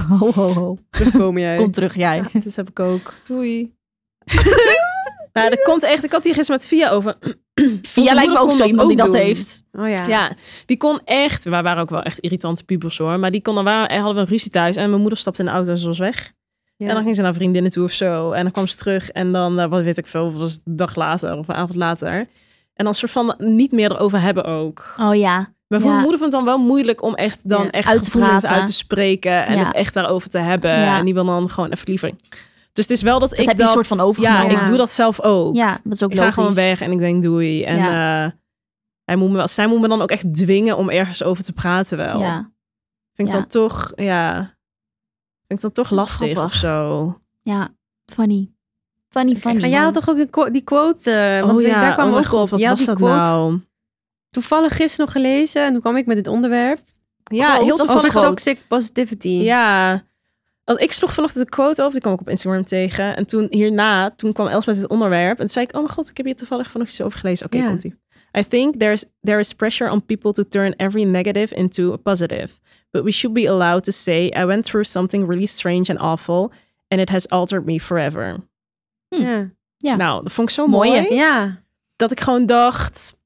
[SPEAKER 5] <laughs> ho, ho, ho.
[SPEAKER 3] Terugkom jij.
[SPEAKER 5] Kom terug, jij.
[SPEAKER 4] Ja, dit heb ik ook.
[SPEAKER 5] <laughs>
[SPEAKER 4] Doei. nou, dat komt echt. Ik had hier gisteren met Via over. <clears throat>
[SPEAKER 5] Via lijkt me ook
[SPEAKER 4] kon
[SPEAKER 5] zo
[SPEAKER 4] dat
[SPEAKER 5] iemand die
[SPEAKER 4] ook
[SPEAKER 5] dat
[SPEAKER 4] doen.
[SPEAKER 5] heeft.
[SPEAKER 3] Oh ja.
[SPEAKER 4] Ja, die kon echt. We waren ook wel echt irritante pubers hoor. Maar die kon dan waren, hadden we een ruzie thuis. En mijn moeder stapte in de auto en ze was weg.
[SPEAKER 3] Ja.
[SPEAKER 4] En dan ging ze naar vriendinnen toe of zo. En dan kwam ze terug. En dan, eh, wat weet ik veel, was het een dag later of een avond later. En dan soort van niet meer erover hebben ook.
[SPEAKER 5] Oh ja.
[SPEAKER 4] Maar
[SPEAKER 5] Ja.
[SPEAKER 4] mijn moeder vond het dan wel moeilijk om echt dan
[SPEAKER 3] Ja,
[SPEAKER 4] echt
[SPEAKER 5] uit te
[SPEAKER 4] gevoelens
[SPEAKER 5] praten.
[SPEAKER 4] uit te spreken. En
[SPEAKER 5] Ja.
[SPEAKER 4] het echt daarover te hebben.
[SPEAKER 5] Ja.
[SPEAKER 4] En die wil dan gewoon even liever. Dus het is wel dat, ik
[SPEAKER 5] heb je
[SPEAKER 4] dat...
[SPEAKER 5] een soort van
[SPEAKER 4] Ja,
[SPEAKER 5] overgenomen.
[SPEAKER 4] ik doe dat zelf ook.
[SPEAKER 5] Ja, dat is ook
[SPEAKER 4] ik ga
[SPEAKER 5] logisch.
[SPEAKER 4] gewoon weg en ik denk doei. En eh, hij moet me wel, zij moet me dan ook echt dwingen om ergens over te praten wel.
[SPEAKER 5] Ja.
[SPEAKER 4] Vind ik
[SPEAKER 5] ja.
[SPEAKER 4] dan toch, ja... Vind ik dan toch lastig
[SPEAKER 5] Grappig.
[SPEAKER 4] of zo.
[SPEAKER 5] Ja, funny. Funny, funny.
[SPEAKER 3] Maar jij had toch ook een quo- die quote, eh, want
[SPEAKER 4] oh
[SPEAKER 3] we-
[SPEAKER 4] ja,
[SPEAKER 3] daar kwam
[SPEAKER 4] oh mijn
[SPEAKER 3] ook op.
[SPEAKER 4] god, wat
[SPEAKER 3] Jij had
[SPEAKER 4] was
[SPEAKER 3] die
[SPEAKER 4] dat
[SPEAKER 3] quote
[SPEAKER 4] nou?
[SPEAKER 3] toevallig gisteren nog gelezen en toen kwam ik met dit onderwerp.
[SPEAKER 4] Ja,
[SPEAKER 5] Quote
[SPEAKER 4] heel
[SPEAKER 5] of
[SPEAKER 4] toevallig
[SPEAKER 3] Over
[SPEAKER 5] quote?
[SPEAKER 4] ook.
[SPEAKER 3] toxic positivity.
[SPEAKER 4] Oh. Ja. Want ik sloeg vanochtend de quote op, die kwam ik op Instagram tegen. En toen hierna, toen kwam Els met het onderwerp. En toen zei ik, oh mijn god, ik heb hier toevallig vanochtend iets over gelezen. Oké,
[SPEAKER 3] Ja.
[SPEAKER 4] komt ie. I think there is, there is pressure on people to turn every negative into a positive. But we should be allowed to say, I went through something really strange and awful. And it has altered me forever.
[SPEAKER 3] Ja.
[SPEAKER 5] Ja.
[SPEAKER 4] Nou, dat vond ik zo
[SPEAKER 5] Mooi,
[SPEAKER 4] mooi
[SPEAKER 5] hè?
[SPEAKER 3] Hm. Ja.
[SPEAKER 4] dat ik gewoon dacht.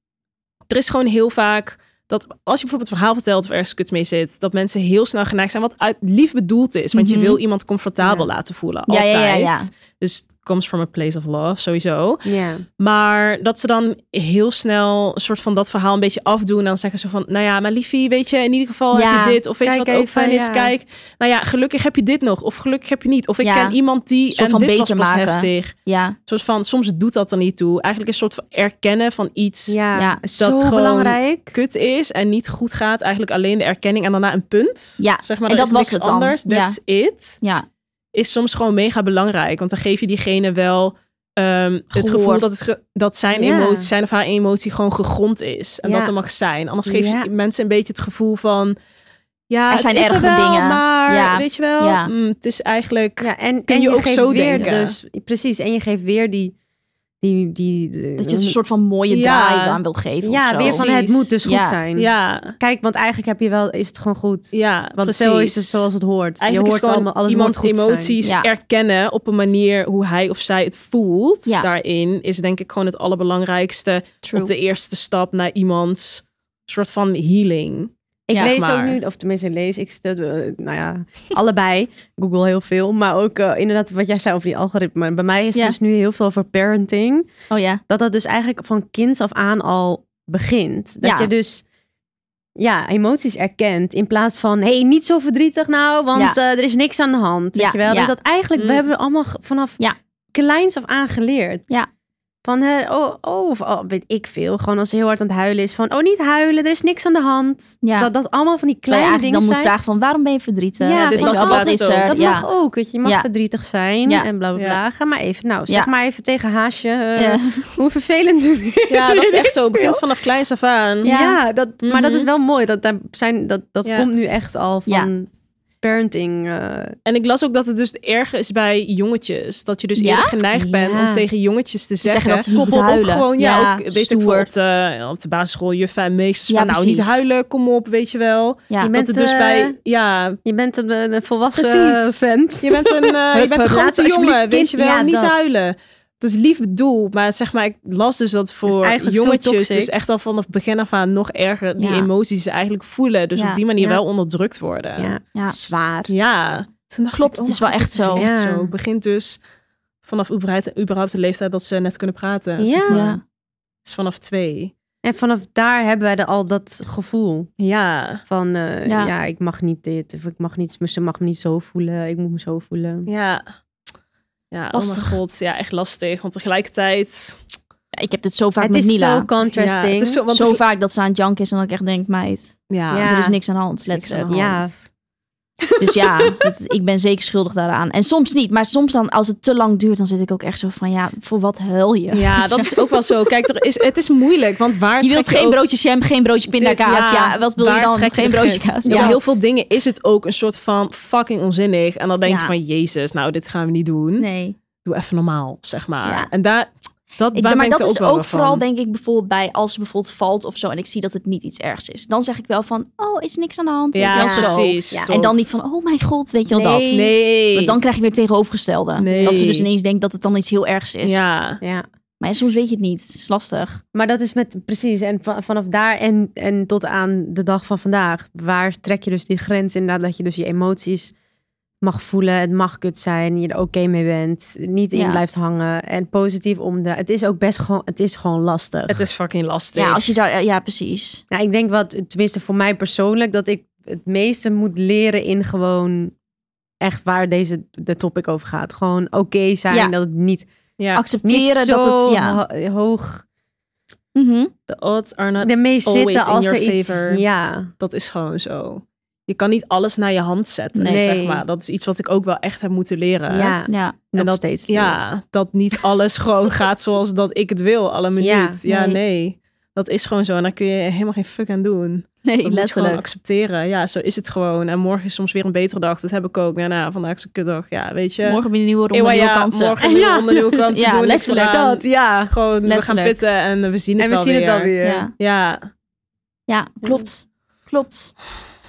[SPEAKER 4] Er is gewoon heel vaak dat als je bijvoorbeeld een verhaal vertelt of ergens kut mee zit, dat mensen heel snel geneigd zijn, wat uit lief bedoeld is. Want
[SPEAKER 5] Mhm.
[SPEAKER 4] je wil iemand comfortabel laten voelen.
[SPEAKER 5] Ja, ja,
[SPEAKER 4] Altijd.
[SPEAKER 5] ja, ja.
[SPEAKER 4] Dus it comes from a place of love, sowieso.
[SPEAKER 3] Ja.
[SPEAKER 4] Maar dat ze dan heel snel een soort van dat verhaal een beetje afdoen. En dan zeggen ze van, nou ja, maar liefie, weet je, in ieder geval
[SPEAKER 5] Ja,
[SPEAKER 4] heb je dit. Of weet je
[SPEAKER 3] kijk
[SPEAKER 4] wat ook
[SPEAKER 3] even,
[SPEAKER 4] fijn is?
[SPEAKER 3] ja.
[SPEAKER 4] Kijk, nou ja, gelukkig heb je dit nog. Of gelukkig heb je niet. Of ik
[SPEAKER 5] Ja.
[SPEAKER 4] ken iemand die,
[SPEAKER 5] Soort
[SPEAKER 4] en
[SPEAKER 5] van
[SPEAKER 4] dit was
[SPEAKER 5] beter
[SPEAKER 4] pas
[SPEAKER 5] maken.
[SPEAKER 4] heftig.
[SPEAKER 5] Ja,
[SPEAKER 4] Een soort van, soms doet dat er niet toe. Eigenlijk een soort van erkennen van iets
[SPEAKER 3] Ja.
[SPEAKER 5] Ja,
[SPEAKER 3] Zo
[SPEAKER 4] dat gewoon-
[SPEAKER 3] belangrijk.
[SPEAKER 4] kut is en niet goed gaat. Eigenlijk alleen de erkenning en daarna een punt.
[SPEAKER 5] Ja,
[SPEAKER 4] zeg maar,
[SPEAKER 5] en
[SPEAKER 4] er
[SPEAKER 5] dat
[SPEAKER 4] is
[SPEAKER 5] was
[SPEAKER 4] niks
[SPEAKER 5] het dan.
[SPEAKER 4] anders.
[SPEAKER 5] Ja.
[SPEAKER 4] That's it.
[SPEAKER 5] ja.
[SPEAKER 4] Is soms gewoon mega belangrijk. Want dan geef je diegene wel ehm, het
[SPEAKER 5] Gehoor.
[SPEAKER 4] gevoel dat, het ge- dat zijn,
[SPEAKER 3] Ja.
[SPEAKER 4] emotie, zijn of haar emotie gewoon gegrond is. En
[SPEAKER 3] Ja.
[SPEAKER 4] dat er mag zijn. Anders geef je
[SPEAKER 3] Ja.
[SPEAKER 4] mensen een beetje het gevoel van... Ja,
[SPEAKER 5] Er
[SPEAKER 4] het
[SPEAKER 5] zijn
[SPEAKER 4] is
[SPEAKER 5] ergere
[SPEAKER 4] wel,
[SPEAKER 5] dingen.
[SPEAKER 4] Maar
[SPEAKER 5] Ja.
[SPEAKER 4] weet je wel,
[SPEAKER 5] Ja.
[SPEAKER 4] mm, het is eigenlijk...
[SPEAKER 3] Ja, en,
[SPEAKER 4] kun
[SPEAKER 3] en
[SPEAKER 4] je ook
[SPEAKER 3] geeft
[SPEAKER 4] zo
[SPEAKER 3] weer
[SPEAKER 4] denken.
[SPEAKER 3] Dus, precies, en je geeft weer die... die, die eh,
[SPEAKER 5] Dat je het een soort van mooie
[SPEAKER 4] Ja.
[SPEAKER 5] draai aan wil geven. of
[SPEAKER 3] Ja,
[SPEAKER 5] zo.
[SPEAKER 3] weer van het
[SPEAKER 4] Precies.
[SPEAKER 3] moet dus goed
[SPEAKER 5] Ja.
[SPEAKER 3] zijn.
[SPEAKER 4] Ja,
[SPEAKER 3] Kijk, want eigenlijk heb je wel, is het gewoon goed.
[SPEAKER 4] ja,
[SPEAKER 3] Want
[SPEAKER 4] precies.
[SPEAKER 3] zo is het zoals het hoort.
[SPEAKER 4] Eigenlijk
[SPEAKER 3] je
[SPEAKER 4] is
[SPEAKER 3] hoort
[SPEAKER 4] gewoon
[SPEAKER 3] allemaal, alles
[SPEAKER 4] iemands
[SPEAKER 3] moet goed zijn.
[SPEAKER 4] emoties
[SPEAKER 5] Ja.
[SPEAKER 4] erkennen op een manier hoe hij of zij het voelt.
[SPEAKER 5] Ja.
[SPEAKER 4] Daarin is denk ik gewoon het allerbelangrijkste.
[SPEAKER 5] True.
[SPEAKER 4] Op de eerste stap naar iemands soort van healing.
[SPEAKER 3] Ik
[SPEAKER 5] Ja,
[SPEAKER 3] lees
[SPEAKER 5] maar.
[SPEAKER 3] ook nu, of tenminste lees, ik stel, eh, nou ja, <laughs> allebei. Google heel veel, maar ook eh, inderdaad wat jij zei over die algoritme. Bij mij is het
[SPEAKER 5] Ja.
[SPEAKER 3] dus nu heel veel over parenting.
[SPEAKER 5] Oh ja.
[SPEAKER 3] dat dat dus eigenlijk van kinds af aan al begint. Dat
[SPEAKER 5] Ja.
[SPEAKER 3] je dus ja, emoties erkent in plaats van hé, hey, niet zo verdrietig nou, want eh, er is niks aan de hand. Weet
[SPEAKER 5] Ja,
[SPEAKER 3] je wel?
[SPEAKER 5] ja.
[SPEAKER 3] Dat, dat eigenlijk, we
[SPEAKER 4] Mm.
[SPEAKER 3] hebben allemaal g- vanaf
[SPEAKER 5] Ja.
[SPEAKER 3] kleins af aan geleerd.
[SPEAKER 5] Ja.
[SPEAKER 3] Van, hè, oh, oh, of oh, weet ik veel. Gewoon als ze heel hard aan het huilen is. Van, oh, niet huilen, er is niks aan de hand.
[SPEAKER 5] Ja.
[SPEAKER 3] Dat dat allemaal van die
[SPEAKER 5] Terwijl je
[SPEAKER 3] kleine
[SPEAKER 5] eigenlijk
[SPEAKER 3] dingen
[SPEAKER 5] dan moet
[SPEAKER 3] zijn.
[SPEAKER 5] vragen van waarom ben je verdrietig?
[SPEAKER 3] Ja,
[SPEAKER 5] Weet
[SPEAKER 3] dit
[SPEAKER 5] je
[SPEAKER 3] was
[SPEAKER 5] wel,
[SPEAKER 3] het
[SPEAKER 5] wat is
[SPEAKER 4] laatst ook.
[SPEAKER 5] er?
[SPEAKER 3] Dat
[SPEAKER 5] ja.
[SPEAKER 3] mag ook, weet je. Je mag
[SPEAKER 5] Ja.
[SPEAKER 3] verdrietig zijn
[SPEAKER 5] Ja.
[SPEAKER 3] en bla, bla, bla.
[SPEAKER 4] Ja.
[SPEAKER 3] Ga maar even, nou, zeg
[SPEAKER 5] Ja.
[SPEAKER 3] maar even tegen Haasje. eh,
[SPEAKER 5] Ja.
[SPEAKER 3] Hoe vervelend nu
[SPEAKER 5] <laughs>
[SPEAKER 4] Ja, <laughs> dat is echt zo. Het begint vanaf kleins af aan.
[SPEAKER 3] Ja, Mhm.
[SPEAKER 5] Ja.
[SPEAKER 3] dat, maar dat is wel mooi. Dat, daar zijn, dat, dat
[SPEAKER 4] Ja.
[SPEAKER 3] komt nu echt al van parenting. eh,
[SPEAKER 4] En ik las ook dat het dus erg is bij jongetjes. Dat je dus
[SPEAKER 5] Ja?
[SPEAKER 4] eerder geneigd bent
[SPEAKER 3] Ja.
[SPEAKER 4] om tegen jongetjes te
[SPEAKER 5] Ze zeggen
[SPEAKER 4] zeggen...
[SPEAKER 5] dat ze niet
[SPEAKER 4] kom
[SPEAKER 5] moeten
[SPEAKER 4] op,
[SPEAKER 5] huilen.
[SPEAKER 4] gewoon, ja,
[SPEAKER 5] Ja,
[SPEAKER 4] ook, weet ik
[SPEAKER 5] stoer.
[SPEAKER 4] veel, op de, op de basisschool, juffen en meesters
[SPEAKER 5] Ja,
[SPEAKER 4] van... Nou, niet
[SPEAKER 5] precies.
[SPEAKER 4] huilen, kom op, weet je wel.
[SPEAKER 5] Ja.
[SPEAKER 3] Je
[SPEAKER 4] Dat
[SPEAKER 3] bent,
[SPEAKER 4] het dus
[SPEAKER 3] eh,
[SPEAKER 4] bij... Ja,
[SPEAKER 3] je bent een, een volwassen
[SPEAKER 4] Precies.
[SPEAKER 3] vent.
[SPEAKER 4] je bent een, eh, je bent een
[SPEAKER 3] laat
[SPEAKER 4] grote
[SPEAKER 3] alsjeblieft
[SPEAKER 4] jongen, weet
[SPEAKER 3] kind-
[SPEAKER 4] je wel.
[SPEAKER 3] ja,
[SPEAKER 4] niet
[SPEAKER 3] dat.
[SPEAKER 4] huilen. Dat is lief bedoeld, maar zeg maar, ik las dus dat voor
[SPEAKER 3] eigenlijk zo
[SPEAKER 4] jongetjes
[SPEAKER 3] toxic.
[SPEAKER 4] dus echt al vanaf begin af aan nog erger die
[SPEAKER 5] Ja.
[SPEAKER 4] emoties ze eigenlijk voelen. Dus
[SPEAKER 5] Ja.
[SPEAKER 4] op die manier
[SPEAKER 3] Ja.
[SPEAKER 4] wel onderdrukt worden.
[SPEAKER 3] Ja.
[SPEAKER 5] Ja.
[SPEAKER 3] Zwaar.
[SPEAKER 4] Ja. Toen dacht
[SPEAKER 5] Klopt,
[SPEAKER 4] ik, oh
[SPEAKER 5] het is
[SPEAKER 4] my
[SPEAKER 5] wel
[SPEAKER 4] god,
[SPEAKER 5] echt
[SPEAKER 4] dit is
[SPEAKER 5] zo.
[SPEAKER 4] echt
[SPEAKER 3] Ja.
[SPEAKER 4] zo. Het begint dus vanaf überhaupt, überhaupt de leeftijd dat ze net kunnen praten.
[SPEAKER 3] Ja.
[SPEAKER 4] zeg maar.
[SPEAKER 5] Ja.
[SPEAKER 4] Dus vanaf twee.
[SPEAKER 3] eh, En vanaf daar hebben wij de- al dat gevoel
[SPEAKER 4] Ja.
[SPEAKER 3] van... eh, ja.
[SPEAKER 5] Ja.
[SPEAKER 3] ik mag niet dit. Of ik mag niet, ze mag me niet zo voelen. Ik moet me zo voelen.
[SPEAKER 4] Ja. Ja,
[SPEAKER 5] Lastig.
[SPEAKER 4] oh mijn god. Ja, echt lastig. Want tegelijkertijd...
[SPEAKER 5] Ja, ik heb dit zo vaak
[SPEAKER 3] het
[SPEAKER 5] met
[SPEAKER 3] is
[SPEAKER 5] Mila.
[SPEAKER 3] zo contrasting.
[SPEAKER 4] Ja, het is zo, want
[SPEAKER 5] zo vaak dat ze aan het janken is en dat ik echt denk, meid,
[SPEAKER 4] ja,
[SPEAKER 3] Ja.
[SPEAKER 5] er is niks aan de
[SPEAKER 4] er
[SPEAKER 5] hand.
[SPEAKER 4] is niks aan
[SPEAKER 5] Letterlijk.
[SPEAKER 4] de
[SPEAKER 3] Ja.
[SPEAKER 4] hand.
[SPEAKER 5] Dus ja, dat- ik ben zeker schuldig daaraan. En soms niet, maar soms dan, als het te lang duurt, dan zit ik ook echt zo van, ja, voor wat huil je?
[SPEAKER 4] Ja, dat is ook wel zo. Kijk, er is, het is moeilijk, want waar
[SPEAKER 5] Je
[SPEAKER 4] trek
[SPEAKER 5] wilt geen
[SPEAKER 4] ook-
[SPEAKER 5] broodje jam, geen broodje pindakaas. Ja, wat wil je
[SPEAKER 4] waar
[SPEAKER 5] dan?
[SPEAKER 4] trek
[SPEAKER 5] Geen
[SPEAKER 4] de
[SPEAKER 5] broodje
[SPEAKER 4] grens?
[SPEAKER 5] kaas.
[SPEAKER 4] Ja.
[SPEAKER 5] Ja.
[SPEAKER 4] Bij heel veel dingen is het ook een soort van fucking onzinnig. En dan denk je
[SPEAKER 5] Ja.
[SPEAKER 4] van, jezus, nou, dit gaan we niet doen.
[SPEAKER 5] Nee.
[SPEAKER 4] doe even normaal, zeg maar.
[SPEAKER 5] Ja.
[SPEAKER 4] En daar, dat,
[SPEAKER 5] Ik,
[SPEAKER 4] daar
[SPEAKER 5] maar
[SPEAKER 4] ben ik
[SPEAKER 5] dat
[SPEAKER 4] er
[SPEAKER 5] is
[SPEAKER 4] wel
[SPEAKER 5] ook
[SPEAKER 4] weer van.
[SPEAKER 5] vooral, denk ik, bijvoorbeeld bij als ze bijvoorbeeld valt of zo en ik zie dat het niet iets ergs is. Dan zeg ik wel van, oh, is niks aan de hand.
[SPEAKER 4] Ja,
[SPEAKER 5] weet je wel, zo.
[SPEAKER 4] precies.
[SPEAKER 5] Ja,
[SPEAKER 4] toch.
[SPEAKER 5] en dan niet van, oh mijn god, weet je wel dat.
[SPEAKER 4] Nee.
[SPEAKER 5] Want dan krijg je weer het tegenovergestelde.
[SPEAKER 4] Nee.
[SPEAKER 5] Dat ze dus ineens denkt dat het dan iets heel ergs is.
[SPEAKER 4] Ja.
[SPEAKER 3] Ja.
[SPEAKER 5] Maar ja, soms weet je het niet. Het is lastig.
[SPEAKER 3] Maar dat is met, precies, en va- vanaf daar en, en tot aan de dag van vandaag. Waar trek je dus die grens inderdaad, dat je dus je emoties mag voelen. Het mag kut zijn, je er oké mee bent. Niet in
[SPEAKER 5] Ja.
[SPEAKER 3] blijft hangen en positief omdraaien. Het is ook best gewoon, het is gewoon lastig.
[SPEAKER 4] Het is fucking lastig.
[SPEAKER 5] Ja, als je daar, ja, precies.
[SPEAKER 3] Nou, ik denk wat, tenminste voor mij persoonlijk, dat ik het meeste moet leren in gewoon echt waar deze de topic over gaat. Gewoon oké zijn,
[SPEAKER 5] Ja.
[SPEAKER 3] dat het niet,
[SPEAKER 4] ja.
[SPEAKER 3] niet
[SPEAKER 5] Accepteren
[SPEAKER 3] zo
[SPEAKER 5] dat het, ja.
[SPEAKER 3] ho- hoog...
[SPEAKER 5] Mhm.
[SPEAKER 4] The odds are not...
[SPEAKER 3] Ermee zitten
[SPEAKER 4] in
[SPEAKER 3] als er
[SPEAKER 4] your
[SPEAKER 3] iets...
[SPEAKER 4] favor.
[SPEAKER 3] Ja.
[SPEAKER 4] Dat is gewoon zo. Je kan niet alles naar je hand zetten,
[SPEAKER 5] Nee.
[SPEAKER 4] zeg maar. Dat is iets wat ik ook wel echt heb moeten leren.
[SPEAKER 3] Ja,
[SPEAKER 5] Ja.
[SPEAKER 3] en
[SPEAKER 4] dat-
[SPEAKER 3] dat, steeds.
[SPEAKER 4] Ja, dat niet
[SPEAKER 3] <laughs>
[SPEAKER 4] alles gewoon gaat zoals dat ik het wil, alle minuut. Ja,
[SPEAKER 5] nee.
[SPEAKER 4] nee. Dat is gewoon zo. En daar kun je helemaal geen fuck aan doen.
[SPEAKER 5] Nee,
[SPEAKER 4] Dat moet je gewoon accepteren. Ja, zo is het gewoon. En morgen is soms weer een betere dag. Dat heb ik ook. Ja, nou, vandaag is een kutdag. Ja, weet je.
[SPEAKER 5] Morgen weer een nieuwe ronde,
[SPEAKER 4] Ewa,
[SPEAKER 5] nieuwe
[SPEAKER 4] ja,
[SPEAKER 5] kansen.
[SPEAKER 4] Morgen weer een ronde, nieuwe kansen.
[SPEAKER 3] <laughs>
[SPEAKER 5] Ja,
[SPEAKER 4] doen we niks
[SPEAKER 5] letterlijk
[SPEAKER 4] aan.
[SPEAKER 3] Dat, ja.
[SPEAKER 4] Gewoon, we gaan
[SPEAKER 5] Letterlijk.
[SPEAKER 4] pitten en eh, we zien het,
[SPEAKER 3] En we
[SPEAKER 4] wel,
[SPEAKER 3] zien het
[SPEAKER 4] weer.
[SPEAKER 3] wel weer.
[SPEAKER 5] Ja.
[SPEAKER 4] Ja,
[SPEAKER 5] ja, klopt. Klopt.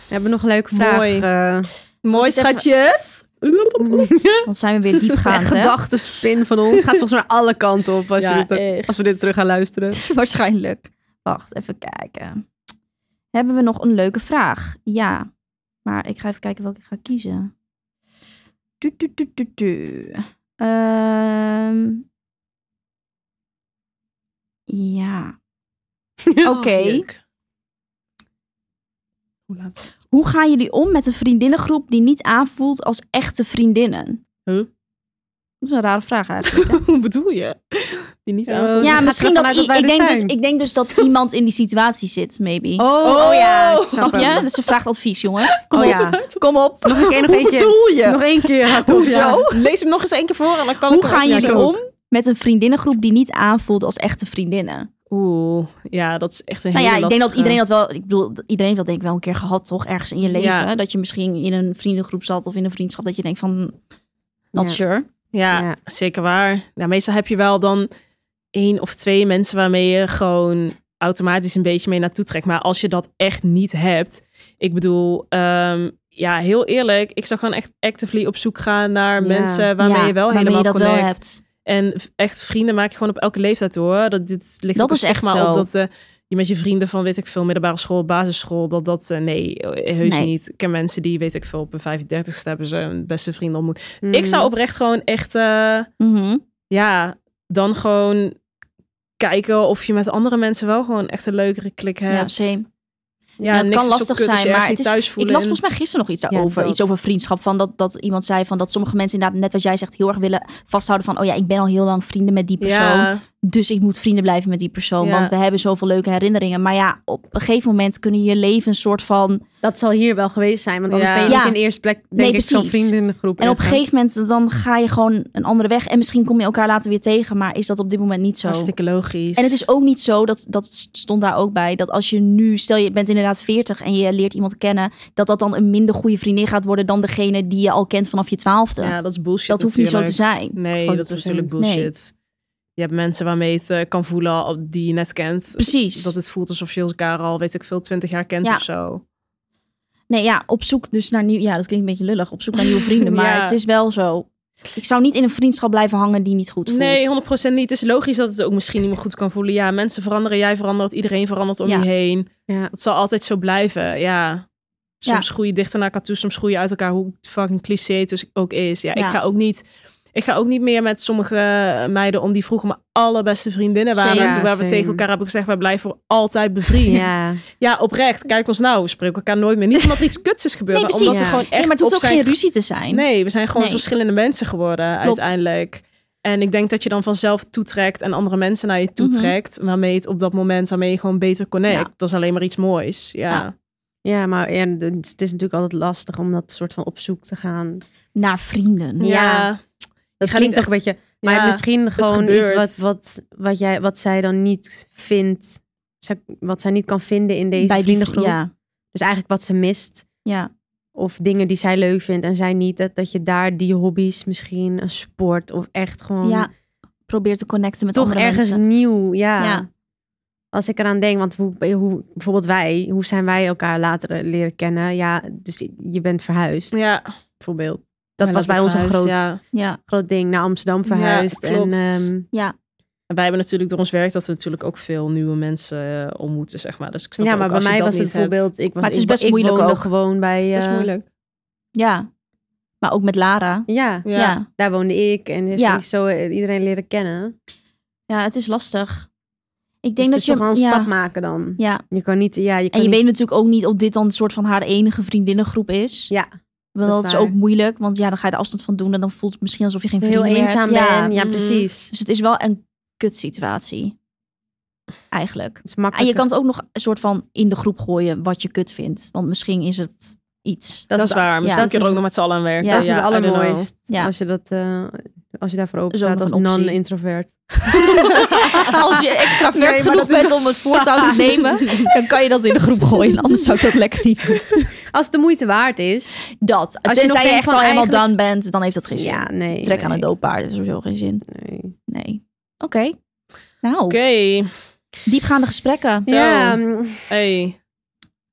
[SPEAKER 3] We hebben nog een leuke vraag.
[SPEAKER 4] Mooi.
[SPEAKER 3] eh,
[SPEAKER 4] mooi
[SPEAKER 3] <laughs>
[SPEAKER 4] schatjes.
[SPEAKER 5] Want zijn we weer <laughs> diep
[SPEAKER 3] een
[SPEAKER 5] gaan, hè?
[SPEAKER 3] gedachtenspin van ons. Gaat volgens mij alle kanten op als,
[SPEAKER 4] Ja,
[SPEAKER 3] je dit,
[SPEAKER 4] echt.
[SPEAKER 3] als we dit terug gaan luisteren.
[SPEAKER 5] Waarschijnlijk. Wacht, even kijken. Hebben we nog een leuke vraag? Ja. Maar ik ga even kijken welke ik ga kiezen. Tu, tu, tu, tu, tu. Ehm. <laughs> Ja. Oké.
[SPEAKER 4] Leuk. <laughs> Hoe laat?
[SPEAKER 5] Hoe gaan jullie om met een vriendinnengroep die niet aanvoelt als echte vriendinnen?
[SPEAKER 4] Huh?
[SPEAKER 5] Dat is een rare vraag eigenlijk.
[SPEAKER 4] Hoe bedoel je? Die niet aan.
[SPEAKER 3] we
[SPEAKER 5] ja,
[SPEAKER 3] gaan
[SPEAKER 5] misschien
[SPEAKER 3] ervan
[SPEAKER 5] dat,
[SPEAKER 3] uit
[SPEAKER 5] i-
[SPEAKER 3] wij
[SPEAKER 5] ik,
[SPEAKER 3] er
[SPEAKER 5] denk dus,
[SPEAKER 3] zijn.
[SPEAKER 5] ik denk dus dat iemand in die situatie zit, maybe.
[SPEAKER 3] Oh, oh ja. ik
[SPEAKER 5] Snap je?
[SPEAKER 3] hem.
[SPEAKER 5] Dus ze vraagt advies, jongens. Kom
[SPEAKER 3] Oh
[SPEAKER 4] <laughs>
[SPEAKER 5] op.
[SPEAKER 3] ja.
[SPEAKER 5] Kom op.
[SPEAKER 3] Nog een keer, nog één keer.
[SPEAKER 4] bedoel je?
[SPEAKER 3] Nog één keer. Ja, toch, ja.
[SPEAKER 4] Lees hem nog eens één keer voor en dan kan
[SPEAKER 5] Hoe
[SPEAKER 4] ik erop
[SPEAKER 5] gaan jullie
[SPEAKER 4] jakken.
[SPEAKER 5] om met een vriendinnengroep die niet aanvoelt als echte vriendinnen?
[SPEAKER 4] Oeh, ja, dat is echt een
[SPEAKER 5] Nou
[SPEAKER 4] hele
[SPEAKER 5] ja, ik denk dat
[SPEAKER 4] lastige.
[SPEAKER 5] iedereen dat wel... Ik bedoel, iedereen heeft dat denk ik wel een keer gehad, toch? Ergens in je leven.
[SPEAKER 4] Ja.
[SPEAKER 5] Dat je misschien in een vriendengroep zat of in een vriendschap. Dat je denkt van... Not
[SPEAKER 3] Ja.
[SPEAKER 5] sure.
[SPEAKER 4] Ja,
[SPEAKER 3] Ja.
[SPEAKER 4] zeker waar. Ja, meestal heb je wel dan één of twee mensen waarmee je gewoon automatisch een beetje mee naartoe trekt. Maar als je dat echt niet hebt, ik bedoel, ehm, ja, heel eerlijk, ik zou gewoon echt actively op zoek gaan naar
[SPEAKER 3] Ja.
[SPEAKER 4] mensen waarmee
[SPEAKER 5] Ja,
[SPEAKER 4] je wel
[SPEAKER 5] waarmee
[SPEAKER 4] helemaal
[SPEAKER 5] je dat
[SPEAKER 4] connect.
[SPEAKER 5] wel hebt.
[SPEAKER 4] En v- echt vrienden maak je gewoon op elke leeftijd hoor. Dat dit ligt
[SPEAKER 5] Dat
[SPEAKER 4] ook een
[SPEAKER 5] is echt
[SPEAKER 4] stigma op
[SPEAKER 5] zo.
[SPEAKER 4] dat eh, je met je vrienden van, weet ik veel, middelbare school, basisschool, dat dat, eh, nee, eh, heus
[SPEAKER 5] Nee.
[SPEAKER 4] niet. Ik ken mensen die, weet ik veel, op hun 35ste hebben ze hun beste vrienden ontmoet.
[SPEAKER 3] Mm.
[SPEAKER 4] Ik zou
[SPEAKER 5] Mm.
[SPEAKER 4] oprecht gewoon echt, eh,
[SPEAKER 5] Mhm.
[SPEAKER 4] ja, dan gewoon kijken of je met andere mensen wel gewoon echt een leukere klik hebt.
[SPEAKER 5] Ja, same.
[SPEAKER 4] Ja,
[SPEAKER 5] Ja, het
[SPEAKER 4] niks
[SPEAKER 5] kan
[SPEAKER 4] is zo
[SPEAKER 5] lastig
[SPEAKER 4] kut als
[SPEAKER 5] zijn,
[SPEAKER 4] je ergens
[SPEAKER 5] maar
[SPEAKER 4] niet
[SPEAKER 5] het is-
[SPEAKER 4] thuis voelen.
[SPEAKER 5] Ik las
[SPEAKER 4] en-
[SPEAKER 5] volgens mij gisteren nog iets
[SPEAKER 3] Ja,
[SPEAKER 5] daarover.
[SPEAKER 3] dat.
[SPEAKER 5] Iets over vriendschap. Van dat, dat iemand zei van dat sommige mensen inderdaad, net wat jij zegt, heel erg willen vasthouden van. Oh ja, ik ben al heel lang vrienden met die persoon.
[SPEAKER 4] ja,
[SPEAKER 5] Dus ik moet vrienden blijven met die persoon.
[SPEAKER 4] Ja.
[SPEAKER 5] Want we hebben zoveel leuke herinneringen. Maar ja, op een gegeven moment kunnen je leven een soort van.
[SPEAKER 3] Dat zal hier wel geweest zijn, want anders
[SPEAKER 4] Ja.
[SPEAKER 3] ben je
[SPEAKER 5] Ja.
[SPEAKER 3] niet in de eerste plek, denk
[SPEAKER 5] Nee,
[SPEAKER 3] ik, zo'n
[SPEAKER 5] precies.
[SPEAKER 3] vriendengroep.
[SPEAKER 5] En op een gegeven moment dan ga je gewoon een andere weg. En misschien kom je elkaar later weer tegen. Maar is dat op dit moment niet zo?
[SPEAKER 4] hartstikke logisch.
[SPEAKER 5] En het is ook niet zo, dat, dat stond daar ook bij, dat als je nu, stel je bent inderdaad 40 en je leert iemand kennen, dat dat dan een minder goede vriendin gaat worden dan degene die je al kent vanaf je twaalfde.
[SPEAKER 4] ja, dat is bullshit
[SPEAKER 5] dat hoeft niet zo te
[SPEAKER 4] natuurlijk.
[SPEAKER 5] zijn.
[SPEAKER 4] Nee,
[SPEAKER 5] Gewoon
[SPEAKER 4] dat is
[SPEAKER 5] per se.
[SPEAKER 4] natuurlijk bullshit. Je hebt mensen waarmee je het eh, kan voelen al- die je net kent.
[SPEAKER 5] Precies.
[SPEAKER 4] Dat het voelt alsof je elkaar al, weet ik veel, twintig jaar kent
[SPEAKER 5] Ja.
[SPEAKER 4] of zo.
[SPEAKER 5] Nee, ja, op zoek dus naar nieuw. Ja, dat klinkt een beetje lullig. Op zoek naar nieuwe
[SPEAKER 3] <laughs>
[SPEAKER 5] vrienden. Maar
[SPEAKER 4] Ja.
[SPEAKER 5] het is wel zo. Ik zou niet in een vriendschap blijven hangen die niet goed voelt.
[SPEAKER 4] Nee, 100% niet. Het is logisch dat het ook misschien niet meer goed kan voelen. Ja, mensen veranderen, jij verandert, iedereen verandert om
[SPEAKER 5] Ja.
[SPEAKER 4] je heen.
[SPEAKER 3] Ja.
[SPEAKER 4] Dat zal altijd zo blijven, ja. Soms groei je dichter naar elkaar toe, soms groei je uit elkaar, hoe fucking cliché het dus ook is. Ja,
[SPEAKER 5] Ja.
[SPEAKER 4] ik ga ook niet... Ik ga ook niet meer met sommige meiden om die vroeger mijn allerbeste vriendinnen waren.
[SPEAKER 5] Same.
[SPEAKER 4] En toen
[SPEAKER 3] Ja,
[SPEAKER 4] waar we tegen
[SPEAKER 3] same.
[SPEAKER 4] elkaar hebben gezegd, wij blijven voor altijd bevriend.
[SPEAKER 3] Ja.
[SPEAKER 4] Ja, oprecht. Kijk ons nou. We spreken elkaar nooit meer. Niet omdat er iets kuts is gebeurd.
[SPEAKER 5] Nee,
[SPEAKER 4] maar
[SPEAKER 5] precies.
[SPEAKER 4] omdat we
[SPEAKER 3] Ja.
[SPEAKER 4] gewoon echt
[SPEAKER 5] Nee, maar het hoeft
[SPEAKER 4] op
[SPEAKER 5] ook
[SPEAKER 4] zijn
[SPEAKER 5] geen ruzie te zijn.
[SPEAKER 4] Nee, we zijn gewoon
[SPEAKER 5] Nee.
[SPEAKER 4] verschillende mensen geworden uiteindelijk. En ik denk dat je dan vanzelf toetrekt en andere mensen naar je
[SPEAKER 3] Mhm.
[SPEAKER 4] toetrekt. Waarmee het op dat moment, waarmee je gewoon beter connect.
[SPEAKER 5] Ja.
[SPEAKER 4] Dat is alleen maar iets moois. Ja.
[SPEAKER 5] Ja.
[SPEAKER 3] Ah, ja, maar ja, het is natuurlijk altijd lastig om dat soort van op zoek te gaan.
[SPEAKER 5] Naar vrienden.
[SPEAKER 4] Ja.
[SPEAKER 3] Dat
[SPEAKER 4] gaat
[SPEAKER 3] klinkt
[SPEAKER 4] niet
[SPEAKER 3] toch een beetje... Maar
[SPEAKER 4] Ja,
[SPEAKER 3] misschien gewoon
[SPEAKER 4] gebeurt.
[SPEAKER 3] iets wat, wat, wat, jij, wat zij dan niet vindt... zij- wat zij niet kan vinden in deze
[SPEAKER 5] Bij die
[SPEAKER 3] vriendengroep.
[SPEAKER 5] vrienden. Ja.
[SPEAKER 3] Dus eigenlijk wat ze mist.
[SPEAKER 5] ja.
[SPEAKER 3] Of dingen die zij leuk vindt en zij niet. Dat, dat je daar die hobby's misschien, een sport of echt gewoon...
[SPEAKER 5] ja. Probeer te connecten met
[SPEAKER 3] toch
[SPEAKER 5] andere
[SPEAKER 3] ergens
[SPEAKER 5] mensen.
[SPEAKER 3] nieuw, ja.
[SPEAKER 5] Ja.
[SPEAKER 3] Als ik eraan denk, want hoe, hoe, bijvoorbeeld wij, hoe zijn wij elkaar later leren kennen? Ja, dus je bent verhuisd,
[SPEAKER 4] Ja.
[SPEAKER 3] bijvoorbeeld. Dat was bij ons een groot,
[SPEAKER 4] Ja.
[SPEAKER 5] Ja.
[SPEAKER 3] groot ding, naar Amsterdam verhuisd. en,
[SPEAKER 4] klopt.
[SPEAKER 3] ehm,
[SPEAKER 4] En wij hebben natuurlijk door ons werk dat we natuurlijk ook veel nieuwe mensen eh, ontmoeten, zeg maar. Dus ik snap
[SPEAKER 3] ja,
[SPEAKER 4] ook
[SPEAKER 3] maar bij
[SPEAKER 4] als je
[SPEAKER 3] mij
[SPEAKER 4] dat
[SPEAKER 3] was het
[SPEAKER 4] niet hebt.
[SPEAKER 3] bijvoorbeeld... Ik was,
[SPEAKER 5] Maar het is
[SPEAKER 3] ik-
[SPEAKER 5] best
[SPEAKER 3] ik
[SPEAKER 5] moeilijk
[SPEAKER 3] woonde
[SPEAKER 5] ook.
[SPEAKER 3] gewoon bij...
[SPEAKER 4] Het is best
[SPEAKER 3] eh,
[SPEAKER 4] moeilijk.
[SPEAKER 5] Ja. Maar ook met Lara.
[SPEAKER 3] Ja,
[SPEAKER 5] Ja.
[SPEAKER 4] Ja.
[SPEAKER 5] Ja.
[SPEAKER 3] daar woonde ik. En dus
[SPEAKER 5] Ja.
[SPEAKER 3] zo eh, iedereen leren kennen.
[SPEAKER 5] het is lastig. Ik
[SPEAKER 3] Dus
[SPEAKER 5] denk
[SPEAKER 3] het is
[SPEAKER 5] dat
[SPEAKER 3] toch wel
[SPEAKER 5] je...
[SPEAKER 3] een
[SPEAKER 5] ja.
[SPEAKER 3] stap maken dan.
[SPEAKER 5] Ja.
[SPEAKER 3] Je kan niet... Ja, je kan
[SPEAKER 5] En je
[SPEAKER 3] niet-
[SPEAKER 5] weet natuurlijk ook niet of dit dan een soort van haar enige vriendinnengroep is.
[SPEAKER 3] Ja,
[SPEAKER 5] Want
[SPEAKER 3] dat
[SPEAKER 5] dat
[SPEAKER 3] is
[SPEAKER 5] is,
[SPEAKER 3] waar.
[SPEAKER 5] ook moeilijk. Want ja, dan ga je er afstand van doen. En dan voelt het misschien alsof je geen
[SPEAKER 3] heel
[SPEAKER 5] vrienden meer hebt.
[SPEAKER 3] eenzaam
[SPEAKER 5] Ja.
[SPEAKER 3] ben. Ja,
[SPEAKER 4] mhm.
[SPEAKER 3] precies.
[SPEAKER 5] Dus het is wel een kutsituatie. Eigenlijk.
[SPEAKER 3] Het is
[SPEAKER 5] En je
[SPEAKER 3] makkelijk.
[SPEAKER 5] kan het ook nog een soort van in de groep gooien wat je kut vindt. Want misschien is het iets.
[SPEAKER 4] Dat, is waar. Misschien
[SPEAKER 5] dat
[SPEAKER 4] kun je er
[SPEAKER 3] is-
[SPEAKER 4] ook nog met z'n allen aan werken.
[SPEAKER 5] Ja,
[SPEAKER 3] dat is het
[SPEAKER 4] I don't know.
[SPEAKER 3] allermooist.
[SPEAKER 5] Ja.
[SPEAKER 3] Als, je dat, eh, als je daarvoor open
[SPEAKER 5] Is ook
[SPEAKER 3] staat
[SPEAKER 5] nog
[SPEAKER 3] als
[SPEAKER 5] een optie.
[SPEAKER 3] non-introvert.
[SPEAKER 5] <laughs> Als je extravert
[SPEAKER 3] Nee, maar
[SPEAKER 5] genoeg
[SPEAKER 3] dat is
[SPEAKER 5] bent om het voortouw te nemen, dan kan je dat in de groep gooien. Anders zou ik dat lekker niet doen.
[SPEAKER 3] Als het de moeite waard is.
[SPEAKER 5] Dat.
[SPEAKER 3] nog
[SPEAKER 5] Als Tenzij je,
[SPEAKER 3] denkt
[SPEAKER 5] echt
[SPEAKER 3] van
[SPEAKER 5] al helemaal
[SPEAKER 3] eigenlijk-
[SPEAKER 5] done bent, dan heeft dat geen zin.
[SPEAKER 3] Ja, nee.
[SPEAKER 5] Trek aan
[SPEAKER 3] nee,
[SPEAKER 5] het dooppaard is sowieso geen zin.
[SPEAKER 3] nee.
[SPEAKER 5] Nee. Oké. Nou,
[SPEAKER 4] Oké.
[SPEAKER 5] diepgaande gesprekken.
[SPEAKER 3] Ja,
[SPEAKER 4] Zo.
[SPEAKER 3] mm,
[SPEAKER 4] Hey,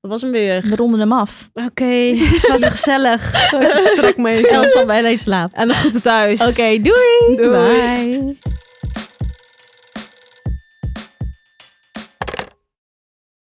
[SPEAKER 4] dat was hem weer.
[SPEAKER 5] We ronden hem af.
[SPEAKER 3] oké. <laughs> Het was
[SPEAKER 5] <laughs>
[SPEAKER 3] gezellig. Strek me even.
[SPEAKER 5] Stel van bij slaap.
[SPEAKER 4] En een groeten thuis.
[SPEAKER 5] Oké, doei.
[SPEAKER 4] Doei.
[SPEAKER 5] Bye.